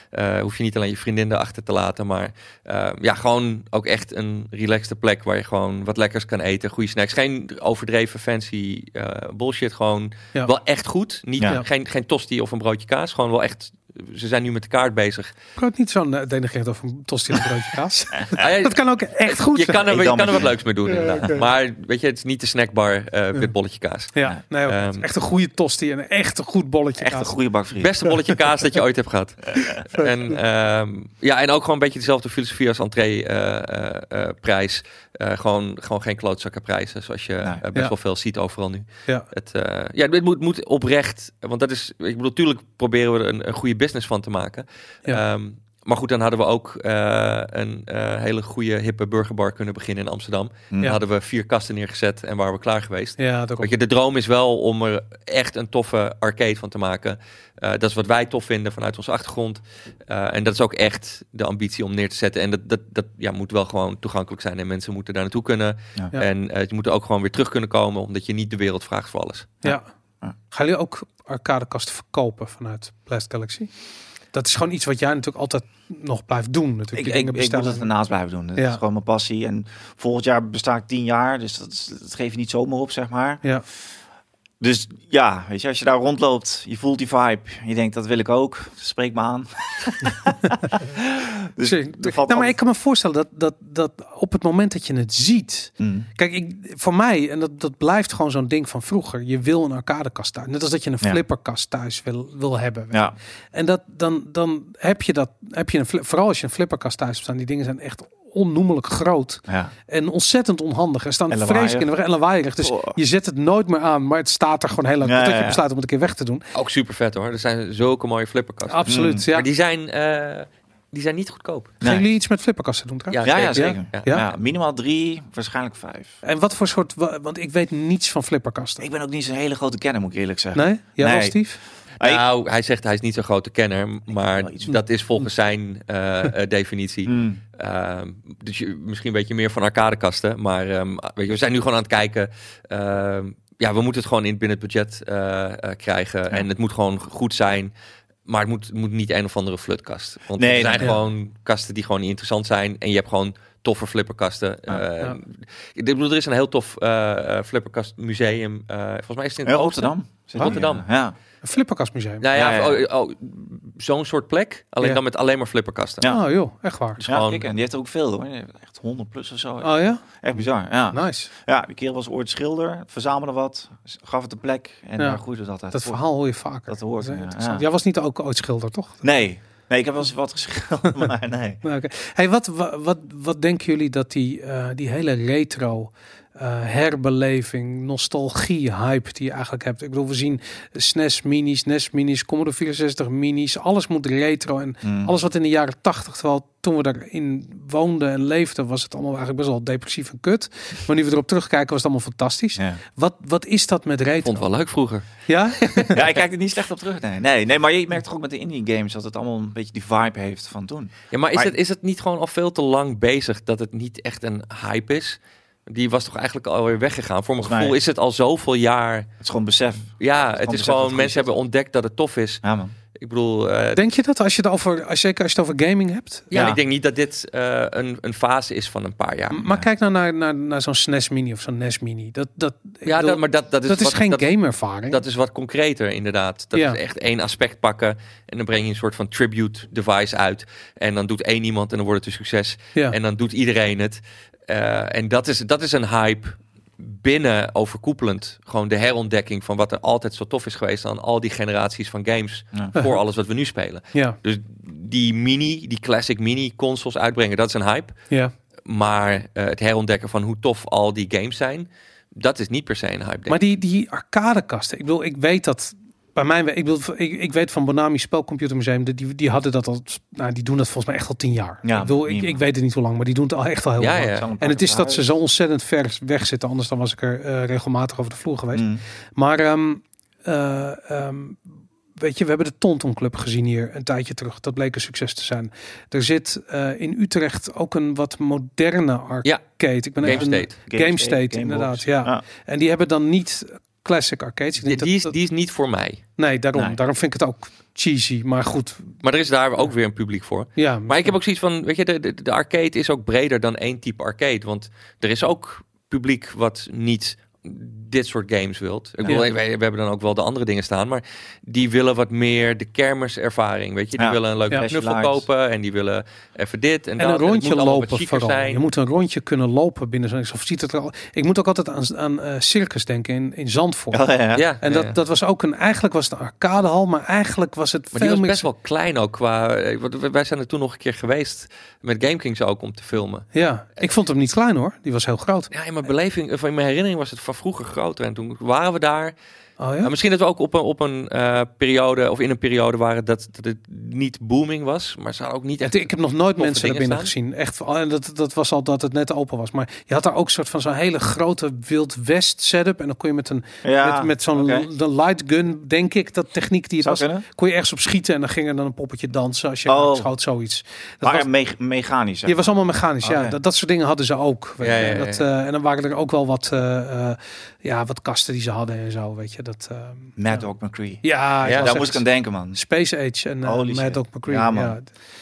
Speaker 3: eh, hoef je niet alleen je vriendin erachter te laten. Maar eh, ja, gewoon ook echt een relaxte plek waar je gewoon wat lekkers kan eten. Goede snacks. Geen overdreven fancy eh, bullshit. Gewoon
Speaker 2: Ja.
Speaker 3: wel echt goed. Niet,
Speaker 4: Ja.
Speaker 3: geen, geen tosti of een broodje kaas. Gewoon wel echt... Ze zijn nu met de kaart bezig.
Speaker 2: Brood niet zo'n uh, denigrerend of een tosti en een broodje kaas.
Speaker 3: Ah, ja,
Speaker 2: dat kan ook echt goed
Speaker 3: je
Speaker 2: zijn.
Speaker 3: kan, er,
Speaker 4: Ik
Speaker 3: je
Speaker 4: dan
Speaker 3: kan er wat
Speaker 4: meteen.
Speaker 3: leuks mee doen.
Speaker 2: Ja,
Speaker 3: inderdaad.
Speaker 2: oké.
Speaker 3: Maar weet je, het is niet de snackbar eh
Speaker 2: Ja.
Speaker 3: met bolletje kaas.
Speaker 2: Ja, nee,
Speaker 3: Ehm,
Speaker 2: echt een goede tosti en echt een goed bolletje
Speaker 4: Echt
Speaker 2: kaas.
Speaker 4: een goede bak friet.
Speaker 3: Beste bolletje kaas dat je ooit hebt gehad. En, ehm, ja, en ook gewoon een beetje dezelfde filosofie als eh, entree-prijs. Eh, gewoon, gewoon geen klootzakkenprijzen, zoals je
Speaker 4: Nee.
Speaker 3: eh, best
Speaker 2: Ja.
Speaker 3: wel veel ziet overal nu.
Speaker 2: Ja.
Speaker 3: Het, eh, ja, dit moet, moet oprecht, want dat is, ik bedoel, tuurlijk proberen we er een, een goede business van te maken.
Speaker 2: Ja.
Speaker 3: Ehm, maar goed, dan hadden we ook eh, een eh, hele goede, hippe burgerbar kunnen beginnen in Amsterdam.
Speaker 4: Hm.
Speaker 2: Mm. Ja.
Speaker 3: Dan hadden we vier kasten neergezet en waren we klaar geweest.
Speaker 2: Ja, daarom.
Speaker 3: Weet je, de droom is wel om er echt een toffe arcade van te maken. Eh, dat is wat wij tof vinden vanuit onze achtergrond. Eh, en dat is ook echt de ambitie om neer te zetten. En dat, dat, dat ja, moet wel gewoon toegankelijk zijn. En mensen moeten daar naartoe kunnen.
Speaker 4: Ja.
Speaker 2: Ja.
Speaker 3: En eh, ze moeten ook gewoon weer terug kunnen komen. Omdat je niet de wereld vraagt voor alles.
Speaker 2: Ja.
Speaker 4: Ja.
Speaker 2: Gaan jullie ook arcadekasten verkopen vanuit Blast Galaxy? dat is gewoon iets wat jij natuurlijk altijd nog blijft doen. Natuurlijk,
Speaker 4: Ik,
Speaker 2: die
Speaker 4: ik,
Speaker 2: dingen
Speaker 4: ik moet
Speaker 2: bestellen.
Speaker 4: het ernaast blijven doen. Dat
Speaker 2: Ja.
Speaker 4: is gewoon mijn passie. En volgend jaar besta ik tien jaar, dus dat, is- dat geef je niet zomaar op, zeg maar.
Speaker 2: ja.
Speaker 4: Dus ja, weet je, als je daar rondloopt, je voelt die vibe. Je denkt, dat wil ik ook. Spreek me aan. dus
Speaker 2: Sorry. nou,
Speaker 4: er valt
Speaker 2: maar
Speaker 4: altijd-
Speaker 2: ik kan me voorstellen dat, dat, dat op het moment dat je het ziet.
Speaker 4: Mm.
Speaker 2: Kijk, ik, voor mij, en dat, dat blijft gewoon zo'n ding van vroeger. Je wil een arcadekast thuis. Net als dat je een
Speaker 4: Ja.
Speaker 2: flipperkast thuis wil, wil hebben.
Speaker 4: Ja,
Speaker 2: En dat, dan, dan heb je dat. Heb je een, fli- vooral als je een flipperkast thuis hebt staan. Die dingen zijn echt onnoemelijk groot.
Speaker 4: ja.
Speaker 2: En ontzettend onhandig. Er staan
Speaker 4: En
Speaker 2: vreselijk in de weg en lawaaierig. Dus
Speaker 4: Oh.
Speaker 2: je zet het nooit meer aan. Maar het staat er gewoon heel lang.
Speaker 4: Ja,
Speaker 2: totdat
Speaker 4: ja,
Speaker 2: je
Speaker 4: ja.
Speaker 2: besluit om het een keer weg te doen.
Speaker 3: Ook super vet hoor. Er zijn zulke mooie flipperkasten.
Speaker 2: Absoluut. Ja.
Speaker 3: Maar die zijn, eh, die zijn niet goedkoop.
Speaker 2: Gaan
Speaker 4: Mm. Nee.
Speaker 2: jullie iets met flipperkasten doen trouwens?
Speaker 4: Ja, ja,
Speaker 3: zeker.
Speaker 4: zeker.
Speaker 3: Ja.
Speaker 2: Ja?
Speaker 4: Ja. minimaal drie, waarschijnlijk vijf.
Speaker 2: En wat voor soort. wa- Want ik weet niets van flipperkasten.
Speaker 4: Ik ben ook niet zo'n hele grote kenner, moet ik eerlijk zeggen.
Speaker 2: Nee? Jij
Speaker 4: Nee.
Speaker 2: was Steve?
Speaker 4: Ah, ik-
Speaker 3: Nou, hij zegt hij is niet zo'n grote kenner,
Speaker 4: wel
Speaker 3: maar
Speaker 4: iets
Speaker 3: dat is volgens zijn eh, eh, definitie.
Speaker 4: Mm.
Speaker 3: Ehm, dus je, misschien weet je meer van arcadekasten, maar ehm, weet je, we zijn nu gewoon aan het kijken. Ehm, ja, we moeten het gewoon in, binnen het budget eh, eh, krijgen en het moet gewoon goed zijn. Maar het moet, het moet niet een of andere flutkast. Want
Speaker 4: Nee,
Speaker 3: er zijn
Speaker 2: nee.
Speaker 3: gewoon kasten die gewoon niet interessant zijn. En je hebt gewoon toffe flipperkasten.
Speaker 4: Ja,
Speaker 3: Eh,
Speaker 2: ja.
Speaker 3: Ik bedoel, er is een heel tof eh, eh, flipperkastmuseum. Eh, volgens mij is het in
Speaker 4: Eh,
Speaker 3: het
Speaker 4: Rotterdam. Zit
Speaker 3: Rotterdam.
Speaker 4: hier. Ja.
Speaker 2: Een flipperkastmuseum.
Speaker 3: Nou ja,
Speaker 4: Ja, ja.
Speaker 3: oh, oh, zo'n soort plek. Alleen
Speaker 2: Ja.
Speaker 3: dan met alleen maar flipperkasten.
Speaker 4: Ja.
Speaker 2: Oh joh, echt waar.
Speaker 3: Dus
Speaker 4: Ja,
Speaker 3: gewoon-
Speaker 4: kijk, en die heeft er ook veel hoor. Die heeft Echt 100 plus of zo.
Speaker 2: Oh ja?
Speaker 4: Echt bizar. Ja.
Speaker 2: Nice.
Speaker 4: ja, die kerel was ooit schilder, verzamelde wat, gaf het een plek en
Speaker 2: Ja.
Speaker 4: daar groeide dat uit.
Speaker 2: Dat
Speaker 4: voort.
Speaker 2: verhaal hoor je vaker.
Speaker 4: Dat hoort,
Speaker 2: is
Speaker 4: ja.
Speaker 2: interessant.
Speaker 4: Ja.
Speaker 2: Jij was niet ook ooit schilder, toch?
Speaker 4: Nee, nee, ik heb wel eens wat geschilderd, maar nee.
Speaker 2: Nou, oké. Hey, wat, wa- wat, wat denken jullie dat die, eh, die hele retro eh, herbeleving, nostalgie hype die je eigenlijk hebt? Ik bedoel, we zien SNES minis, NES minis, Commodore 64 minis. Alles moet retro en
Speaker 4: Mm.
Speaker 2: alles wat in de jaren 80, terwijl toen we daarin woonden en leefden, was het allemaal eigenlijk best wel depressief en kut. Maar nu we erop terugkijken, was het allemaal fantastisch.
Speaker 4: Ja.
Speaker 2: Wat, wat is dat met retro?
Speaker 3: Ik vond het wel leuk vroeger.
Speaker 2: Ja?
Speaker 4: ja, ik kijk er niet slecht op terug. Nee, nee, nee maar je merkt toch ook met de indie games dat het allemaal een beetje die vibe heeft van toen.
Speaker 3: Ja, maar is,
Speaker 4: Maar-
Speaker 3: Het, is het niet gewoon al veel te lang bezig dat het niet echt een hype is? Die was toch eigenlijk alweer weggegaan? Voor mijn
Speaker 4: Volgens mij-
Speaker 3: gevoel is het al zoveel jaar.
Speaker 4: Het is gewoon besef.
Speaker 3: Ja, het
Speaker 4: gewoon
Speaker 3: is
Speaker 4: besef dat het
Speaker 3: gewoon,
Speaker 4: goed
Speaker 3: mensen
Speaker 4: is.
Speaker 3: hebben ontdekt dat het tof is.
Speaker 4: Ja, man.
Speaker 3: Ik bedoel, eh,
Speaker 2: Denk je dat? Als je het over, als, zeker als je het over gaming hebt?
Speaker 3: ja,
Speaker 4: ja.
Speaker 3: ik denk niet dat dit eh, een, een fase is van een paar jaar.
Speaker 2: M- Maar kijk nou naar, naar, naar zo'n SNES Mini of zo'n NES Mini. Dat, dat, ik
Speaker 3: Ja,
Speaker 2: bedoel,
Speaker 3: dat, maar dat, dat is,
Speaker 2: dat is
Speaker 3: wat-
Speaker 2: geen
Speaker 3: dat-
Speaker 2: gameervaring.
Speaker 3: Dat is wat concreter, inderdaad. Dat
Speaker 2: Ja.
Speaker 3: is echt één aspect pakken. En dan breng je een soort van tribute device uit. En dan doet één iemand en dan wordt het een succes.
Speaker 2: ja.
Speaker 3: En dan doet iedereen het. Eh, en dat is, dat is een hype binnen overkoepelend. Gewoon de herontdekking van wat er altijd zo tof is geweest aan al die generaties van games.
Speaker 4: Ja.
Speaker 3: Voor alles wat we nu spelen.
Speaker 2: ja,
Speaker 3: Dus die mini, die classic mini consoles uitbrengen, dat is een hype.
Speaker 2: ja.
Speaker 3: Maar eh, het herontdekken van hoe tof al die games zijn, dat is niet per se een hype. denk
Speaker 2: Maar
Speaker 3: ik.
Speaker 2: die, die arcadekasten, ik bedoel, ik weet dat bij mijn ik, bedoel, ik, ik weet van Bonami Spelcomputer Museum, die- die, die hadden dat al, nou, die doen dat volgens mij echt al tien jaar.
Speaker 4: Ja,
Speaker 2: ik, bedoel, ik,
Speaker 4: minimaal.
Speaker 2: ik weet het niet hoe lang, maar die doen het al echt al heel
Speaker 3: Ja,
Speaker 2: lang.
Speaker 3: ja.
Speaker 4: Zal een
Speaker 2: En het is
Speaker 4: paar
Speaker 2: dat ze zo ontzettend ver weg zitten, anders dan was ik er eh, regelmatig over de vloer geweest.
Speaker 4: Mm.
Speaker 2: Maar ehm, eh, ehm, weet je, we hebben de Tonton Club gezien hier een tijdje terug. Dat bleek een succes te zijn. Er zit eh, in Utrecht ook een wat moderne arcade.
Speaker 3: Ja.
Speaker 2: Ik ben even-
Speaker 3: GameState.
Speaker 2: Game, State,
Speaker 4: Gamebox.
Speaker 2: inderdaad. Ja.
Speaker 4: Ja.
Speaker 2: En die hebben dan niet classic arcades. Ik
Speaker 3: Die,
Speaker 2: denk
Speaker 3: die, is,
Speaker 2: dat-
Speaker 3: die is niet voor mij.
Speaker 2: dat- nee, daarom.
Speaker 4: Nee.
Speaker 2: Daarom vind ik het ook cheesy. Maar goed,
Speaker 3: Maar er is daar ook weer een publiek voor.
Speaker 2: ja.
Speaker 3: Maar ik heb ook zoiets van, weet je, de, de, de arcade is ook breder dan één type arcade. Want er is ook publiek wat niet dit soort games wilt. Ik bedoel,
Speaker 2: Ja.
Speaker 3: wij- we hebben dan ook wel de andere dingen staan, maar die willen wat meer de kermiservaring, weet je. Die
Speaker 4: Ja.
Speaker 3: willen een leuke
Speaker 2: Ja.
Speaker 3: knuffel
Speaker 4: Flashlights.
Speaker 3: kopen en die willen even dit en,
Speaker 2: en
Speaker 3: dat.
Speaker 2: een
Speaker 3: het moet
Speaker 2: rondje
Speaker 3: allemaal wat
Speaker 2: lopen
Speaker 3: chiquer
Speaker 2: vooral. Je moet een rondje kunnen lopen binnen zo'n... Of ziet het er al... Ik moet ook altijd aan, aan eh, circus denken in, in Zandvoort.
Speaker 4: Ja, ja, ja.
Speaker 3: Ja,
Speaker 2: En
Speaker 3: ja,
Speaker 2: dat,
Speaker 3: ja.
Speaker 2: dat was ook een... Eigenlijk was het een arcadehal, maar eigenlijk was het
Speaker 3: Maar die
Speaker 2: veel
Speaker 3: was
Speaker 2: meer...
Speaker 3: best wel klein ook qua... eh, want Wij zijn er toen nog een keer geweest met GameKings ook om te filmen.
Speaker 2: Ja, ik vond hem niet klein hoor. Die was heel groot.
Speaker 3: Ja, in mijn beleving, of in mijn herinnering was het van vroeger groter. En toen waren we daar
Speaker 2: Oh
Speaker 3: Ja,
Speaker 2: ja?
Speaker 3: misschien dat we ook op een, op een eh, periode of in een periode waren dat, dat het niet booming was, maar ze hadden ook niet
Speaker 2: Het-
Speaker 3: echt.
Speaker 2: ik heb nog nooit
Speaker 3: Toffe
Speaker 2: mensen naar
Speaker 3: dingen
Speaker 2: binnen gezien. Echt, en dat, dat was al dat het net open was. Maar je had daar ook een soort van zo'n hele grote Wild West setup. En dan kon je met, een,
Speaker 4: Ja,
Speaker 2: met, met zo'n
Speaker 4: oké.
Speaker 2: de light gun, denk ik, dat techniek die het
Speaker 4: Zou
Speaker 2: was.
Speaker 4: kunnen.
Speaker 2: Kon je ergens op schieten en dan ging er dan een poppetje dansen als je
Speaker 4: Oh.
Speaker 2: schoot, zoiets. Dat
Speaker 4: Maar
Speaker 2: was,
Speaker 4: me- mechanisch. zeg
Speaker 2: je was
Speaker 4: maar.
Speaker 2: allemaal mechanisch, ja.
Speaker 4: Oké.
Speaker 2: Dat, dat soort dingen hadden ze ook. Weet
Speaker 3: Ja,
Speaker 2: je.
Speaker 3: ja,
Speaker 2: En
Speaker 3: ja,
Speaker 2: Dat,
Speaker 3: ja.
Speaker 2: eh, en dan waren er ook wel wat, eh, eh, ja, wat kasten die ze hadden en zo, weet je. Dat, ehm,
Speaker 4: Mad
Speaker 2: ja.
Speaker 4: Dog McCree.
Speaker 2: Ja,
Speaker 3: Ja,
Speaker 4: Ja,
Speaker 2: was
Speaker 4: daar
Speaker 2: echt-
Speaker 4: moest ik aan denken, man.
Speaker 2: Space Age en eh
Speaker 4: Holy
Speaker 2: Mad
Speaker 4: shit.
Speaker 2: Dog McCree.
Speaker 4: Ja,
Speaker 2: Ja,
Speaker 4: man.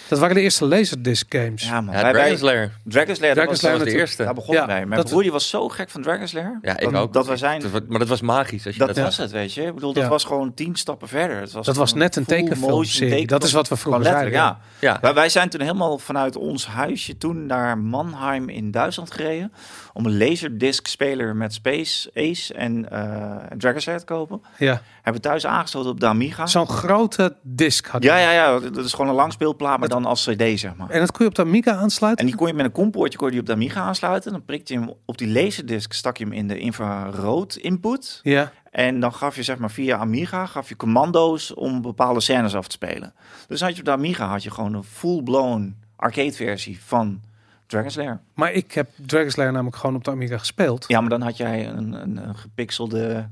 Speaker 2: Dat waren de eerste Laserdisc games.
Speaker 4: Ja, man.
Speaker 3: Ja,
Speaker 4: Wij- wij-
Speaker 3: Dragon Slayer.
Speaker 4: Dragon Slayer, dat
Speaker 2: Dragon
Speaker 3: Dat
Speaker 4: was,
Speaker 2: Slayer
Speaker 3: was de
Speaker 2: natuurlijk.
Speaker 3: eerste.
Speaker 4: daar begon
Speaker 2: Ja,
Speaker 4: het mee. Mijn
Speaker 2: dat-
Speaker 4: broer die was zo gek van Dragon Slayer.
Speaker 3: Ja, ik
Speaker 4: dat,
Speaker 3: ook.
Speaker 4: Dat wij zijn...
Speaker 3: Dat was- maar dat was magisch. Als je
Speaker 4: Dat,
Speaker 3: dat,
Speaker 4: was het, weet je. Ik bedoel, dat
Speaker 2: Ja.
Speaker 4: was gewoon tien stappen verder. Het was
Speaker 2: Dat was
Speaker 4: gewoon
Speaker 2: net een
Speaker 4: full motion
Speaker 2: tekenfilmserie.
Speaker 4: teken-
Speaker 2: Dat is wat we
Speaker 4: Gewoon
Speaker 2: vroeger zeiden.
Speaker 4: letterlijk, ja.
Speaker 3: Ja.
Speaker 4: Wij, wij zijn toen helemaal vanuit ons huisje toen naar Mannheim in Duitsland gereden. Om een laserdisc speler met Space Ace en eh en Dragon Slayer te kopen.
Speaker 2: Ja.
Speaker 4: Hebben we thuis aangesloten op de Amiga.
Speaker 2: Zo'n grote disc had
Speaker 4: Ah. ja,
Speaker 2: ik.
Speaker 4: ja, ja. Dat is gewoon een langspeelplaat, maar dan als cd, zeg maar.
Speaker 2: En dat kon je op de Amiga aansluiten.
Speaker 4: En die kon je met een kompoortje kon je die op de Amiga aansluiten. Dan prikte je hem op die laserdisc, stak je hem in de infrarood input.
Speaker 2: Ja.
Speaker 4: En dan gaf je zeg maar via Amiga gaf je commando's om bepaalde scènes af te spelen. Dus had je op de Amiga had je gewoon een full-blown arcade versie van Dragon Slayer.
Speaker 2: Maar ik heb Dragon Slayer namelijk gewoon op de Amiga gespeeld.
Speaker 4: Ja, maar dan had jij een, een, een gepixelde,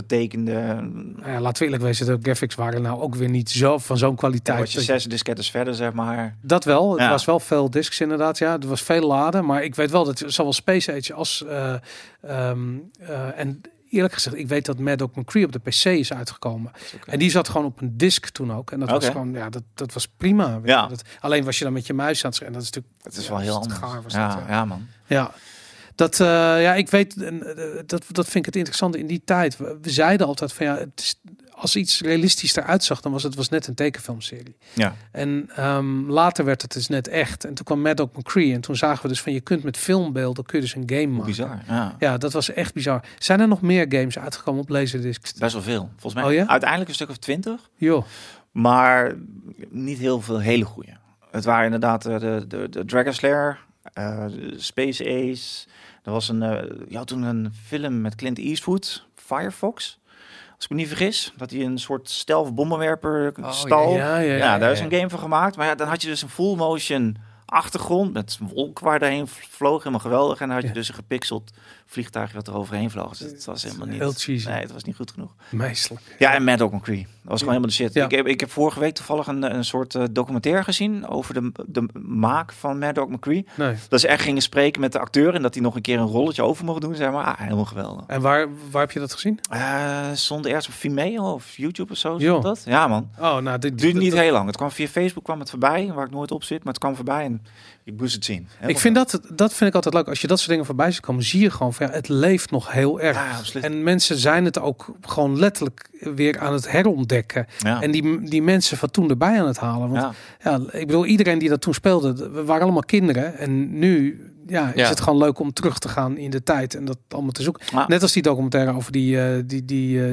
Speaker 4: getekende...
Speaker 2: Nou ja, laten we eerlijk wezen, de graphics waren nou ook weer niet zo van zo'n
Speaker 4: Dan
Speaker 2: kwaliteit.
Speaker 4: was je
Speaker 2: dat-
Speaker 4: zes diskettes verder, zeg maar.
Speaker 2: Dat wel. Het
Speaker 4: Ja.
Speaker 2: was wel veel discs inderdaad. Ja, er was veel laden. Maar ik weet wel dat zowel Space Age als... eh, ehm, eh, en eerlijk gezegd, ik weet dat Mad Dog McCree op de PC is uitgekomen. En die zat gewoon op een disc toen ook. En dat was
Speaker 4: Oké.
Speaker 2: gewoon... Ja, dat, dat was prima. weet
Speaker 4: Ja.
Speaker 2: je. Dat, alleen was je dan met je muis aan het schrijven. En dat is natuurlijk...
Speaker 4: Het is
Speaker 2: ja,
Speaker 4: wel heel
Speaker 2: dat is gaar,
Speaker 4: anders.
Speaker 2: was dat,
Speaker 4: ja,
Speaker 2: ja.
Speaker 4: ja, man.
Speaker 2: Ja. Dat, eh, ja, ik weet, en, eh, dat, dat vind ik het interessante in die tijd. We, we zeiden altijd van ja, het is, als iets realistisch eruit zag, dan was het was net een tekenfilmserie.
Speaker 4: Ja.
Speaker 2: En ehm, later werd het dus net echt. En toen kwam Mad Dog McCree. En toen zagen we dus van je kunt met filmbeelden kun je dus een game maken.
Speaker 4: Bizar. Ja.
Speaker 2: Ja, dat was echt bizar. Zijn er nog meer games uitgekomen op Laserdisc?
Speaker 4: Best wel veel. Volgens mij
Speaker 2: Oh ja?
Speaker 4: uiteindelijk een stuk of twintig.
Speaker 2: Joh.
Speaker 4: Maar niet heel veel hele goede. Het waren inderdaad eh, de, de, de Dragon Slayer, eh, de Space Ace. Er was een, eh je had toen een film met Clint Eastwood, Firefox. Als ik me niet vergis, dat hij een soort stealth bommenwerper
Speaker 3: ja,
Speaker 4: stal.
Speaker 2: Oh, ja, ja,
Speaker 4: Oh. ja, daar
Speaker 3: ja,
Speaker 4: is
Speaker 3: ja.
Speaker 4: een game van gemaakt. Maar ja, dan had je dus een full motion achtergrond met een wolk waar daarheen vloog. Helemaal geweldig. En dan had je
Speaker 2: Ja.
Speaker 4: dus een gepixeld vliegtuig dat er overheen vloog. Dus het was helemaal niet...
Speaker 2: Heel cheesy.
Speaker 4: Nee, het was niet goed genoeg.
Speaker 2: Meestelijk.
Speaker 4: Ja, en Mad Dog McCree. Dat was gewoon helemaal de shit.
Speaker 2: Ja.
Speaker 4: Ik, heb, ik heb vorige week toevallig een, een soort eh, documentaire gezien over de, de maak van Mad Dog McCree.
Speaker 2: Nee.
Speaker 4: Dat ze echt gingen spreken met de acteur en dat hij nog een keer een rolletje over mocht doen. Zeg maar, ah, helemaal geweldig.
Speaker 2: En waar, waar heb je dat gezien?
Speaker 4: Eh stond eerst op Vimeo of YouTube of zo,
Speaker 2: Joh.
Speaker 4: stond dat? Ja man.
Speaker 2: Oh, nou, dit
Speaker 4: Het duurde
Speaker 2: dat-
Speaker 4: niet heel lang. Het kwam via Facebook kwam het voorbij, waar ik nooit op zit, maar het kwam voorbij en ik moest het zien. Helemaal
Speaker 2: Ik vind dat, dat vind ik altijd leuk. Als je dat soort dingen voorbij ziet komen, zie je gewoon van ja, het leeft nog heel erg.
Speaker 4: Ja, absoluut.
Speaker 2: en mensen zijn het ook gewoon letterlijk weer aan het herontdekken.
Speaker 4: Ja.
Speaker 2: En die, die mensen van toen erbij aan het halen. Want
Speaker 4: Ja.
Speaker 2: ja, ik bedoel, iedereen die dat toen speelde, we waren allemaal kinderen. En nu ja, is
Speaker 3: Ja. Ah.
Speaker 2: het gewoon leuk om terug te gaan in de tijd en dat allemaal te zoeken.
Speaker 4: Ja.
Speaker 2: Net als die documentaire over die, eh, die, die, eh,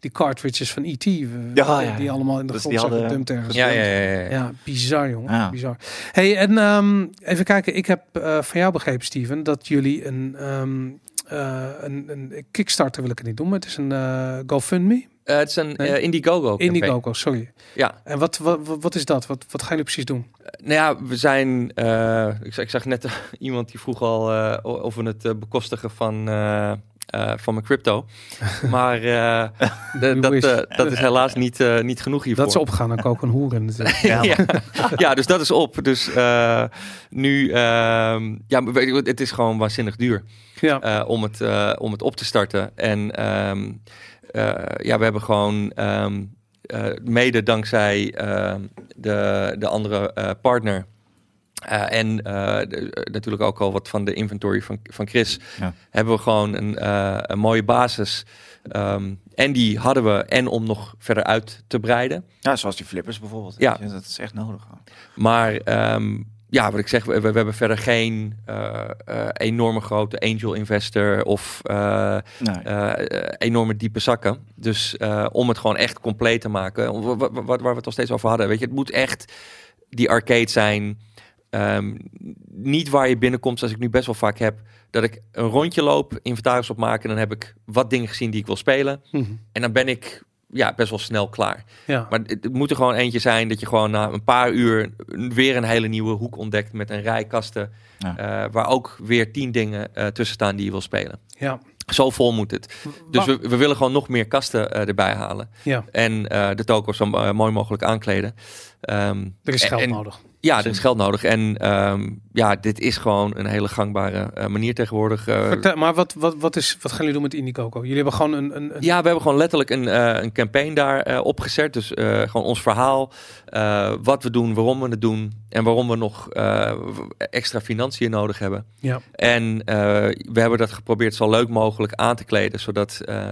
Speaker 2: die cartridges van E.T. eh,
Speaker 4: Ja, ja,
Speaker 2: Die
Speaker 4: ja.
Speaker 2: allemaal in de
Speaker 4: Dus die
Speaker 2: grond zijn
Speaker 4: hadden-
Speaker 2: gedumpt ergens.
Speaker 3: ja, ja, ja, ja.
Speaker 2: Ja, bizar jongen.
Speaker 4: Ja.
Speaker 2: Bizar. Hey, en ehm, even kijken. Ik heb eh, van jou begrepen, Steven, dat jullie een, ehm, eh, een, een Kickstarter wil ik het niet doen, maar het is een eh, GoFundMe.
Speaker 3: Eh, het is een
Speaker 2: Nee.
Speaker 3: eh, Indiegogo. campaign.
Speaker 2: Indiegogo, sorry.
Speaker 3: Ja.
Speaker 2: En wat, wat, wat wat is dat? Wat, wat gaan jullie precies doen?
Speaker 3: Nou ja, we zijn. eh, ik, zag, ik zag net iemand die vroeg al eh, o- of we het eh, bekostigen van, eh, eh, van mijn crypto. maar eh, de- dat,
Speaker 2: wish.
Speaker 3: eh, dat is helaas niet, eh, niet genoeg hiervoor.
Speaker 2: Dat ze opgaan en koken een hoeren natuurlijk.
Speaker 4: Ja,
Speaker 3: ja. ja, dus dat is op. Dus eh, nu, ehm, ja, maar weet je wat, het is gewoon waanzinnig duur
Speaker 2: Ja,
Speaker 3: eh, om, het, eh, om het op te starten. En ehm, eh, ja, we hebben gewoon ehm, eh, mede dankzij ehm, de, de andere eh, partner. eh, en eh, de- eh, natuurlijk ook al wat van de inventory van, van Chris.
Speaker 4: Ja.
Speaker 3: Hebben we gewoon een, eh, een mooie basis. Ehm, en die hadden we. En om nog verder uit te breiden.
Speaker 4: Ja, zoals die flippers bijvoorbeeld.
Speaker 3: Ja.
Speaker 4: Weet je, Dat is echt nodig.
Speaker 3: Maar ehm, ja, wat ik zeg, we, we- we hebben verder geen eh, eh, enorme grote angel investor of eh,
Speaker 4: Nee.
Speaker 3: eh, eh, enorme diepe zakken. Dus eh, om het gewoon echt compleet te maken, om- wa- wa- wa- waar we het al steeds over hadden, weet je, het moet echt die arcade zijn. ehm, niet waar je binnenkomt, zoals ik nu best wel vaak heb, dat ik een rondje loop, inventaris opmaken, en dan heb ik wat dingen gezien die ik wil spelen.
Speaker 2: Mhm.
Speaker 3: En dan ben ik ja, best wel snel klaar.
Speaker 2: ja.
Speaker 3: Maar het, het moet er gewoon eentje zijn dat je gewoon na een paar uur weer een hele nieuwe hoek ontdekt met een rij kasten.
Speaker 4: Ja.
Speaker 3: eh, waar ook weer tien dingen eh, tussen staan die je wil spelen.
Speaker 2: ja.
Speaker 3: Zo vol moet het. Dus we, we willen gewoon nog meer kasten eh, erbij halen.
Speaker 2: ja,
Speaker 3: En eh, de toko's zo eh, mooi mogelijk aankleden. Ehm,
Speaker 2: er is geld
Speaker 3: en-
Speaker 2: nodig.
Speaker 3: Ja, er is geld nodig. En ehm, ja, dit is gewoon een hele gangbare eh, manier tegenwoordig. Eh,
Speaker 2: Vertel- maar wat, wat, wat, is, wat gaan jullie doen met Indiegogo? Jullie hebben gewoon een... een, een-
Speaker 3: ja, we hebben gewoon letterlijk een, eh, een campaign daar eh, opgezet. Dus eh, gewoon ons verhaal, eh, wat we doen, waarom we het doen en waarom we nog eh, extra financiën nodig hebben.
Speaker 2: ja.
Speaker 3: En eh, we hebben dat geprobeerd zo leuk mogelijk aan te kleden, zodat eh,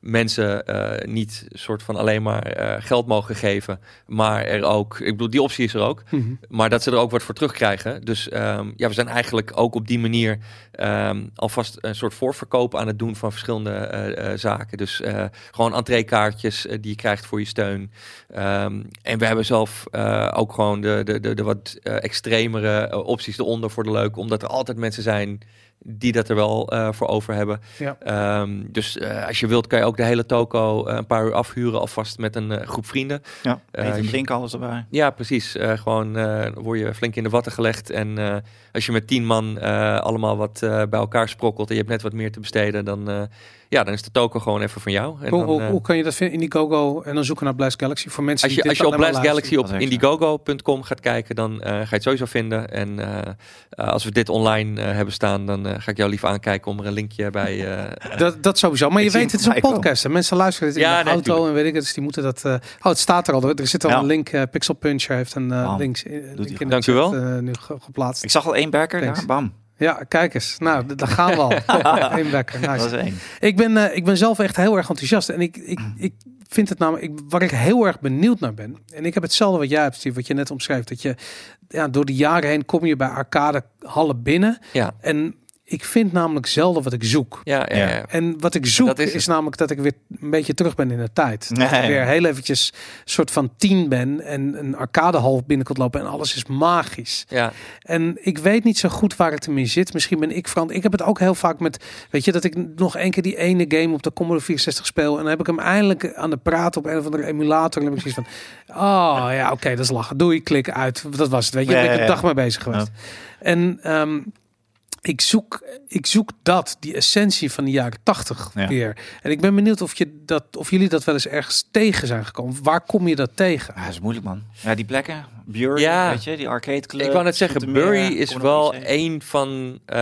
Speaker 3: mensen eh, niet soort van alleen maar eh, geld mogen geven, maar er ook, ik bedoel, die optie is er ook,
Speaker 2: Mhm.
Speaker 3: maar dat ze er ook wat voor terugkrijgen. Dus ehm, ja, we zijn eigenlijk ook op die manier ehm, alvast een soort voorverkoop aan het doen van verschillende eh, eh, zaken. Dus eh, gewoon entreekaartjes eh, die je krijgt voor je steun. Ehm, en we hebben zelf eh, ook gewoon de, de, de, de wat eh, extremere eh, opties eronder voor de leuk, omdat er altijd mensen zijn die dat er wel eh, voor over hebben.
Speaker 2: Ja.
Speaker 3: Ehm, dus eh, als je wilt kan je ook de hele toko eh, een paar uur afhuren alvast met een eh, groep vrienden.
Speaker 4: Ja,
Speaker 3: Eh,
Speaker 4: eten,
Speaker 3: je-
Speaker 4: drinken, alles erbij.
Speaker 3: Ja, precies. Eh, gewoon eh, word je flink in de watten gelegd. En eh, als je met tien man eh, allemaal wat eh, bij elkaar sprokkelt en je hebt net wat meer te besteden, dan, eh, ja, dan is de token gewoon even van jou. En
Speaker 2: Hoe,
Speaker 3: dan,
Speaker 2: hoe,
Speaker 3: eh,
Speaker 2: hoe kan je dat vinden? Indiegogo en dan zoeken naar Blast Galaxy voor mensen
Speaker 3: als
Speaker 2: die
Speaker 3: je, als
Speaker 2: dit
Speaker 3: je op
Speaker 2: alleen
Speaker 3: Blast
Speaker 2: maar
Speaker 3: Galaxy op
Speaker 4: Dat is echt,
Speaker 3: indiegogo.com gaat kijken, dan eh, ga je het sowieso vinden. En eh, eh, als we dit online eh, hebben staan, dan eh, ga ik jou lief aankijken om er een linkje bij. eh,
Speaker 2: luisteren. Dat, dat sowieso. Maar je
Speaker 4: Ik zie
Speaker 2: weet, het
Speaker 4: hem
Speaker 2: is een
Speaker 4: gelijk wel.
Speaker 2: podcast. En mensen luisteren dit in
Speaker 3: Ja,
Speaker 2: de
Speaker 3: nee,
Speaker 2: auto
Speaker 3: tuurlijk.
Speaker 2: en weet ik het. Dus die moeten dat... eh, oh, het staat er al. Er zit al
Speaker 4: Ja.
Speaker 2: een link. eh, Pixel Puncher heeft een eh,
Speaker 4: Wauw.
Speaker 2: links, eh, link in
Speaker 4: goed.
Speaker 2: de
Speaker 3: Dank u wel.
Speaker 2: chat, eh, nu ge- geplaatst.
Speaker 4: Ik zag al één berker,
Speaker 2: Thanks.
Speaker 4: daar, bam.
Speaker 2: Ja, kijk eens. Nou, d- daar gaan we al. Eén wekker. Nice.
Speaker 4: Dat is één.
Speaker 2: Ik ben, eh, ik ben zelf echt heel erg enthousiast. En ik, ik, ik vind het namelijk, ik, waar ik heel erg benieuwd naar ben. En ik heb hetzelfde wat jij hebt, Steve, wat je net omschrijft. Dat je ja, door de jaren heen kom je bij arcade hallen binnen.
Speaker 3: ja,
Speaker 2: En ik vind namelijk zelden wat ik zoek.
Speaker 3: ja, ja.
Speaker 4: Ja.
Speaker 3: ja.
Speaker 2: En wat ik zoek
Speaker 3: Dat is
Speaker 2: is,
Speaker 3: het.
Speaker 2: namelijk dat ik weer een beetje terug ben in de tijd. Dat
Speaker 4: Nee.
Speaker 2: ik weer heel eventjes soort van tien ben en een arcadehal binnen kunt lopen en alles is magisch.
Speaker 3: ja.
Speaker 2: En ik weet niet zo goed waar het ermee zit. Misschien ben ik verant. Ik heb het ook heel vaak met, weet je, dat ik nog één keer die ene game op de Commodore 64 speel. En dan heb ik hem eindelijk aan de praat op een of andere emulator. En dan heb ik zoiets van, oh ja, oké, dat is lachen. Doei, klik uit. Dat was het, weet je. Daar ben ik
Speaker 4: Ja,
Speaker 2: een
Speaker 4: ja,
Speaker 2: dag mee bezig geweest. En ehm, ik zoek, ik zoek dat, die essentie van de jaren tachtig
Speaker 4: Ja.
Speaker 2: weer. En ik ben benieuwd of, je dat, of jullie dat wel eens ergens tegen zijn gekomen. Waar kom je dat tegen?
Speaker 4: Ja, dat is moeilijk, man. Ja, die plekken. Bury,
Speaker 3: Ja.
Speaker 4: weet je, die arcade club.
Speaker 3: Ik wou net zeggen,
Speaker 4: Zoetermeer,
Speaker 3: Bury is wel
Speaker 4: Commodore PC.
Speaker 3: een van eh,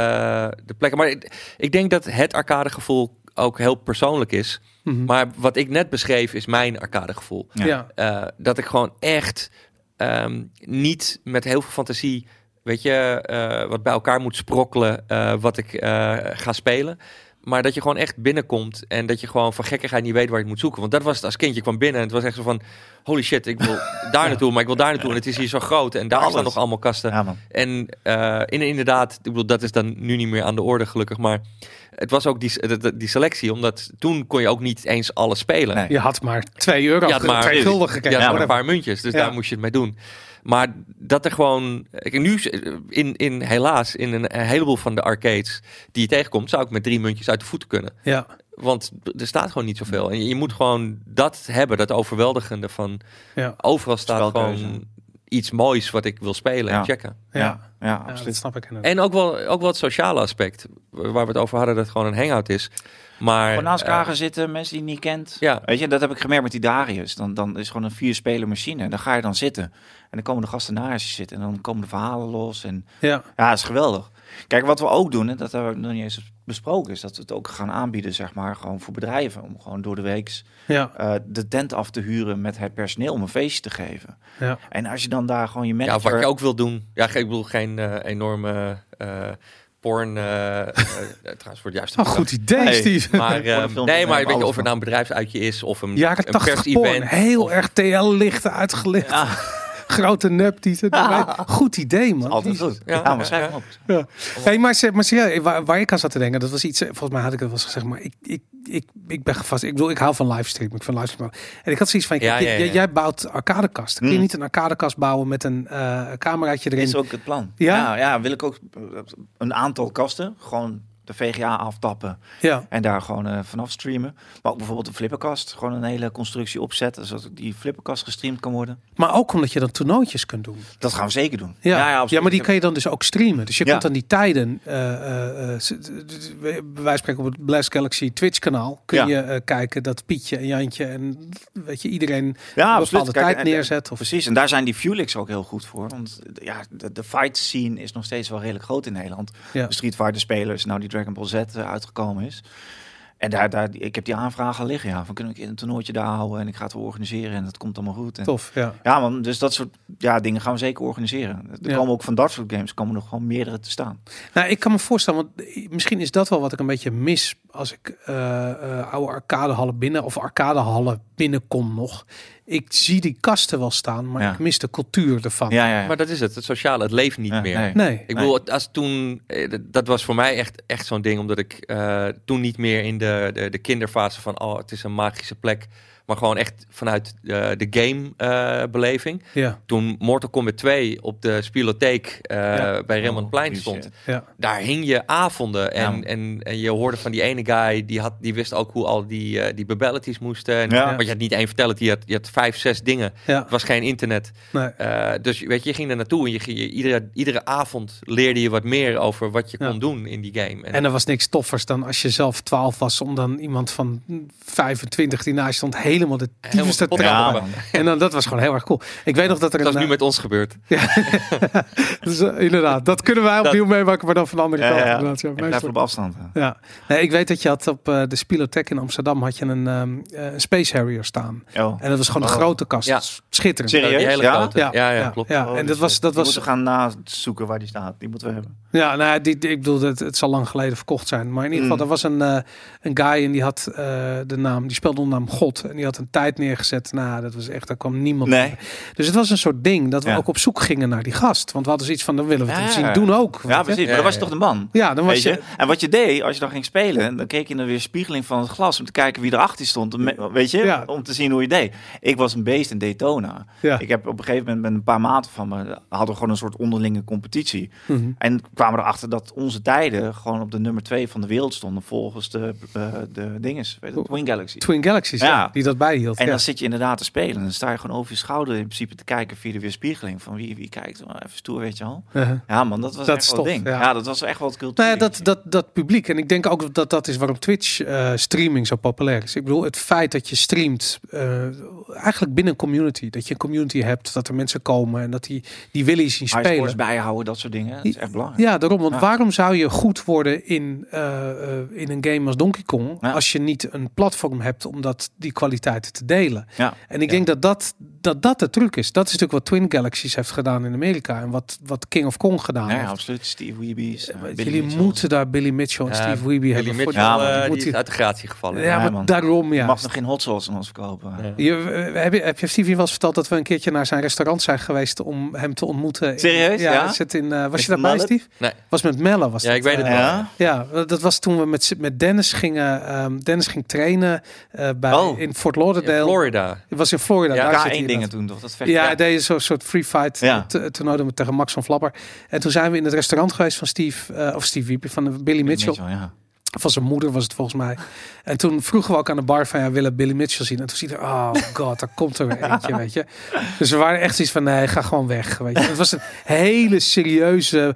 Speaker 3: de plekken. Maar ik, ik denk dat het arcadegevoel ook heel persoonlijk is.
Speaker 2: Mhm.
Speaker 4: Hm.
Speaker 3: Maar wat ik net beschreef is mijn arcadegevoel.
Speaker 4: Ja.
Speaker 2: ja.
Speaker 3: Eh, dat ik gewoon echt ehm, niet met heel veel fantasie, weet je, eh, wat bij elkaar moet sprokkelen, eh, wat ik eh, ga spelen. Maar dat je gewoon echt binnenkomt en dat je gewoon van gekkigheid niet weet waar je het moet zoeken. Want dat was het als kindje kwam binnen en het was echt zo van, holy shit, ik wil daar naartoe, maar ik wil daar naartoe. En het is hier zo groot en daar staan
Speaker 4: Alles.
Speaker 3: nog allemaal kasten.
Speaker 4: Ja, man.
Speaker 3: En eh, in, inderdaad, ik bedoel, dat is dan nu niet meer aan de orde gelukkig. Maar het was ook die, s- dat- dat- die selectie, omdat toen kon je ook niet eens alles spelen.
Speaker 4: Nee.
Speaker 2: Je had maar 2 euro,
Speaker 3: Je
Speaker 2: ja,
Speaker 3: had maar-
Speaker 2: twee gulden
Speaker 3: Je
Speaker 2: gekregen.
Speaker 3: had maar
Speaker 2: whatever.
Speaker 3: een paar muntjes, dus
Speaker 2: Ja.
Speaker 3: daar moest je het mee doen. Maar dat er gewoon... Kijk, nu is- in, in, helaas, in een, een heleboel van de arcades die je tegenkomt... zou ik met drie muntjes uit de voeten kunnen.
Speaker 2: Ja,
Speaker 3: Want er staat gewoon niet zoveel. En je, je moet gewoon dat hebben, dat overweldigende van...
Speaker 2: ja,
Speaker 3: Overal staat
Speaker 4: Spelkeuze.
Speaker 3: gewoon iets moois wat ik wil spelen en
Speaker 4: Ja.
Speaker 3: checken.
Speaker 2: ja.
Speaker 4: Ja, ja,
Speaker 2: Ja,
Speaker 4: absoluut.
Speaker 2: dat snap ik inderdaad.
Speaker 3: En ook wel, ook wel het sociale aspect. Waar we het over hadden, dat het gewoon een hangout is. Maar,
Speaker 4: Gewoon naast elkaar
Speaker 3: eh,
Speaker 4: gaan zitten, mensen die je niet kent.
Speaker 3: ja,
Speaker 4: Weet je, dat heb ik gemerkt met die Darius. Dan, dan is gewoon een vier-speler machine. Dan ga je dan zitten. En dan komen de gasten naast je zitten. En dan komen de verhalen los. En
Speaker 2: Ja,
Speaker 4: ja, dat is geweldig. Kijk, wat we ook doen, en dat hebben we nog niet eens besproken, is dat we het ook gaan aanbieden, zeg maar, gewoon voor bedrijven. Om gewoon door de week
Speaker 2: ja,
Speaker 4: eh, de tent af te huren met het personeel om een feestje te geven.
Speaker 2: ja.
Speaker 4: En als je dan daar gewoon je
Speaker 3: ja, of
Speaker 4: manager...
Speaker 3: wat je ook wil doen. Ja, ge- ik bedoel, geen eh, enorme eh, porn... eh, eh, trouwens, voor het juiste
Speaker 2: Oh, goed idee,
Speaker 4: Hey.
Speaker 2: Steve.
Speaker 3: Maar, eh,
Speaker 4: Pornofilms
Speaker 3: nee, maar
Speaker 4: hebben
Speaker 3: weet je,
Speaker 4: alles
Speaker 3: of het nou een bedrijfsuitje is of een,
Speaker 2: Jaren
Speaker 3: een
Speaker 2: 80 porn.
Speaker 3: pers-event.
Speaker 2: Heel erg TL-lichten uitgelicht. Grote neptieten. erbij. Goed idee, man.
Speaker 4: Altijd
Speaker 2: Jezus.
Speaker 4: goed.
Speaker 3: Ja,
Speaker 4: Ja,
Speaker 3: ja,
Speaker 4: maar schrijf hem op.
Speaker 2: Ja. Hey, maar, se- maar serieus, waar, waar ik aan zat te denken, dat was iets. eh, Volgens mij had ik het wel eens gezegd, maar ik, ik, ik, ik ben gevast. Ik bedoel, ik hou van livestream. Ik van livestream. En ik had zoiets van:
Speaker 3: Ja,
Speaker 2: kijk,
Speaker 3: ja,
Speaker 2: jij-
Speaker 3: ja.
Speaker 2: jij bouwt arcadekast. Kun je
Speaker 4: Hmm.
Speaker 2: niet een arcadekast bouwen met een eh cameraatje erin?
Speaker 4: Is ook het plan. Nou
Speaker 2: Ja?
Speaker 4: ja, ja, wil ik ook eh, een aantal kasten. Gewoon de VGA aftappen
Speaker 2: Ja.
Speaker 4: en daar gewoon eh, vanaf streamen. Maar ook bijvoorbeeld een flipperkast, gewoon een hele constructie opzetten, zodat die flipperkast gestreamd kan worden.
Speaker 2: Maar ook omdat je dan toernooitjes kunt doen.
Speaker 4: Dat gaan we zeker doen.
Speaker 2: Ja, ja,
Speaker 4: absoluut.
Speaker 2: maar die kan je dan dus ook streamen. Dus je
Speaker 4: Ja.
Speaker 2: kunt dan die tijden, eh, eh, eh, z- d- d- d- bij wijze van spreken op het Blast Galaxy Twitch kanaal, kun
Speaker 4: Ja.
Speaker 2: je eh, kijken dat Pietje en Jantje en weet je, iedereen
Speaker 4: ja,
Speaker 2: een
Speaker 4: absoluut.
Speaker 2: bepaalde
Speaker 4: Kijk,
Speaker 2: tijd
Speaker 4: en-
Speaker 2: neerzet. Of,
Speaker 4: Precies, en daar zijn die Fuelix ook heel goed voor. Want eh, ja, de, de fight scene is nog steeds wel redelijk groot in Nederland.
Speaker 2: ja.
Speaker 4: De Street Fighter spelers, nou die Dragon Ball Z eh, uitgekomen is. En daar, daar, ik heb die aanvragen al liggen. Ja, van kunnen we een keer een toernooitje daar houden en ik ga het wel organiseren en dat komt allemaal goed. En,
Speaker 2: Tof, ja.
Speaker 4: Ja, man, dus dat soort ja, dingen gaan we zeker organiseren. Er
Speaker 2: Ja.
Speaker 4: komen ook van dat soort games komen nog gewoon meerdere te staan.
Speaker 2: Nou, ik kan me voorstellen, want misschien is dat wel wat ik een beetje mis als ik eh, eh, oude arcadehallen binnen of arcadehallen binnenkom nog. Ik zie die kasten wel staan, maar
Speaker 4: Ja.
Speaker 2: ik mis de cultuur ervan.
Speaker 4: Ja, ja, ja.
Speaker 3: Maar dat is het, het sociale, het leeft niet
Speaker 4: Ja,
Speaker 3: meer.
Speaker 4: nee.
Speaker 2: Nee.
Speaker 3: Ik bedoel, het- als toen, eh, dat- dat was voor mij echt, echt zo'n ding, omdat ik eh, toen niet meer in de, de, de kinderfase van, oh, het is een magische plek, maar gewoon echt vanuit eh, de game-beleving.
Speaker 2: Ja,
Speaker 3: toen Mortal Kombat 2 op de spielotheek eh,
Speaker 2: Ja.
Speaker 3: bij Rembrandtplein
Speaker 4: Oh,
Speaker 3: stond,
Speaker 4: shit.
Speaker 2: ja.
Speaker 3: daar hing je avonden en,
Speaker 4: Ja.
Speaker 3: en, en je hoorde van die ene guy, die, had, die wist ook hoe al die, eh, die babellities moesten. En,
Speaker 4: Ja.
Speaker 3: Want je had niet één vertellen, je had, je had vijf, zes dingen.
Speaker 2: ja.
Speaker 3: Het was geen internet.
Speaker 2: Nee.
Speaker 3: Eh, dus weet je, je ging er naartoe en je, ging- je, iedere, iedere avond leerde je wat meer over wat je
Speaker 2: Ja.
Speaker 3: kon doen in die game. En,
Speaker 2: En er was niks toffers dan als je zelf 12 was, om dan iemand van 25 die naast je stond helemaal de
Speaker 3: Helemaal
Speaker 2: tyfus te
Speaker 3: kapot
Speaker 2: trappen.
Speaker 4: Ja,
Speaker 3: Ja,
Speaker 4: man.
Speaker 2: En dan, dat was gewoon heel erg cool. Ik weet nog dat er
Speaker 3: dat is
Speaker 2: een,
Speaker 3: nu met ons gebeurd. Eh,
Speaker 2: dus, eh, inderdaad, dat kunnen wij opnieuw meemaken, maar dan van de andere
Speaker 4: Ja,
Speaker 2: kant.
Speaker 4: ja.
Speaker 2: inderdaad, ja.
Speaker 4: En
Speaker 2: Meestal-
Speaker 4: blijf op afstand. hè.
Speaker 2: Ja, nee, ik weet dat je had op eh, de Spielotheek in Amsterdam had je een ehm, eh, een Space Harrier staan.
Speaker 4: Oh.
Speaker 2: En dat was gewoon een
Speaker 3: Oh.
Speaker 2: grote kast.
Speaker 3: Ja.
Speaker 2: Schitterend.
Speaker 4: Serieus?
Speaker 3: Die hele
Speaker 4: Ja?
Speaker 3: grote. Ja, ja, klopt.
Speaker 2: Ja.
Speaker 4: Oh,
Speaker 2: en dat
Speaker 4: dus,
Speaker 2: was,
Speaker 4: eh,
Speaker 2: dat
Speaker 4: die
Speaker 2: was
Speaker 4: moeten we gaan nazoeken waar die staat. Die moeten we hebben.
Speaker 2: ja, nou, ja, die, die- ik bedoel, het, het zal lang geleden verkocht zijn. Maar in ieder geval,
Speaker 4: Mm.
Speaker 2: er was een, eh, een guy en die had eh, de naam, die speelde onder naam God. En die had een tijd neergezet. Nou, dat was echt, daar kwam niemand.
Speaker 4: Nee.
Speaker 2: Dus het was een soort ding dat we
Speaker 4: Ja.
Speaker 2: ook op zoek gingen naar die gast. Want we hadden zoiets van, dan willen we het
Speaker 4: Ja.
Speaker 2: zien doen ook. weet
Speaker 4: Ja,
Speaker 2: je.
Speaker 4: precies. Maar dan was je toch de man?
Speaker 2: Ja, dan was
Speaker 4: Weet
Speaker 2: je,
Speaker 4: je? En wat je deed, als je dan ging spelen, dan keek je naar weer spiegeling van het glas om te kijken wie erachter stond. om- Weet je?
Speaker 2: Ja.
Speaker 4: Om te zien hoe je deed. Ik was een beest in Daytona.
Speaker 2: Ja.
Speaker 4: Ik heb op een gegeven moment met een paar maten van me, hadden we gewoon een soort onderlinge competitie.
Speaker 2: Mhm.
Speaker 4: En kwamen erachter dat onze tijden gewoon op de nummer twee van de wereld stonden volgens de, eh, de dinges, weet je, Twin Galaxy.
Speaker 2: Twin Galaxies, ja.
Speaker 4: Ja.
Speaker 2: die dat bijhield.
Speaker 4: En
Speaker 2: ja.
Speaker 4: dan zit je inderdaad te spelen. En dan sta je gewoon over je schouder in principe te kijken via de weerspiegeling. Van wie, wie kijkt. Oh, Even stoer, weet je al.
Speaker 2: Uh-huh.
Speaker 4: Ja man, dat was
Speaker 2: Dat
Speaker 4: echt
Speaker 2: is
Speaker 4: wel
Speaker 2: tof,
Speaker 4: het ding.
Speaker 2: ja.
Speaker 4: Ja. dat was echt wel het cultuur.
Speaker 2: Nou ja, dat, dat, dat publiek. En ik denk ook dat dat is waarom Twitch eh, streaming zo populair is. Ik bedoel, het feit dat je streamt, eh, eigenlijk binnen een community. Dat je een community hebt, dat er mensen komen en dat die, die willen je zien
Speaker 4: High
Speaker 2: spelen.
Speaker 4: scores bijhouden, dat soort dingen. Dat is echt belangrijk.
Speaker 2: Ja, daarom. Want
Speaker 4: Ja.
Speaker 2: waarom zou je goed worden in, eh, eh, in een game als Donkey Kong...
Speaker 4: Ja.
Speaker 2: als je niet een platform hebt om dat, die kwaliteiten te delen?
Speaker 4: Ja.
Speaker 2: En ik denk dat dat, dat dat de truc is. Dat is natuurlijk wat Twin Galaxies heeft gedaan in Amerika... en wat, wat King of Kong gedaan
Speaker 4: Ja, ja,
Speaker 2: heeft.
Speaker 4: absoluut. Steve Weebies. eh,
Speaker 2: Maar
Speaker 4: Billy
Speaker 2: jullie
Speaker 4: Mitchell.
Speaker 2: moeten daar Billy Mitchell en
Speaker 3: Ja,
Speaker 2: Steve Weeby
Speaker 3: Billy
Speaker 2: hebben voor
Speaker 3: Mitchell,
Speaker 4: Ja, man,
Speaker 3: eh,
Speaker 2: die
Speaker 3: die
Speaker 2: moet
Speaker 3: is
Speaker 2: hij-
Speaker 3: uit de gratie gevallen.
Speaker 2: ja,
Speaker 4: Ja,
Speaker 2: maar
Speaker 4: man.
Speaker 2: daarom ja.
Speaker 4: mag nog geen hot sauce aan ons verkopen.
Speaker 3: Ja.
Speaker 2: Je, eh, heb, je, heb je Stevie wel eens verteld dat we een keertje naar zijn restaurant zijn geweest om hem te ontmoeten? In-
Speaker 4: Serieus?
Speaker 2: Ja,
Speaker 4: Ja?
Speaker 2: het zit in, eh, was je
Speaker 4: Met
Speaker 2: daarbij,
Speaker 4: Mallet?
Speaker 2: Steve?
Speaker 3: Nee.
Speaker 2: Was met Melle. Was
Speaker 3: Ja,
Speaker 2: dat,
Speaker 3: ik weet het
Speaker 2: eh,
Speaker 3: wel.
Speaker 4: Ja?
Speaker 2: ja, dat dat was toen we met, met Dennis gingen. ehm, Dennis ging trainen eh, bij,
Speaker 4: Oh.
Speaker 2: in Fort
Speaker 3: In
Speaker 2: Lauderdale.
Speaker 3: Florida.
Speaker 2: Het was in Florida.
Speaker 3: Ja,
Speaker 2: daar zit hij
Speaker 4: K1 dingen
Speaker 2: inderdaad.
Speaker 4: toen toch? Dat vecht.
Speaker 2: Ja, hij deed zo'n soort free fight
Speaker 4: Ja.
Speaker 2: to- toernooi doen we tegen Max van Flapper. En toen zijn we in het restaurant geweest van Steve, eh, of Steve Wiebe, van eh, Billy Mitchell.
Speaker 4: ja.
Speaker 2: Van zijn moeder was het volgens mij. En toen vroegen we ook aan de bar van, ja, we willen Billy Mitchell zien? En toen ziet hij, oh god, daar komt er weer eentje, weet je. Dus we waren echt iets van, nee, ga gewoon weg, weet je. Het was een hele serieuze,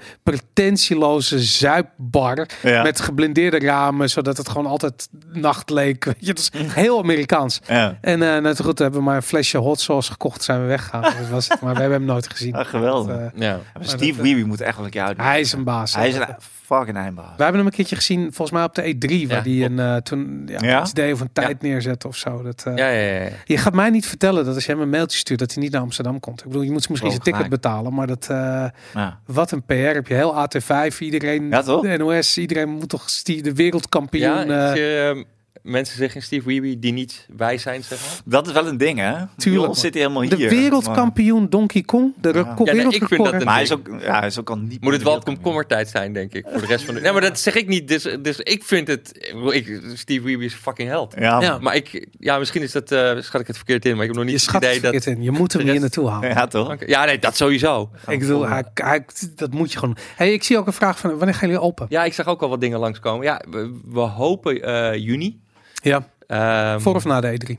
Speaker 2: pretentieloze zuipbar
Speaker 4: Ja.
Speaker 2: met geblindeerde ramen, zodat het gewoon altijd nacht leek, weet je. Het
Speaker 4: Mm.
Speaker 2: was heel Amerikaans.
Speaker 4: ja.
Speaker 2: En eh nou, goed, we hebben maar een flesje hot sauce gekocht, zijn we weggegaan. Dat was het, maar we hebben hem nooit gezien.
Speaker 4: Ah, geweldig.
Speaker 2: Eh,
Speaker 3: Ja.
Speaker 4: Maar Steve Weeby moet echt wel een keer uit.
Speaker 2: hij is een baas.
Speaker 4: Hij is een fucking eindbaas.
Speaker 2: We hebben hem een keertje gezien, volgens mij op de E3, waar
Speaker 3: Ja,
Speaker 2: die
Speaker 3: klopt.
Speaker 2: een eh, toen ja,
Speaker 4: Ja?
Speaker 2: iets deed of een tijd neerzette of zo. Dat, eh,
Speaker 3: Ja, ja, ja.
Speaker 2: Je gaat mij niet vertellen dat als je hem een mailtje stuurt dat hij niet naar Amsterdam komt. Ik bedoel, je moet misschien
Speaker 4: Oh,
Speaker 2: zijn ticket
Speaker 4: gelijk.
Speaker 2: betalen, maar dat eh,
Speaker 4: Ja.
Speaker 2: wat een PR heb je heel AT5, iedereen,
Speaker 4: Ja, toch?
Speaker 2: de NOS, iedereen moet toch die de wereldkampioen.
Speaker 3: Ja,
Speaker 2: eh,
Speaker 3: ik, ehm, mensen zich in Steve Weeby die niet wij zijn, zeg maar?
Speaker 4: Dat is wel een ding, hè?
Speaker 2: Tuurlijk,
Speaker 4: Ons zit hij helemaal
Speaker 2: De
Speaker 4: hier.
Speaker 2: wereldkampioen Donkey Kong. De
Speaker 4: Ja.
Speaker 2: reco-
Speaker 4: Ja, nee, ik
Speaker 2: wereldrecord.
Speaker 3: vind dat een-
Speaker 4: Maar hij is ook, ja, hij is ook al niet.
Speaker 3: Moet het wel komkommertijd zijn, denk ik, voor de rest van de... Nee, maar dat zeg ik niet, dus, dus ik vind het... ik bedoel, Ik, Steve Weeby is fucking held.
Speaker 4: Ja,
Speaker 2: Ja.
Speaker 4: ja.
Speaker 3: Maar ik, ja, misschien is dat, eh, schat ik het verkeerd in, maar ik heb nog
Speaker 2: je
Speaker 3: niet het
Speaker 2: schat het
Speaker 3: idee dat...
Speaker 2: verkeerd in. Je moet hem
Speaker 3: de
Speaker 2: hier
Speaker 3: rest-
Speaker 2: naartoe halen.
Speaker 4: toch?
Speaker 3: Oké, Ja, nee, dat sowieso.
Speaker 2: Ik bedoel, hij, hij- dat moet je gewoon. Hey, ik zie ook een vraag van wanneer gaan jullie open?
Speaker 3: Ja, ik zag ook al wat dingen langskomen. Ja, we, we hopen eh, juni.
Speaker 2: Ja,
Speaker 3: Ehm,
Speaker 2: voor of na de E E3.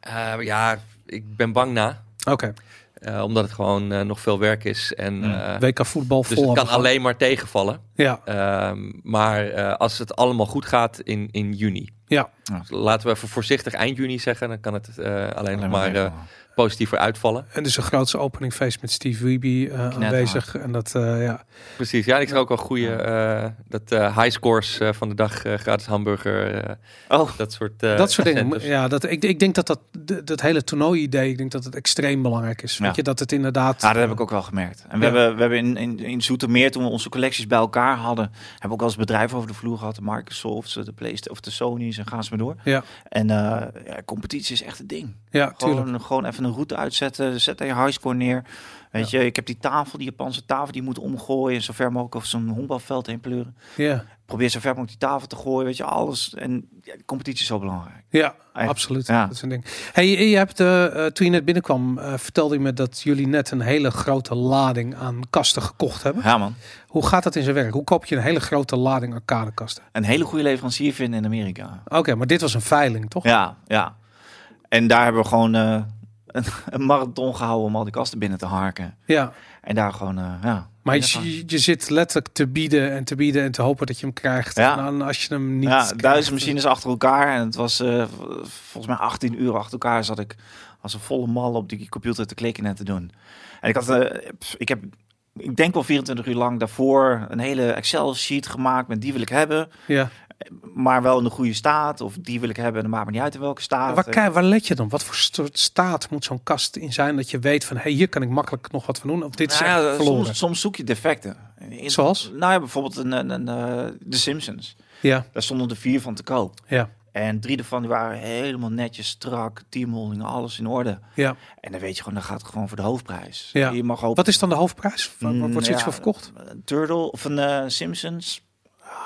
Speaker 3: eh, ja, ik ben bang na.
Speaker 2: Oké,
Speaker 3: Eh, omdat het gewoon eh, nog veel werk is. En, eh,
Speaker 2: WK voetbal
Speaker 3: dus
Speaker 2: vol.
Speaker 3: het kan
Speaker 2: hebben.
Speaker 3: alleen maar tegenvallen.
Speaker 2: Ja,
Speaker 3: Ehm, maar eh, als het allemaal goed gaat in, in juni.
Speaker 2: ja.
Speaker 3: Dus laten we even voorzichtig eind juni zeggen. Dan kan het eh, alleen, nog maar eh,
Speaker 4: meevallen.
Speaker 3: positiever uitvallen.
Speaker 2: En dus een grootste openingfeest met Steve Wiebe eh, aanwezig. En dat, eh, ja.
Speaker 3: Precies. Ja, en ik zag ook wel goede eh, dat eh high scores eh, van de dag eh, gratis hamburger. eh,
Speaker 4: Oh,
Speaker 3: dat soort, eh,
Speaker 2: dat soort dingen.
Speaker 4: dus-
Speaker 3: centers.
Speaker 2: Ja, dat, ik, ik denk dat dat, d- dat hele toernooi-idee, ik denk dat het extreem belangrijk is.
Speaker 4: Ja.
Speaker 2: Weet je, dat het inderdaad...
Speaker 4: ja, Ah, dat heb ik ook wel gemerkt. En we
Speaker 2: Ja.
Speaker 4: hebben, we hebben in, in, in Zoetermeer, toen we onze collecties bij elkaar hadden, hebben we ook als bedrijf over de vloer gehad. De Microsofts, de Playstation of de Sony's en gaan ze maar door.
Speaker 2: Ja,
Speaker 4: En eh, ja, competitie is echt een ding.
Speaker 2: ja tuurlijk.
Speaker 4: Gewoon, gewoon even een route uitzetten. Zet daar je highscore neer. Weet je, ik heb die tafel, die Japanse tafel, die moet omgooien. Zo ver mogelijk over zo'n honkbalveld heen pleuren.
Speaker 2: Ja,
Speaker 4: Probeer zo ver mogelijk die tafel te gooien. Weet je, alles. En ja, de competitie is zo belangrijk.
Speaker 2: ja
Speaker 4: Echt.
Speaker 2: absoluut.
Speaker 4: Ja.
Speaker 2: Dat is een ding. Hey, je hebt, eh, eh, toen je net binnenkwam, eh, vertelde je me dat jullie net een hele grote lading aan kasten gekocht hebben.
Speaker 4: Ja, man.
Speaker 2: Hoe gaat dat in zijn werk? Hoe koop je een hele grote lading arcadekasten?
Speaker 4: Een hele goede leverancier vinden in Amerika.
Speaker 2: Oké, maar dit was een veiling, toch?
Speaker 4: Ja, ja. En daar hebben we gewoon eh, een, een marathon gehouden om al die kasten binnen te harken.
Speaker 2: Ja.
Speaker 4: En daar gewoon, eh, ja.
Speaker 2: Maar
Speaker 4: Ja,
Speaker 2: je, je zit letterlijk te bieden en te bieden en te hopen dat je hem krijgt.
Speaker 4: Ja.
Speaker 2: En dan als je hem niet
Speaker 4: ja,
Speaker 2: krijgt-
Speaker 4: duizend machines achter elkaar. En het was eh, v- volgens mij 18 uur achter elkaar zat ik als een volle mal op die computer te klikken en te doen. En ik had, eh, pff, ik heb, ik denk wel 24 uur lang daarvoor een hele Excel-sheet gemaakt met die wil ik hebben,
Speaker 2: Ja.
Speaker 4: maar wel in de goede staat. Of die wil ik hebben en dan maakt me niet uit in welke staat. Eh,
Speaker 2: Waar, kei- waar let je dan? Wat voor soort staat moet zo'n kast in zijn dat je weet van... hé, hey, hier kan ik makkelijk nog wat van doen. Of dit is
Speaker 4: Nou ja,
Speaker 2: echt verloren.
Speaker 4: soms, soms zoek je defecten. In-
Speaker 2: Zoals?
Speaker 4: Nou ja, bijvoorbeeld een, een, een, eh, The Simpsons.
Speaker 2: Ja,
Speaker 4: Daar stonden er vier van te koop.
Speaker 2: ja,
Speaker 4: En drie ervan die waren helemaal netjes, strak, teamholding, alles in orde.
Speaker 2: ja.
Speaker 4: En dan weet je gewoon, dan gaat het gewoon voor de hoofdprijs.
Speaker 2: Ja.
Speaker 4: Je mag hopen.
Speaker 2: Wat is dan de hoofdprijs? Waar, waar
Speaker 4: Mm,
Speaker 2: wordt zoiets
Speaker 4: ja,
Speaker 2: voor verkocht?
Speaker 4: Een Turtle of een eh, Simpsons,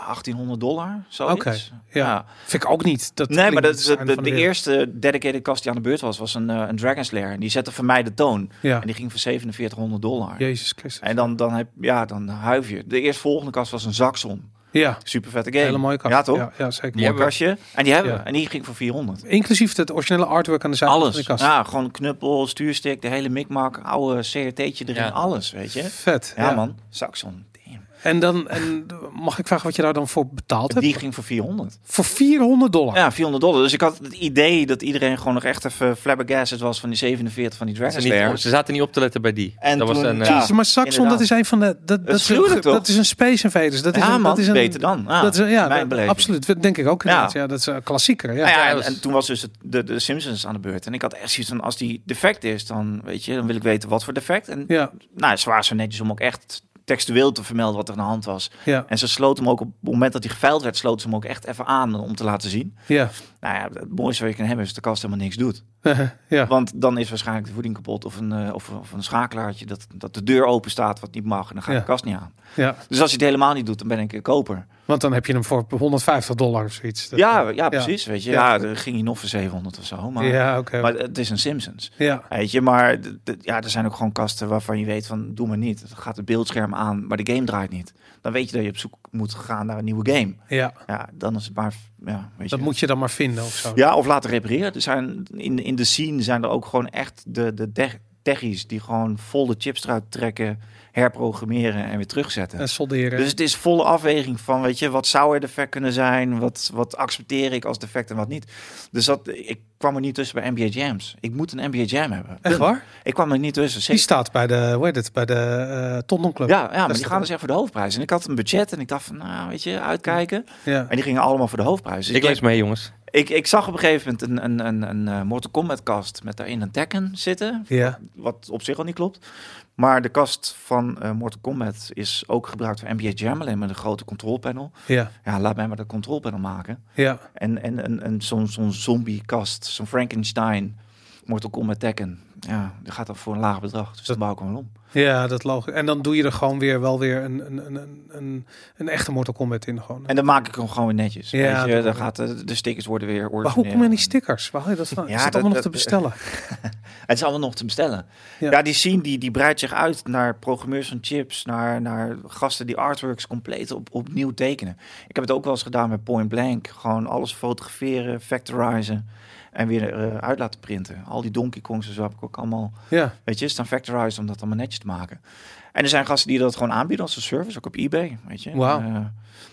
Speaker 4: 1800 dollar, zoiets.
Speaker 2: Oké, ja. Vind ik ook niet. Dat
Speaker 4: Nee,
Speaker 2: klinkt
Speaker 4: maar dat is
Speaker 2: het
Speaker 4: de,
Speaker 2: einde
Speaker 4: de,
Speaker 2: van
Speaker 4: de
Speaker 2: wereld.
Speaker 4: eerste dedicated kast die aan de beurt was, was een, eh, een Dragon Slayer. En die zette voor mij de toon. En
Speaker 2: Ja,
Speaker 4: die ging voor 4700 dollar.
Speaker 2: Jezus Christus.
Speaker 4: En dan, dan, heb, ja, dan huif je. De eerstvolgende kast was een Zaxxon.
Speaker 2: Ja,
Speaker 4: Super vette game.
Speaker 2: hele mooie kast.
Speaker 4: Ja, toch?
Speaker 2: Ja, ja, zeker.
Speaker 3: Die
Speaker 4: Mooi
Speaker 3: hebben we.
Speaker 4: kastje. En die hebben
Speaker 2: Ja.
Speaker 4: we. En die ging voor 400.
Speaker 2: Inclusief het originele artwork aan de zijkant van
Speaker 4: Alles.
Speaker 2: de kast.
Speaker 4: Ja, gewoon knuppel, stuurstick, de hele mikmak, oude CRT'tje erin.
Speaker 3: Ja.
Speaker 4: Alles, weet je.
Speaker 2: Vet.
Speaker 4: Ja, man. Saxon. Damn.
Speaker 2: En dan en mag ik vragen wat je daar dan voor betaald hebt?
Speaker 4: Die ging voor 400.
Speaker 2: Voor 400 dollar.
Speaker 4: Ja, 400 dollar. Dus ik had het idee dat iedereen gewoon nog echt even flabbergasted was van die 47 van die
Speaker 3: Ze,
Speaker 4: Dragon
Speaker 3: niet,
Speaker 4: Slayer.
Speaker 3: ze zaten niet op te letten bij die.
Speaker 4: En
Speaker 3: dat was
Speaker 4: toen-
Speaker 3: een, eh,
Speaker 4: ja.
Speaker 2: Jezus, dus, maar Saxon, dat
Speaker 4: inderdaad.
Speaker 2: is een van de. Dat, dat,
Speaker 4: is gruwelijk, toch?
Speaker 2: dat is een Space Invaders. Dat is
Speaker 4: Ja,
Speaker 2: een,
Speaker 4: man.
Speaker 2: dat is een,
Speaker 4: Beter dan. Ja,
Speaker 2: dat is een- ja,
Speaker 4: mijn
Speaker 2: dat-
Speaker 4: beleving.
Speaker 2: absoluut. Dat Denk ik ook. Ja.
Speaker 4: Ja.
Speaker 2: ja, dat is een klassieker. Ja.
Speaker 4: Nou ja,
Speaker 3: Ja,
Speaker 4: en,
Speaker 3: dat is-
Speaker 4: en toen was dus het- de, de Simpsons aan de beurt. En ik had echt zoiets van, als die defect is, dan, weet je, dan wil ik weten wat voor defect. En
Speaker 2: ja,
Speaker 4: nou, ze waren zo netjes om ook echt textueel te vermelden wat er aan de hand was.
Speaker 2: ja,
Speaker 4: En ze sloot hem ook op het moment dat hij geveild werd, sloot ze hem ook echt even aan om te laten zien.
Speaker 2: ja.
Speaker 4: Nou ja, het mooiste wat je kan hebben is dat de kast helemaal niks doet.
Speaker 2: ja.
Speaker 4: Want dan is waarschijnlijk de voeding kapot of een, eh, of, of een schakelaartje dat, dat de deur open staat wat niet mag en dan gaat
Speaker 2: Ja.
Speaker 4: de kast niet aan.
Speaker 2: ja.
Speaker 4: Dus als je het helemaal niet doet, dan ben ik een koper.
Speaker 2: Want dan heb je hem voor 150 dollar of zoiets. Dat-
Speaker 4: ja, ja, precies. Weet je,
Speaker 2: Ja.
Speaker 4: ja, dan ging hij nog voor 700 of zo. Maar,
Speaker 2: ja, oké.
Speaker 4: maar het is een Simpsons.
Speaker 2: Ja,
Speaker 4: Weet je, maar d- d- ja, er zijn ook gewoon kasten waarvan je weet van doe maar niet. Dan gaat het beeldscherm aan, maar de game draait niet. Dan weet je dat je op zoek moet gaan naar een nieuwe game.
Speaker 2: ja.
Speaker 4: Ja, dan is het maar, ja, weet
Speaker 2: Dat
Speaker 4: je.
Speaker 2: moet je dan maar vinden of zo.
Speaker 4: Ja, of laten repareren. Er zijn, in, in de scene zijn er ook gewoon echt de, de tech- techies die gewoon vol de chips eruit trekken, herprogrammeren en weer terugzetten.
Speaker 2: En solderen.
Speaker 4: Dus het is volle afweging van, weet je, wat zou er defect kunnen zijn? Wat, wat accepteer ik als defect en wat niet? Dus dat, ik kwam er niet tussen bij NBA Jams. Ik moet een NBA Jam hebben.
Speaker 2: Echt waar?
Speaker 4: Ik kwam er niet tussen.
Speaker 2: Die
Speaker 4: Zeker.
Speaker 2: staat bij de, hoe heet het, bij de eh Tondon Club.
Speaker 4: Ja, ja, maar
Speaker 2: is
Speaker 4: die
Speaker 2: toch-
Speaker 4: gaan dus echt voor de hoofdprijs. En ik had een budget en ik dacht van, nou, weet je, uitkijken.
Speaker 2: ja.
Speaker 4: En die gingen allemaal voor de hoofdprijs. Dus
Speaker 3: ik lees mee, jongens.
Speaker 4: Ik, ik zag op een gegeven moment een, een, een, een eh, Mortal Kombat kast met daarin een Tekken zitten.
Speaker 2: Ja.
Speaker 4: Wat op zich al niet klopt. Maar de kast van eh, Mortal Kombat is ook gebruikt voor NBA Jam. Alleen met een grote control panel.
Speaker 2: Ja.
Speaker 4: Ja, laat mij maar dat control panel maken.
Speaker 2: Ja.
Speaker 4: En, en, en, en zo'n zo'n zombie kast. Zo'n Frankenstein. Mortal Kombat Tekken. Ja, die gaat dan voor een laag bedrag. Dus dat bouw ik hem wel om.
Speaker 2: Ja, dat logisch. En dan doe je er gewoon weer wel weer een, een, een- een, een, een echte Mortal Kombat in. Gewoon.
Speaker 4: En dan maak ik hem gewoon weer netjes.
Speaker 2: Ja,
Speaker 4: Ja, weet je,
Speaker 2: dat-
Speaker 4: dan gaat de, de stickers worden weer origineel.
Speaker 2: maar hoe kom je aan die stickers? Waar haal je dat van?
Speaker 4: Ja,
Speaker 2: is dat
Speaker 4: dat-
Speaker 2: allemaal nog
Speaker 4: dat-
Speaker 2: te bestellen?
Speaker 4: Het is allemaal nog te bestellen.
Speaker 2: Ja.
Speaker 4: Ja, die scene die, die breidt zich uit naar programmeurs van chips, naar, naar gasten die artworks compleet op, opnieuw tekenen. Ik heb het ook wel eens gedaan met Point Blank. Gewoon alles fotograferen, factorizen en weer eh, uit laten printen. Al die Donkey Kongs en zo heb ik ook allemaal,
Speaker 2: Ja.
Speaker 4: weet je, staan factorized om dat allemaal netjes te maken. En er zijn gasten die dat gewoon aanbieden als een service, ook op eBay, weet je.
Speaker 2: Wauw.
Speaker 4: En, eh,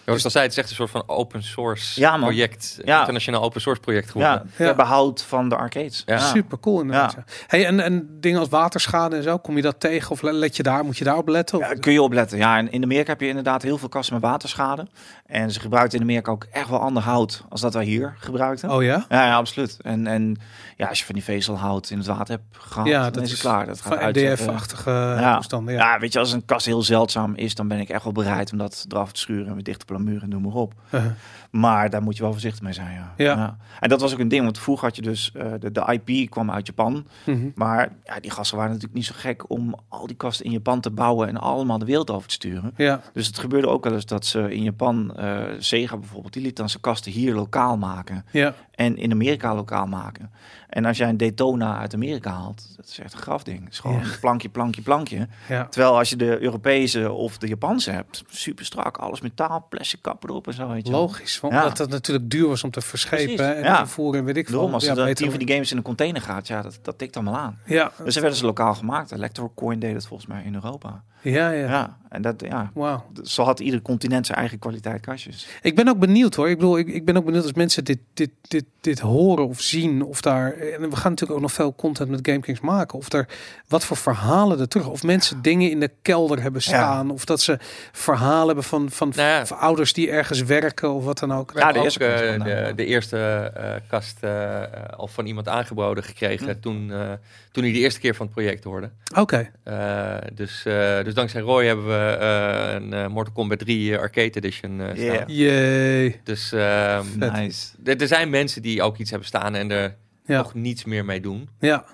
Speaker 3: Zoals al zei, het is echt een soort van open source
Speaker 4: Ja, man.
Speaker 3: project. Een
Speaker 4: Ja.
Speaker 3: Internationaal open source project
Speaker 4: ja,
Speaker 3: geworden.
Speaker 2: Ja.
Speaker 4: behoud van de arcades.
Speaker 3: Ja.
Speaker 2: Super cool inderdaad.
Speaker 4: Ja.
Speaker 2: ja. Hey, en, en dingen als waterschade en zo, kom je dat tegen? Of let je daar, moet je daarop letten? Of-
Speaker 4: Ja, kun je opletten. Ja, en in Amerika heb je inderdaad heel veel kassen met waterschade. En ze gebruikten in Amerika ook echt wel ander hout als dat wij hier gebruikten.
Speaker 2: oh ja?
Speaker 4: Ja, ja, absoluut. En, en ja, als je van die vezelhout in het water hebt gehad,
Speaker 2: Ja,
Speaker 4: dan
Speaker 2: dat
Speaker 4: is
Speaker 2: is
Speaker 4: het klaar. Dat
Speaker 2: Van
Speaker 4: gaat uitzetten.
Speaker 2: MDF-achtige
Speaker 4: Ja.
Speaker 2: eh, toestanden. Ja.
Speaker 4: Ja, weet je, als een kas heel zeldzaam is, dan ben ik echt wel bereid om dat eraf te schuren en weer dicht te plamuren en noem maar op.
Speaker 2: Uh-huh.
Speaker 4: Maar daar moet je wel voorzichtig mee zijn, ja.
Speaker 2: Ja.
Speaker 4: En dat was ook een ding, want vroeger had je dus, eh, de, de IP kwam uit Japan.
Speaker 2: Mhm.
Speaker 4: Maar ja, die gasten waren natuurlijk niet zo gek om al die kasten in Japan te bouwen en allemaal de wereld over te sturen.
Speaker 2: Ja.
Speaker 4: Dus het gebeurde ook wel eens dat ze in Japan, eh, Sega bijvoorbeeld, die liet dan zijn kasten hier lokaal maken
Speaker 2: Ja.
Speaker 4: en in Amerika lokaal maken. En als jij een Daytona uit Amerika haalt, dat is echt een grafding. Het is gewoon plankje, plankje, plankje.
Speaker 2: Ja.
Speaker 4: Terwijl als je de Europese of de Japanse hebt, super strak, alles metaal, plastic kappen erop en zo. Weet je wel.
Speaker 2: Logisch, want
Speaker 4: Ja.
Speaker 2: dat het natuurlijk duur was om te verschepen
Speaker 4: Precies,
Speaker 2: en
Speaker 4: ja.
Speaker 2: te voeren en weet ik veel.
Speaker 4: Daarom, als
Speaker 2: ja,
Speaker 4: er dan
Speaker 2: beter
Speaker 4: tien van die games in een container gaat, ja, dat, dat tikt allemaal aan.
Speaker 2: ja.
Speaker 4: Dus ze werden ze lokaal gemaakt. Electrocoin deed het volgens mij in Europa.
Speaker 2: Ja, ja,
Speaker 4: Ja, en dat, ja,
Speaker 2: Wauw.
Speaker 4: zo had ieder continent zijn eigen kwaliteit kastjes.
Speaker 2: Ik ben ook benieuwd hoor. Ik bedoel, ik, ik ben ook benieuwd als mensen dit, dit, dit, dit horen of zien. Of daar. En we gaan natuurlijk ook nog veel content met GameKings maken. Of er wat voor verhalen er terug. Of mensen dingen in de kelder hebben staan. Of dat ze verhalen hebben van, van,
Speaker 3: Nou ja.
Speaker 2: van ouders die ergens werken of wat dan ook.
Speaker 4: Ja, de
Speaker 3: ook,
Speaker 4: eerste kast
Speaker 3: eh,
Speaker 4: vandaan, ja.
Speaker 3: de, de eerste eh, kast eh, eh, al van iemand aangeboden gekregen
Speaker 4: Hm.
Speaker 3: toen, eh, toen hij de eerste keer van het project hoorde.
Speaker 2: Oké.
Speaker 3: Eh, dus, eh, dus dankzij Roy hebben we eh, een eh, Mortal Kombat 3 eh, Arcade Edition eh, staan.
Speaker 4: Yeah.
Speaker 2: Jee.
Speaker 3: Dus ehm,
Speaker 2: Vet.
Speaker 4: Nice.
Speaker 3: er er zijn mensen die ook iets hebben staan en er
Speaker 2: Ja,
Speaker 3: nog niets meer mee doen.
Speaker 2: ja,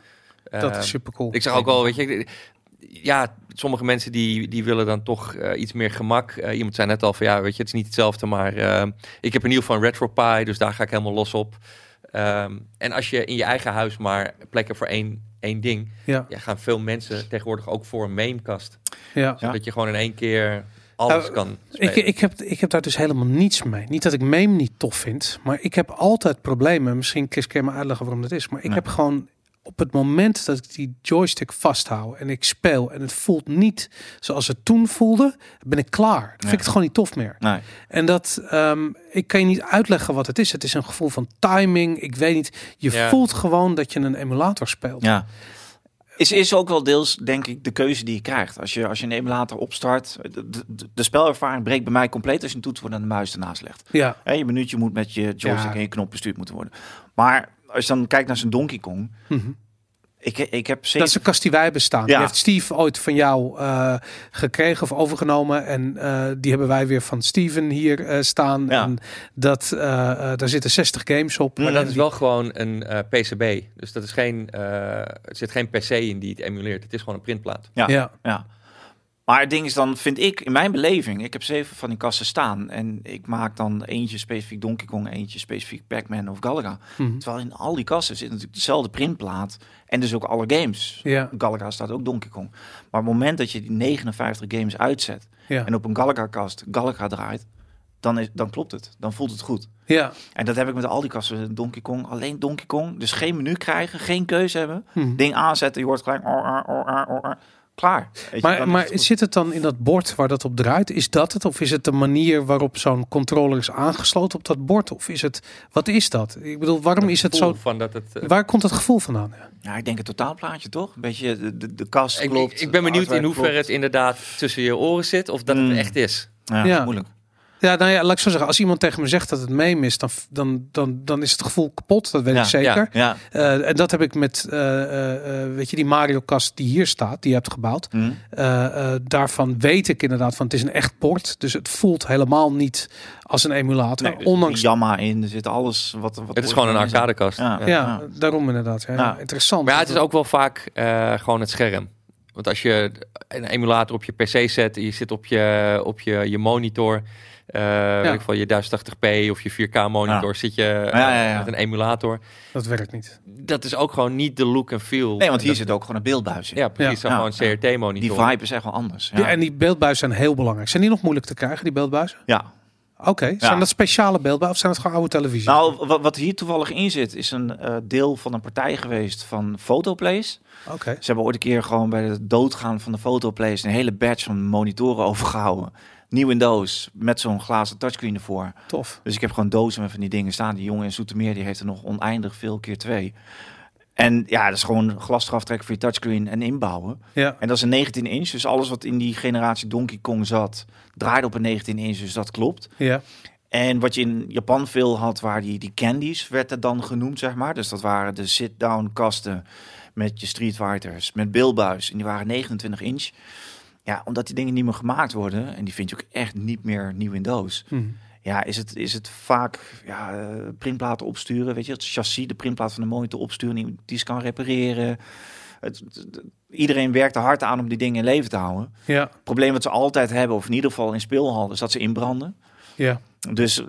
Speaker 2: dat
Speaker 3: Eh,
Speaker 2: is super cool.
Speaker 3: Ik zeg ook wel, weet je, ik- ja, sommige mensen die, die willen dan toch eh, iets meer gemak. Eh, iemand zei net al van ja, weet je, het is niet hetzelfde, maar ehm, ik heb in ieder geval een RetroPie, dus daar ga ik helemaal los op. Ehm, en als je in je eigen huis maar plek hebt voor één, één ding,
Speaker 2: Ja,
Speaker 3: ja, gaan veel mensen tegenwoordig ook voor een mainkast.
Speaker 2: ja.
Speaker 4: Ja.
Speaker 3: Dat je gewoon in één keer alles
Speaker 2: Ah. Nou,
Speaker 3: kan spelen.
Speaker 2: Ik, ik, heb, ik heb daar dus helemaal niets mee. Niet dat ik meme niet tof vind, maar ik heb altijd problemen. Misschien Chris kan je me uitleggen waarom dat is. Maar ik
Speaker 4: Nee.
Speaker 2: heb gewoon op het moment dat ik die joystick vasthoud en ik speel en het voelt niet zoals het toen voelde, ben ik klaar. Dan vind
Speaker 4: Ja.
Speaker 2: ik het gewoon niet tof meer.
Speaker 4: Nee.
Speaker 2: En dat, ehm, ik kan je niet uitleggen wat het is. Het is een gevoel van timing. Ik weet niet. Je
Speaker 3: Ja.
Speaker 2: voelt gewoon dat je een emulator speelt.
Speaker 4: Ja. Is, is ook wel deels, denk ik, de keuze die je krijgt. Als je, als je een emulator opstart, de, de, de spelervaring breekt bij mij compleet als je een toetsenbord en de muis ernaast legt.
Speaker 2: Ja,
Speaker 4: Hè, je minuutje moet met je joystick
Speaker 2: Ja.
Speaker 4: en je knop bestuurd moeten worden. Maar als je dan kijkt naar zijn Donkey Kong,
Speaker 2: Mhm.
Speaker 4: ik, ik heb
Speaker 2: Dat
Speaker 4: zeker...
Speaker 2: is de kast die wij bestaan. Die
Speaker 4: Ja.
Speaker 2: heeft Steve ooit van jou eh, gekregen of overgenomen. En eh, die hebben wij weer van Steven hier eh, staan.
Speaker 4: Ja.
Speaker 2: En dat, eh, eh, daar zitten 60 games op.
Speaker 3: Maar
Speaker 2: En
Speaker 3: dat
Speaker 2: die-
Speaker 3: is wel gewoon een eh, PCB. Dus dat is geen, eh, er zit geen PC in die het emuleert. Het is gewoon een printplaat.
Speaker 4: Ja.
Speaker 2: Ja.
Speaker 4: Ja. Maar het ding is dan, vind ik, in mijn beleving, ik heb zeven van die kassen staan. En ik maak dan eentje specifiek Donkey Kong, eentje specifiek Pac-Man of Galaga.
Speaker 2: Mhm.
Speaker 4: Terwijl in al die kassen zit natuurlijk dezelfde printplaat. En dus ook alle games.
Speaker 2: Ja.
Speaker 4: Galaga staat ook Donkey Kong. Maar op het moment dat je die 59 games uitzet
Speaker 2: Ja.
Speaker 4: en op een Galaga-kast Galaga draait, dan, is, dan klopt het. Dan voelt het goed.
Speaker 2: ja.
Speaker 4: En dat heb ik met al die kasten. Donkey Kong, alleen Donkey Kong. Dus geen menu krijgen, geen keuze hebben.
Speaker 3: Mhm.
Speaker 2: Hm.
Speaker 4: Ding aanzetten, je hoort gelijk... oh, or, or, or, or, or, or. Klaar. Weet je, dan
Speaker 2: Maar,
Speaker 4: is
Speaker 2: maar
Speaker 4: het goed.
Speaker 2: zit het dan in dat bord waar dat op draait? Is dat het? Of is het de manier waarop zo'n controller is aangesloten op dat bord? Of is het, wat is dat? Ik bedoel, waarom
Speaker 3: Het
Speaker 2: is het
Speaker 3: gevoel
Speaker 2: zo?
Speaker 3: Van dat het, eh,
Speaker 2: Waar komt dat gevoel vandaan? Ja.
Speaker 4: Ja, ik denk het totaalplaatje toch? Een beetje de, de, de kast
Speaker 3: ik,
Speaker 4: klopt.
Speaker 3: ik ben
Speaker 4: het
Speaker 3: benieuwd in
Speaker 4: artwork
Speaker 3: hoeverre
Speaker 4: klopt.
Speaker 3: het inderdaad tussen je oren zit of dat
Speaker 4: Mm.
Speaker 3: het echt is.
Speaker 4: Ja,
Speaker 2: Ja.
Speaker 4: moeilijk.
Speaker 2: Ja, nou ja, laat ik zo zeggen. Als iemand tegen me zegt dat het meme is, dan, dan, dan, dan is het gevoel kapot. Dat weet
Speaker 4: Ja,
Speaker 2: ik zeker.
Speaker 3: ja.
Speaker 4: Ja.
Speaker 2: Eh, en dat heb ik met, eh, eh, eh, weet je, die Mario-kast die hier staat, die je hebt gebouwd.
Speaker 4: Hm.
Speaker 2: Eh, eh, daarvan weet ik inderdaad van het is een echt port. Dus het voelt helemaal niet als een emulator.
Speaker 4: Nee, dus
Speaker 2: Nou, ondanks. Ja,
Speaker 4: Jamma in, er zit alles wat. wat
Speaker 3: Het is gewoon een
Speaker 4: origineel is.
Speaker 3: arcadekast.
Speaker 4: Ja.
Speaker 2: daarom inderdaad. Ja,
Speaker 4: Ja.
Speaker 2: Interessant.
Speaker 3: Maar ja, het is ook wel vaak eh, gewoon het scherm. Want als je een emulator op je PC zet, en je zit op je, op je, je monitor, eh weet ik veel, je 1080p of je 4K monitor, zit je eh,
Speaker 4: Ja, ja, ja.
Speaker 3: met een emulator.
Speaker 2: Dat werkt niet.
Speaker 3: Dat is ook gewoon niet de look en feel.
Speaker 4: Nee, want hier
Speaker 3: Dat-
Speaker 4: zit ook gewoon een beeldbuis in.
Speaker 3: Ja, precies.
Speaker 4: Ja.
Speaker 3: zo
Speaker 4: Ja.
Speaker 3: Gewoon CRT
Speaker 4: Die
Speaker 3: monitor.
Speaker 4: vibe is echt wel anders. Ja.
Speaker 2: Die- en die beeldbuizen zijn heel belangrijk. Zijn die nog moeilijk te krijgen, die beeldbuizen?
Speaker 4: ja.
Speaker 2: Oké. Zijn dat speciale beeldbuizen of zijn het gewoon oude televisie?
Speaker 4: Nou, wat, wat hier toevallig in zit, is een eh, deel van een partij geweest van Photoplays.
Speaker 2: Oké.
Speaker 4: Ze hebben ooit een keer gewoon bij het doodgaan van de Photoplays een hele batch van monitoren overgehouden. Nieuw in doos, met zo'n glazen touchscreen ervoor.
Speaker 2: Tof.
Speaker 4: Dus ik heb gewoon dozen met van die dingen staan. Die jongen in Zoetermeer, die heeft er nog oneindig veel keer twee. En ja, dat is gewoon glas eraf trekken voor je touchscreen en inbouwen.
Speaker 2: Ja.
Speaker 4: En dat is een 19 inch, dus alles wat in die generatie Donkey Kong zat, draaide op een 19 inch, dus dat klopt.
Speaker 2: Ja.
Speaker 4: En wat je in Japan veel had, waar die, die candies werd dat dan genoemd, zeg maar. Dus dat waren de sit-down kasten met je Street Fighters, met beeldbuis. En die waren 29 inch. Ja, omdat die dingen niet meer gemaakt worden, en die vind je ook echt niet meer nieuw in doos.
Speaker 2: Hm.
Speaker 4: Ja, is het, is het vaak ja, eh, printplaten opsturen, weet je. Het chassis, de printplaat van de monitor opsturen, die, die ze kan repareren. Het, het- het- iedereen werkt er hard aan om die dingen in leven te houden.
Speaker 2: Ja.
Speaker 4: Het probleem wat ze altijd hebben, of in ieder geval in speelhallen, is dat ze inbranden.
Speaker 2: Ja.
Speaker 4: Dus eh,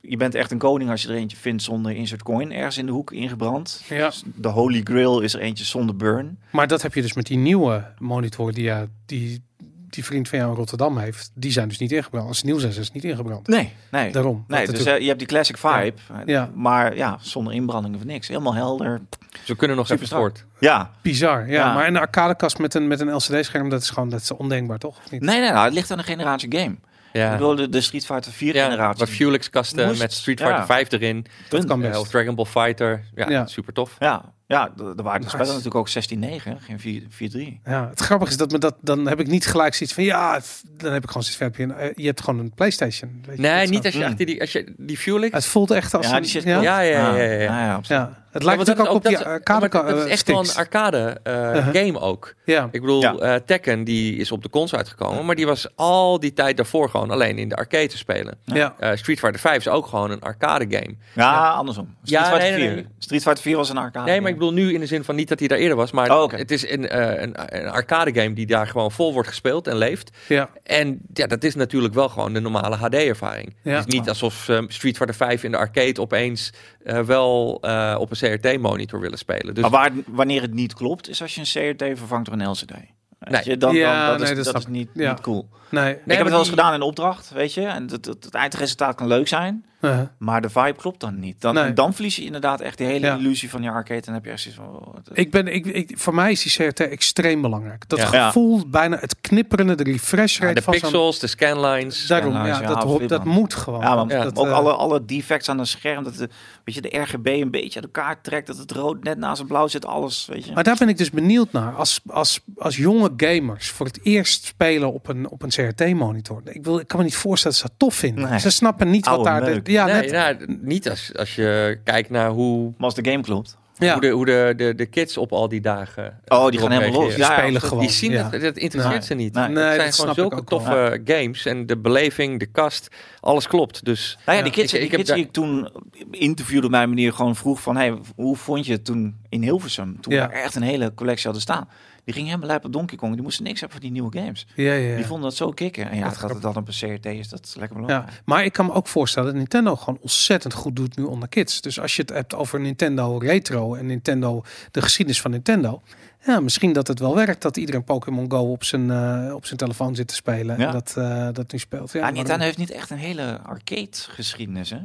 Speaker 4: je bent echt een koning als je er eentje vindt zonder insert coin ergens in de hoek ingebrand.
Speaker 2: Ja.
Speaker 4: Dus De holy grail is er eentje zonder burn.
Speaker 2: Maar dat heb je dus met die nieuwe monitor die, ja, die die vriend van jou in Rotterdam heeft. Die zijn dus niet ingebrand. Als ze nieuw zijn, zijn ze niet ingebrand.
Speaker 4: Nee, nee.
Speaker 2: Daarom. Dat
Speaker 4: nee dus
Speaker 2: natuurlijk-
Speaker 4: eh, je hebt die classic vibe, eh,
Speaker 2: Ja.
Speaker 4: maar ja, zonder inbrandingen of niks. Helemaal helder.
Speaker 3: Dus we kunnen nog
Speaker 4: Super
Speaker 3: even voort.
Speaker 4: Ja,
Speaker 2: Bizar, ja.
Speaker 4: Ja.
Speaker 2: Maar een arcadekast met een, met een LCD-scherm, dat is gewoon dat is ondenkbaar, toch? Of niet?
Speaker 4: nee, nee, nou, het ligt aan de generatie game. Ik
Speaker 3: Ja.
Speaker 4: bedoel, de, de Street Fighter 4
Speaker 3: Ja,
Speaker 4: generatie.
Speaker 3: met Fuelix kasten,
Speaker 4: Moest-
Speaker 3: met Street Fighter
Speaker 4: ja.
Speaker 3: 5 erin.
Speaker 2: dat kan
Speaker 3: eh,
Speaker 2: best.
Speaker 3: of Dragon Ball Fighter. Ja,
Speaker 2: Ja.
Speaker 3: super tof.
Speaker 4: Ja, ja, d- er waren de
Speaker 2: Nice.
Speaker 4: spellen natuurlijk ook 16-9, hè, geen 4 4-3.
Speaker 2: Ja, het grappige is dat me dat, dan heb ik niet gelijk zoiets van, ja, f- dan heb ik gewoon zoiets van, heb je, een, eh, je hebt gewoon een Playstation. Weet je, dat
Speaker 3: Nee,
Speaker 2: is
Speaker 3: niet
Speaker 2: gewoon-
Speaker 3: als je
Speaker 4: Mm.
Speaker 3: achter die... Als je, die Fuelix...
Speaker 2: Het voelt echt als
Speaker 4: Ja,
Speaker 2: een...
Speaker 4: die zit
Speaker 2: ja?
Speaker 4: klopt.
Speaker 2: Ja.
Speaker 3: Ja, ja, ja, ja, ja.
Speaker 4: ja, absoluut.
Speaker 2: het
Speaker 3: Ja,
Speaker 2: lijkt
Speaker 3: want
Speaker 2: natuurlijk ook,
Speaker 3: is
Speaker 2: op die
Speaker 3: dat is-
Speaker 2: arcade eh,
Speaker 3: maar dat- dat is echt wel een
Speaker 2: sticks.
Speaker 3: arcade eh,
Speaker 2: Uh-huh.
Speaker 3: game ook.
Speaker 2: Ja,
Speaker 3: Ik bedoel,
Speaker 4: Ja.
Speaker 3: eh, Tekken die is op de cons uitgekomen, maar die was al die tijd daarvoor gewoon alleen in de arcade te spelen.
Speaker 2: ja.
Speaker 3: Eh, Street Fighter 5 is ook gewoon een arcade game.
Speaker 4: Ja, andersom. Street,
Speaker 3: Ja,
Speaker 4: Fighter
Speaker 3: nee,
Speaker 4: 4,
Speaker 3: nee, nee.
Speaker 4: Street Fighter 4 was een arcade.
Speaker 2: Ah,
Speaker 3: Nee, maar ik
Speaker 4: game.
Speaker 3: bedoel nu in de zin van niet dat hij daar eerder was, maar
Speaker 4: Oh, oké.
Speaker 3: het is een, eh, een, een arcade game die daar gewoon vol wordt gespeeld en leeft.
Speaker 2: ja.
Speaker 3: En ja, dat is natuurlijk wel gewoon de normale HD-ervaring.
Speaker 2: Ja.
Speaker 3: Het is niet alsof eh, Street Fighter 5 in de arcade opeens eh, wel eh, op een CRT-monitor willen spelen. Dus
Speaker 4: Maar waar, wanneer het niet klopt, is als je een CRT vervangt door een LCD. Weet je, dan,
Speaker 2: Ja,
Speaker 4: dan, dat
Speaker 2: nee,
Speaker 4: is,
Speaker 2: dat
Speaker 4: dat
Speaker 2: snap
Speaker 4: is niet,
Speaker 2: Ja.
Speaker 4: niet cool.
Speaker 2: Nee.
Speaker 4: ik heb
Speaker 3: maar
Speaker 4: het wel eens
Speaker 3: die-
Speaker 4: gedaan in opdracht, weet je. En het, het, het eindresultaat kan leuk zijn,
Speaker 2: Uh-huh.
Speaker 4: maar de vibe klopt dan niet. Dan,
Speaker 2: Nee.
Speaker 4: dan verlies je inderdaad echt die hele
Speaker 2: Ja.
Speaker 4: illusie van je arcade. En dan heb je echt zoiets van... oh, het-
Speaker 2: Ik ben, ik, ik, voor mij is die CRT extreem belangrijk. Dat
Speaker 3: Ja.
Speaker 2: gevoel, bijna het knipperende, de refresh
Speaker 3: ja,
Speaker 2: rate
Speaker 3: de
Speaker 2: van zo'n-
Speaker 3: pixels, de scanlines.
Speaker 2: Daarom,
Speaker 4: Ja, nou,
Speaker 2: ja,
Speaker 4: is-
Speaker 2: dat,
Speaker 4: ja,
Speaker 2: ho-
Speaker 4: flip
Speaker 2: dat
Speaker 4: dan.
Speaker 2: moet gewoon.
Speaker 4: ja, want
Speaker 3: ja,
Speaker 2: dat,
Speaker 4: ook
Speaker 2: eh,
Speaker 4: alle, alle defects aan het scherm. Dat de, weet je, de RGB een beetje uit elkaar trekt. Dat het rood net naast het blauw zit. Alles, weet je.
Speaker 2: Maar daar ben ik dus benieuwd naar. Als, als, als jonge gamers voor het eerst spelen op een, op een CRT-monitor. Ik, wil, ik kan me niet voorstellen dat ze dat tof vinden.
Speaker 4: Nee.
Speaker 2: Ze snappen niet wat
Speaker 4: Oude
Speaker 2: daar...
Speaker 4: meuk.
Speaker 2: De, ja,
Speaker 3: nee,
Speaker 2: net,
Speaker 3: nou, niet als, als je kijkt naar hoe,
Speaker 4: Maar als de game klopt.
Speaker 2: ja.
Speaker 3: hoe, de, hoe de, de, de kids op al die dagen. eh,
Speaker 4: Oh, die
Speaker 3: erop
Speaker 4: gaan helemaal
Speaker 3: reageren.
Speaker 4: los.
Speaker 2: Die
Speaker 4: Ja,
Speaker 2: spelen
Speaker 4: ja,
Speaker 2: gewoon.
Speaker 3: Die zien
Speaker 2: ja.
Speaker 3: dat, dat interesseert
Speaker 4: Nee.
Speaker 3: ze niet.
Speaker 4: Nee.
Speaker 3: Het
Speaker 2: Nee,
Speaker 3: zijn
Speaker 2: dat
Speaker 3: gewoon
Speaker 2: snap ik
Speaker 3: zulke
Speaker 2: ook wel.
Speaker 3: toffe games en de beleving, de kast, alles klopt. Dus
Speaker 4: Nou ja,
Speaker 2: Ja,
Speaker 4: die kids,
Speaker 3: ik-
Speaker 4: die
Speaker 3: ik heb
Speaker 4: kids
Speaker 3: daar-
Speaker 4: die ik toen interviewde op mijn manier gewoon vroeg van... Hey, hoe vond je het toen in Hilversum? Toen
Speaker 2: Ja.
Speaker 4: we echt een hele collectie hadden staan. Die gingen helemaal lijp op Donkey Kong. Die moesten niks hebben van die nieuwe games.
Speaker 2: Ja, ja,
Speaker 4: Die
Speaker 2: ja.
Speaker 4: vonden dat zo kicken. En ja,
Speaker 2: Dat
Speaker 4: het gaat het dan op een CRT is dat lekker
Speaker 2: Ja,
Speaker 4: belangrijk.
Speaker 2: maar ik kan me ook voorstellen dat Nintendo gewoon ontzettend goed doet nu onder kids. Dus als je het hebt over Nintendo Retro en Nintendo, de geschiedenis van Nintendo. Ja, misschien dat het wel werkt dat iedereen Pokémon Go op zijn, eh, op zijn telefoon zit te spelen.
Speaker 4: Ja.
Speaker 2: En dat, eh, dat nu speelt. Ja,
Speaker 4: Ja,
Speaker 2: waarom
Speaker 4: Nintendo heeft niet echt een hele arcade geschiedenis, hè?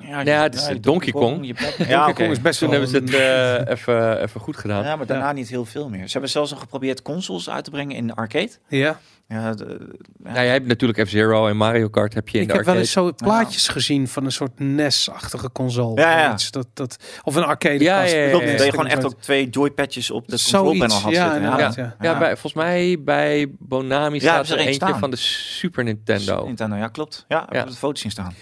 Speaker 4: Ja,
Speaker 3: ja, het is
Speaker 4: je
Speaker 3: Donkey Kong.
Speaker 4: je pet-
Speaker 2: Ja,
Speaker 4: ja,
Speaker 2: Donkey Kong
Speaker 3: oké.
Speaker 2: is best
Speaker 3: Toen
Speaker 2: wel
Speaker 3: hebben ze het eh, even, even goed gedaan.
Speaker 4: ja, maar daarna niet heel veel meer. Ze hebben zelfs nog geprobeerd consoles uit te brengen in de arcade.
Speaker 3: eh,
Speaker 2: Ja.
Speaker 4: Ja, de-
Speaker 3: Nou, jij hebt natuurlijk F-Zero en Mario Kart heb je in
Speaker 2: Ik
Speaker 3: de
Speaker 2: heb wel
Speaker 3: arcade.
Speaker 2: eens zo plaatjes gezien van een soort NES-achtige console.
Speaker 4: Ja, ja.
Speaker 2: Of, iets, dat, dat, of een arcade
Speaker 3: Ja, ja, ja,
Speaker 4: Klopt,
Speaker 3: ja,
Speaker 4: dat je gewoon echt ook twee joypadjes op de control panel
Speaker 2: Zoiets,
Speaker 4: had
Speaker 2: ja,
Speaker 4: zitten.
Speaker 2: inderdaad, ja.
Speaker 3: ja, bij, volgens mij bij Bonami
Speaker 4: hebben
Speaker 3: staat
Speaker 4: ze
Speaker 3: er eentje
Speaker 4: er eentje staan.
Speaker 3: van de Super Nintendo.
Speaker 4: Nintendo, ja, klopt. Ja, ik
Speaker 3: Ja.
Speaker 4: heb de foto zien staan.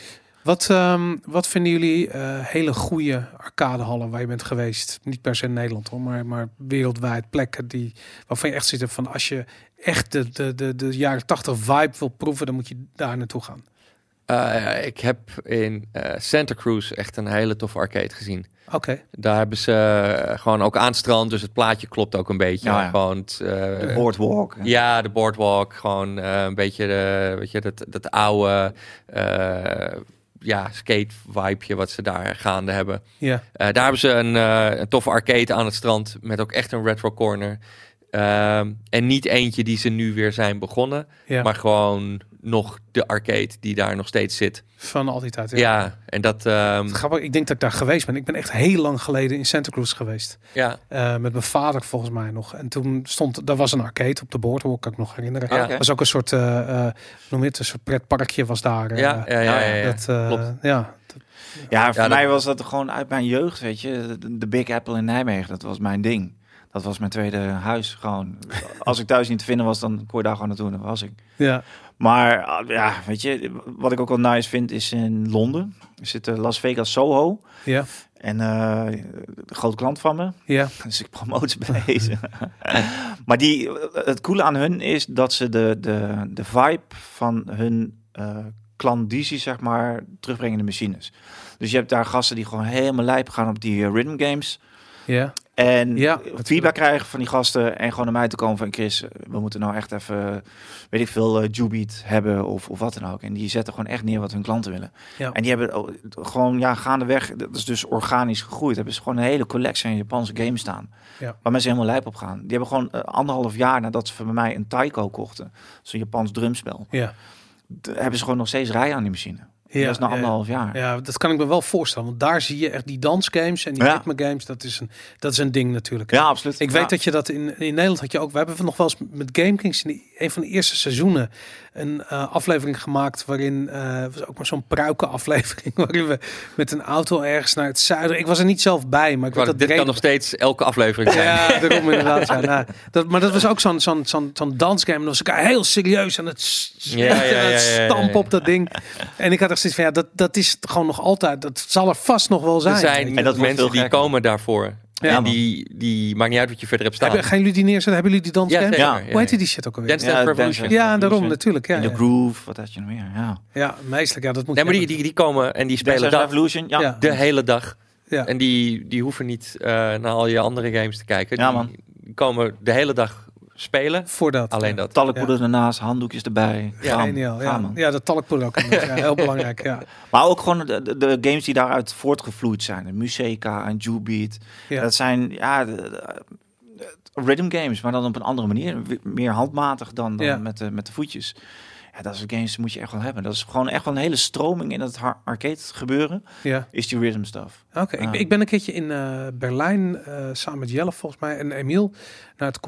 Speaker 2: Wat, ehm, wat vinden jullie eh, hele goede arcadehallen waar je bent geweest? Niet per se in Nederland hoor, maar, maar wereldwijd plekken die, waarvan je echt zit van als je echt de, de, de, de jaren 80 vibe wil proeven, dan moet je daar naartoe gaan.
Speaker 3: Eh, ik heb in eh, Santa Cruz echt een hele toffe arcade gezien.
Speaker 2: Oké,
Speaker 3: Daar hebben ze eh, gewoon ook aan het strand, dus het plaatje klopt ook een beetje.
Speaker 4: Ja, ja.
Speaker 3: Gewoon het, eh,
Speaker 4: De boardwalk.
Speaker 3: Ja, de boardwalk. Gewoon eh, een beetje de, weet je, dat, dat oude eh, ja, skate-vibeje wat ze daar gaande hebben.
Speaker 2: ja.
Speaker 3: Eh, daar hebben ze een, eh, een toffe arcade aan het strand met ook echt een retro corner. Ehm, en niet eentje die ze nu weer zijn begonnen,
Speaker 2: ja.
Speaker 3: maar gewoon nog de arcade die daar nog steeds zit.
Speaker 2: van al die tijd.
Speaker 3: Ja, en dat... ehm,
Speaker 2: Grappig, ik denk dat ik daar geweest ben. Ik ben echt heel lang geleden in Santa Cruz geweest.
Speaker 3: ja,
Speaker 2: Eh, met mijn vader volgens mij nog. En toen stond, daar was een arcade op de boardwalk, kan ik me nog herinneren.
Speaker 3: Ja.
Speaker 2: was ook een soort, eh eh, hoe noem je het, een soort pretparkje was daar. eh,
Speaker 3: ja, ja, ja, ja, ja.
Speaker 2: dat, eh,
Speaker 3: klopt.
Speaker 2: ja,
Speaker 4: Ja, voor
Speaker 3: dat-
Speaker 4: mij was dat gewoon uit mijn jeugd, weet je. De, de Big Apple in Nijmegen, dat was mijn ding. Dat was mijn tweede huis, gewoon. Als ik thuis niet te vinden was, dan kon je daar gewoon naartoe en daar was ik.
Speaker 2: ja.
Speaker 4: Maar ah, ja, weet je, wat ik ook wel nice vind is in Londen. Er zit eh, Las Vegas Soho.
Speaker 2: Ja,
Speaker 4: En eh, een groot klant van me,
Speaker 2: ja,
Speaker 4: Dus ik promote ze bij deze. maar die, eh, het coole aan hun is dat ze de, de, de vibe van hun eh klandizie, zeg maar, terugbrengen in de machines. Dus je hebt daar gasten die gewoon helemaal lijp gaan op die eh, rhythm games.
Speaker 2: ja.
Speaker 4: En
Speaker 2: Ja,
Speaker 4: feedback krijgen van die gasten. En gewoon naar mij te komen van Chris, we moeten nou echt even, weet ik veel, eh, Jubeat hebben of, of wat dan ook. En die zetten gewoon echt neer wat hun klanten willen.
Speaker 2: Ja.
Speaker 4: En die hebben oh, gewoon, ja, gaandeweg, dat is dus organisch gegroeid. Hebben ze gewoon een hele collectie aan Japanse games staan.
Speaker 2: Ja.
Speaker 4: Waar mensen helemaal lijp op gaan. Die hebben gewoon eh, anderhalf jaar nadat ze van mij een taiko kochten. Zo'n Japans drumspel.
Speaker 2: Ja.
Speaker 4: d- Hebben ze gewoon nog steeds rijen aan die machine.
Speaker 2: Ja,
Speaker 4: dat is na
Speaker 2: ja,
Speaker 4: anderhalf jaar.
Speaker 2: Ja, dat kan ik me wel voorstellen. Want daar zie je echt die dansgames en die
Speaker 4: Ja.
Speaker 2: ritme games. Dat is een, dat is een ding natuurlijk.
Speaker 4: Ja, absoluut.
Speaker 2: Ik
Speaker 4: Ja.
Speaker 2: weet dat je dat in, in Nederland had je ook. We hebben nog wel eens met Game Kings in die- een van de eerste seizoenen een eh, aflevering gemaakt waarin eh was ook maar zo'n pruikenaflevering waarin we met een auto ergens naar het zuiden. Ik was er niet zelf bij, maar ik weet
Speaker 3: Want
Speaker 2: dat
Speaker 3: dit kan
Speaker 2: Breda-
Speaker 3: nog steeds elke aflevering zijn.
Speaker 2: Ja, daarom inderdaad. Ja. Nou, dat, maar dat was ook zo'n zo'n zo'n zo'n dansgame. Dan was ik heel serieus aan het, s-
Speaker 3: Ja, ja, ja,
Speaker 2: aan het
Speaker 3: ja, ja, ja.
Speaker 2: stampen op dat ding. En ik had echt zoiets van, ja, dat, dat is gewoon nog altijd. Dat zal er vast nog wel zijn.
Speaker 3: Er zijn
Speaker 2: Weet je.
Speaker 4: dat wordt
Speaker 3: mensen
Speaker 4: veel
Speaker 3: die
Speaker 4: gekker.
Speaker 3: komen daarvoor.
Speaker 2: Ja,
Speaker 3: en
Speaker 4: man.
Speaker 3: die, die maakt niet uit wat je verder hebt staan.
Speaker 2: Hebben, gaan jullie die neerzetten? Hebben jullie die
Speaker 3: ja,
Speaker 2: dansgame?
Speaker 3: zeker.
Speaker 4: Ja.
Speaker 2: Hoe heet die shit ook alweer?
Speaker 3: Dance Dance
Speaker 4: Ja,
Speaker 3: Revolution.
Speaker 4: Dance
Speaker 2: ja, en daarom
Speaker 4: Revolution.
Speaker 2: natuurlijk. Ja,
Speaker 4: In de
Speaker 2: ja.
Speaker 4: groove, wat had je nog meer? Ja.
Speaker 2: ja meestelijk. Ja, dat moet
Speaker 3: Nee,
Speaker 2: je
Speaker 3: maar die,
Speaker 2: hebben.
Speaker 3: die, die komen en die spelen
Speaker 4: Dance
Speaker 3: dat
Speaker 4: Revolution, ja.
Speaker 2: Ja.
Speaker 3: de hele dag.
Speaker 2: Ja.
Speaker 3: En die, die hoeven niet eh, naar al je andere games te kijken.
Speaker 4: Ja,
Speaker 3: Die-
Speaker 4: man.
Speaker 3: Die komen de hele dag spelen.
Speaker 2: Voor dat.
Speaker 3: Alleen dat.
Speaker 4: Talkpoeder ernaast, handdoekjes erbij.
Speaker 2: Ja,
Speaker 4: Gaan,
Speaker 2: geniaal.
Speaker 4: gaan,
Speaker 2: Ja,
Speaker 4: man.
Speaker 2: ja dat talkpoeder ook. inderdaad. Ja, heel belangrijk. Ja.
Speaker 4: Maar ook gewoon de, de- de games die daaruit voortgevloeid zijn. De Museka en Jubeat.
Speaker 2: Ja.
Speaker 4: Dat zijn ja, de- de- de rhythm games, maar dan op een andere manier. W- Meer handmatig dan, dan
Speaker 2: Ja.
Speaker 4: met, de, met de voetjes. Ja, dat soort games moet je echt wel hebben. Dat is gewoon echt wel een hele stroming in het har- arcade gebeuren.
Speaker 2: ja.
Speaker 4: Is die rhythm stuff.
Speaker 2: Oké, ik,
Speaker 4: Ja.
Speaker 2: ben- ik ben een keertje in eh, Berlijn eh, samen met Jelle volgens mij en Emiel naar het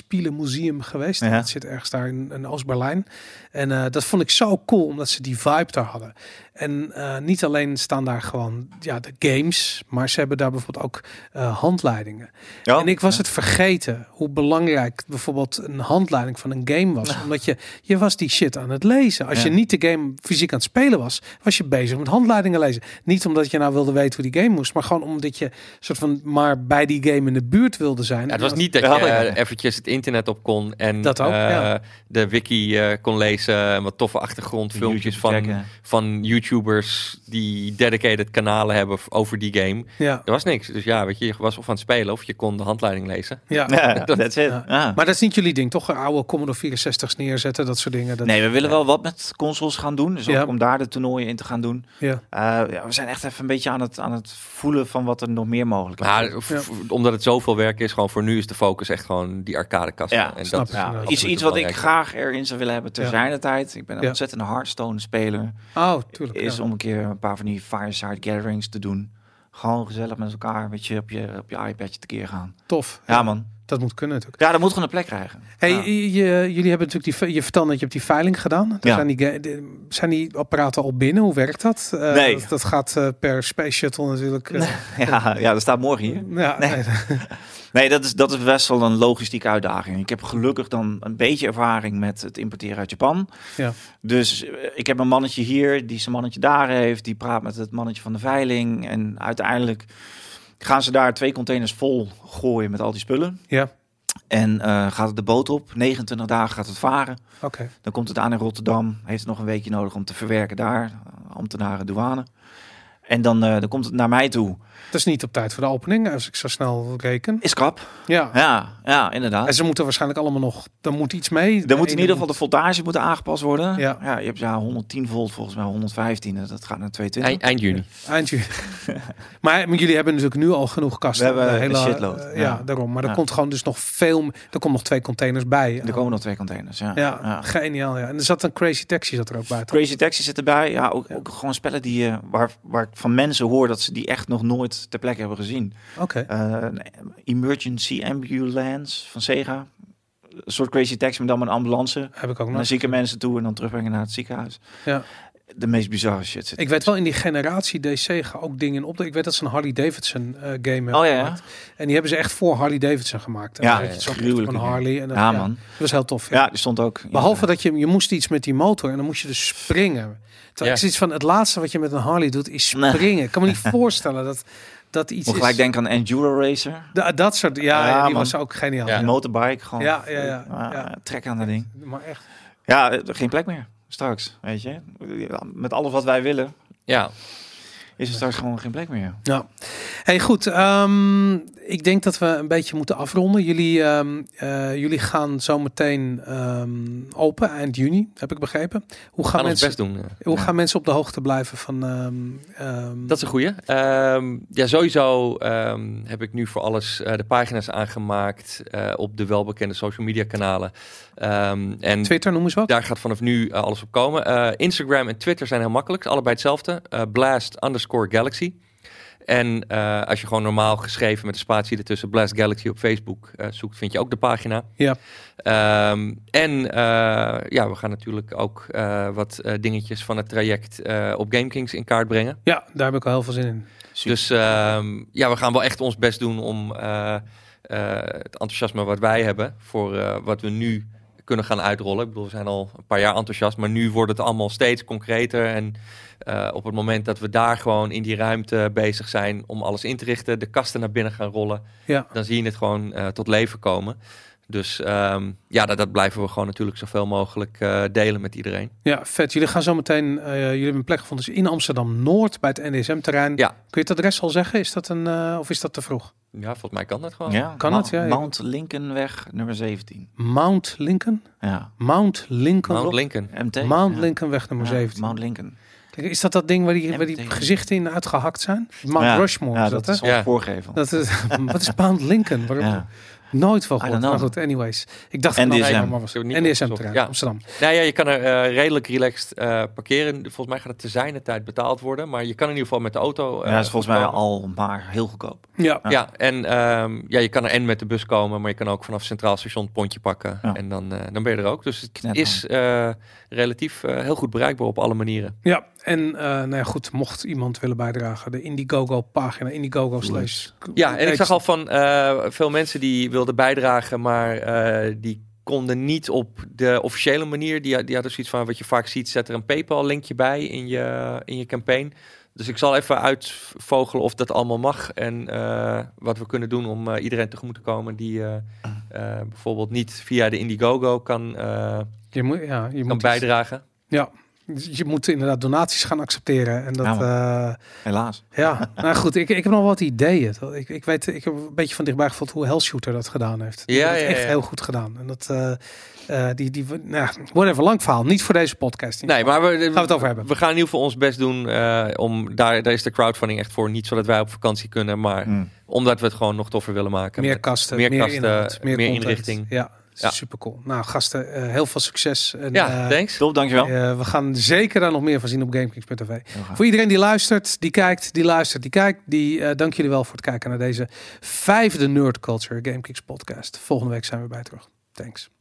Speaker 2: Computerspielenmuseum geweest.
Speaker 4: Ja.
Speaker 2: Dat zit ergens daar in, in Oost-Berlijn. En eh, dat vond ik zo cool, omdat ze die vibe daar hadden. En eh, niet alleen staan daar gewoon ja, de games, maar ze hebben daar bijvoorbeeld ook eh, handleidingen.
Speaker 4: Ja.
Speaker 2: en ik was het vergeten hoe belangrijk bijvoorbeeld een handleiding van een game was. Omdat je, je was die shit aan het lezen. Als
Speaker 4: Ja.
Speaker 2: je niet de game fysiek aan het spelen was, was je bezig met handleidingen lezen. Niet omdat je nou wilde weten hoe die game moest, maar gewoon omdat je soort van maar bij die game in de buurt wilde zijn.
Speaker 3: Ja, het was niet dat je
Speaker 4: Ja, ja, ja.
Speaker 3: eh, eventjes het internet op kon en
Speaker 2: Dat ook,
Speaker 3: eh,
Speaker 2: ja.
Speaker 3: de wiki eh, kon lezen en wat toffe achtergrondfilmpjes
Speaker 4: YouTube
Speaker 3: van,
Speaker 4: checken.
Speaker 3: van YouTubers die dedicated kanalen hebben f- over die game.
Speaker 2: Ja,
Speaker 3: Er was niks. Dus ja, weet je, je was of aan het spelen of je kon de handleiding lezen.
Speaker 2: ja.
Speaker 4: Ja, that's it. Ah.
Speaker 2: Ja.
Speaker 4: Ja.
Speaker 2: Maar dat is niet jullie ding, toch? Oude Commodore 64's neerzetten, dat soort dingen. Dat,
Speaker 4: Nee, we willen wel wat met consoles gaan doen. Dus ook
Speaker 2: Ja.
Speaker 4: om daar de toernooien in te gaan doen.
Speaker 2: ja.
Speaker 4: Eh, ja, we zijn echt even een beetje aan het, aan het voelen van wat er nog meer mogelijk is.
Speaker 3: Maar v- v- omdat het zoveel werk is, gewoon voor nu is de focus echt gewoon die arcadekast.
Speaker 4: Ja,
Speaker 3: en
Speaker 2: snap ik.
Speaker 3: dat is
Speaker 2: Ja,
Speaker 4: Ja,
Speaker 3: absoluut
Speaker 4: iets,
Speaker 3: het
Speaker 4: iets wat ik
Speaker 3: belangrijkste.
Speaker 4: graag erin zou willen hebben ter
Speaker 2: Ja.
Speaker 4: zijn tijd. Ik ben een
Speaker 2: Ja.
Speaker 4: ontzettende Hearthstone speler.
Speaker 2: Oh, tuurlijk.
Speaker 4: is
Speaker 2: ja.
Speaker 4: om een keer een paar van die fireside gatherings te doen. Gewoon gezellig met elkaar met je op je, op je iPadje tekeer gaan.
Speaker 2: Tof.
Speaker 4: Ja, man.
Speaker 2: Dat moet kunnen natuurlijk.
Speaker 4: Ja, dat moet gewoon een plek krijgen.
Speaker 2: Hey,
Speaker 4: Ja.
Speaker 2: je, je- jullie hebben natuurlijk die, ve- je vertelde dat je hebt die veiling gedaan. Daar
Speaker 4: Ja.
Speaker 2: Zijn, die, ga- de- zijn die apparaten al binnen? Hoe werkt dat? Eh,
Speaker 4: Nee.
Speaker 2: Dat, dat gaat eh, per space shuttle natuurlijk. eh,
Speaker 4: ja, ja, dat staat morgen hier.
Speaker 2: ja,
Speaker 4: Nee.
Speaker 2: nee.
Speaker 4: Nee, dat is, dat is best wel een logistieke uitdaging. Ik heb gelukkig dan een beetje ervaring met het importeren uit Japan.
Speaker 2: Ja.
Speaker 4: Dus eh, ik heb een mannetje hier, die zijn mannetje daar heeft. Die praat met het mannetje van de veiling. En uiteindelijk gaan ze daar twee containers vol gooien met al die spullen.
Speaker 2: Ja,
Speaker 4: En eh, gaat het de boot op. 29 dagen gaat het varen.
Speaker 2: oké.
Speaker 4: Dan komt het aan in Rotterdam. Heeft het nog een weekje nodig om te verwerken daar. Ambtenaren, douane. En dan, eh, dan komt het naar mij toe.
Speaker 2: Dat is niet op tijd voor de opening, als ik zo snel reken.
Speaker 4: Is krap.
Speaker 2: Ja.
Speaker 4: Ja, ja inderdaad.
Speaker 2: En ze moeten waarschijnlijk allemaal nog... Dan moet iets mee.
Speaker 4: Dan moet in ieder geval de voltage moeten aangepast worden.
Speaker 2: Ja.
Speaker 4: Ja. je hebt ja 110 volt volgens mij, 115. en Dat gaat naar 220.
Speaker 3: Eind, eind juni.
Speaker 2: Eindje. maar, maar jullie hebben natuurlijk nu al genoeg kasten.
Speaker 4: We hebben
Speaker 2: De
Speaker 4: een shitload,
Speaker 2: eh, ja.
Speaker 4: ja.
Speaker 2: daarom. Maar er
Speaker 4: Ja.
Speaker 2: komt gewoon dus nog veel... m- Er komt nog twee containers bij.
Speaker 4: Er komen nog twee containers. Ja.
Speaker 2: ja,
Speaker 4: Ja.
Speaker 2: geniaal. Ja. En er zat een Crazy Taxi zat er ook bij. toch?
Speaker 4: Crazy Taxi zit erbij. Ja, ook, ook gewoon spellen die, eh, waar, waar ik van mensen hoor dat ze die echt nog nooit ter plekke hebben gezien.
Speaker 2: Oké.
Speaker 4: Eh, een emergency Ambulance van Sega. Een soort Crazy Taxi, maar dan met een ambulance.
Speaker 2: Heb ik ook nog.
Speaker 4: Naar zieke mensen toe en dan terugbrengen naar het ziekenhuis.
Speaker 2: Ja.
Speaker 4: De meest bizarre shit zit
Speaker 2: Ik weet wel in die generatie DC gaan ook dingen op. Ik weet dat ze een Harley Davidson eh, game hebben
Speaker 4: Oh ja, ja.
Speaker 2: gemaakt. En die hebben ze echt voor Harley Davidson gemaakt. En
Speaker 4: Ja,
Speaker 2: dan had je zo echt op
Speaker 4: gruwelijke
Speaker 2: een
Speaker 4: game.
Speaker 2: Harley. En dat,
Speaker 4: Ja, man.
Speaker 2: Dat was heel tof. Ja.
Speaker 4: Ja, die stond ook.
Speaker 2: Behalve dat je, je moest iets met die motor en dan moest je dus springen. Terwijl
Speaker 3: Ja.
Speaker 2: ik zoiets van het laatste wat je met een Harley doet is
Speaker 4: Nee.
Speaker 2: springen. Ik kan me niet voorstellen dat dat iets
Speaker 4: Moet gelijk
Speaker 2: is.
Speaker 4: denken aan Enduro Racer.
Speaker 2: Da- dat soort, ja,
Speaker 4: Ja,
Speaker 2: ja, die
Speaker 4: man.
Speaker 2: was ook geniaal.
Speaker 3: Ja.
Speaker 2: Ja.
Speaker 4: Een motorbike gewoon.
Speaker 2: Ja, ja, ja,
Speaker 4: Ah,
Speaker 2: ja.
Speaker 4: Trek aan dat ding.
Speaker 2: Maar echt.
Speaker 4: Ja, eh, geen plek meer. Straks, weet je. Met alles wat wij willen,
Speaker 3: Ja,
Speaker 4: is er straks gewoon geen plek meer.
Speaker 2: Ja. Hey, goed. ehm, ik denk dat we een beetje moeten afronden. Jullie, ehm, eh, jullie gaan zo meteen ehm, open eind juni, heb ik begrepen. Hoe gaan,
Speaker 3: gaan ons
Speaker 2: mensen,
Speaker 3: best doen. ja.
Speaker 2: hoe
Speaker 4: Ja.
Speaker 2: gaan mensen op de hoogte blijven van? ehm, ehm,
Speaker 3: Dat is een goeie. Ehm, ja, sowieso ehm, heb ik nu voor alles eh, de pagina's aangemaakt eh, op de welbekende social media kanalen. Ehm, en
Speaker 2: Twitter noemen ze wat.
Speaker 3: daar gaat vanaf nu eh, alles op komen. Eh, Instagram en Twitter zijn heel makkelijk. Allebei hetzelfde. Eh, blast underscore galaxy. En eh, als je gewoon normaal geschreven met een spatie ertussen Blast Galaxy op Facebook eh, zoekt, vind je ook de pagina.
Speaker 2: Ja.
Speaker 3: Ehm, en eh, ja, we gaan natuurlijk ook eh, wat eh, dingetjes van het traject eh, op GameKings in kaart brengen.
Speaker 2: Ja, daar heb ik al heel veel zin in.
Speaker 4: Super.
Speaker 3: Dus ehm, ja, we gaan wel echt ons best doen om eh, eh, het enthousiasme wat wij hebben voor eh, wat we nu kunnen gaan uitrollen. Ik bedoel, we zijn al een paar jaar enthousiast, maar nu wordt het allemaal steeds concreter. En eh, op het moment dat we daar gewoon in die ruimte bezig zijn om alles in te richten, de kasten naar binnen gaan rollen,
Speaker 2: Ja.
Speaker 3: dan zie je het gewoon eh, tot leven komen. Dus ehm, ja, dat, dat blijven we gewoon natuurlijk zoveel mogelijk eh, delen met iedereen.
Speaker 2: ja, vet. Jullie gaan zo meteen. eh, jullie hebben een plek gevonden dus in Amsterdam Noord bij het NDSM-terrein.
Speaker 3: Ja.
Speaker 2: Kun je het adres al zeggen? Is dat een eh, of is dat te vroeg?
Speaker 3: Ja, volgens mij kan dat gewoon.
Speaker 4: Ja,
Speaker 2: Kan
Speaker 4: Ma-
Speaker 2: het, ja, ja.
Speaker 4: Mount Lincolnweg, nummer 17.
Speaker 2: Mount Lincoln.
Speaker 4: Ja.
Speaker 2: Mount Lincoln.
Speaker 3: Mount Lincoln.
Speaker 4: MT.
Speaker 2: Mount
Speaker 4: ja.
Speaker 2: Lincolnweg nummer
Speaker 4: Ja,
Speaker 2: 17.
Speaker 4: Mount Lincoln.
Speaker 2: Kijk, is dat dat ding waar die,
Speaker 4: En
Speaker 2: waar die
Speaker 4: meteen.
Speaker 2: gezichten in uitgehakt zijn? Mount
Speaker 4: Ja,
Speaker 2: Rushmore
Speaker 4: Ja,
Speaker 2: is
Speaker 4: dat,
Speaker 2: dat, hè?
Speaker 4: is ons
Speaker 3: Ja.
Speaker 4: voorgevel.
Speaker 2: Dat is, wat is Mount Lincoln? Waarom
Speaker 4: ja.
Speaker 2: nooit van
Speaker 4: I
Speaker 2: gehoord.
Speaker 4: don't know.
Speaker 2: Maar goed, anyways. Ik dacht...
Speaker 4: NDSM.
Speaker 2: Nou, nee, maar was
Speaker 3: Ik heb het niet
Speaker 2: NDSM-terrein,
Speaker 3: opgezocht. Ja.
Speaker 2: Amsterdam.
Speaker 3: Nou ja, je kan er eh, redelijk relaxed eh, parkeren. Volgens mij gaat het te zijner tijd betaald worden. Maar je kan in ieder geval met de auto. eh,
Speaker 4: ja, is volgens mij
Speaker 3: komen.
Speaker 4: al maar heel goedkoop.
Speaker 2: Ja,
Speaker 3: Ja, en ehm, ja, je kan er en met de bus komen, maar je kan ook vanaf Centraal Station het pontje pakken.
Speaker 4: Ja.
Speaker 3: En dan, eh, dan ben je er ook. Dus het
Speaker 4: Knetterhand.
Speaker 3: is eh, relatief eh, heel goed bereikbaar op alle manieren.
Speaker 2: ja. en eh, nou ja, goed, mocht iemand willen bijdragen, de Indiegogo-pagina, Indiegogo slash...
Speaker 3: Ja, en ik zag al van eh, veel mensen die wilden bijdragen, maar eh, die konden niet op de officiële manier. Die, die hadden zoiets van wat je vaak ziet, zet er een PayPal-linkje bij in je, in je campaign. Dus ik zal even uitvogelen of dat allemaal mag en eh, wat we kunnen doen om eh, iedereen tegemoet te komen die eh, eh, bijvoorbeeld niet via de Indiegogo kan, eh,
Speaker 2: Je moet, ja, je
Speaker 3: kan
Speaker 2: moet, iets-
Speaker 3: bijdragen.
Speaker 2: ja, Dus je moet inderdaad donaties gaan accepteren. En dat...
Speaker 4: Ja,
Speaker 2: eh,
Speaker 4: Helaas.
Speaker 2: Ja, nou goed, ik, ik heb nog wat ideeën. Ik, ik weet, ik heb een beetje van dichtbij gevoeld hoe Hellshooter dat gedaan heeft. Die
Speaker 3: Ja,
Speaker 2: hebben het
Speaker 3: ja,
Speaker 2: echt
Speaker 3: ja.
Speaker 2: heel goed gedaan. En dat, eh eh, die, die, nou, whatever, lang verhaal. Niet voor deze podcast.
Speaker 3: Nee, maar we,
Speaker 2: we het over hebben.
Speaker 3: we gaan in ieder geval ons best doen eh, om daar, daar is de crowdfunding echt voor. Niet zodat wij op vakantie kunnen, maar
Speaker 4: Mm.
Speaker 3: Omdat we het gewoon nog toffer willen maken.
Speaker 2: meer
Speaker 3: Met
Speaker 2: kasten,
Speaker 3: meer
Speaker 2: meer,
Speaker 3: kasten,
Speaker 2: inhoud, meer,
Speaker 3: meer
Speaker 2: content.
Speaker 3: inrichting.
Speaker 2: Ja,
Speaker 3: Ja.
Speaker 2: Super cool. Nou, gasten, eh, heel veel succes. En,
Speaker 3: Ja,
Speaker 2: eh,
Speaker 3: thanks.
Speaker 4: Top, dankjewel.
Speaker 2: eh, we gaan zeker daar nog meer van zien op GameKings.tv. Voor iedereen die luistert, die kijkt, die luistert, die kijkt, die eh, dank jullie wel voor het kijken naar deze vijfde Nerd Culture GameKings podcast. Volgende week zijn we bij terug. Thanks.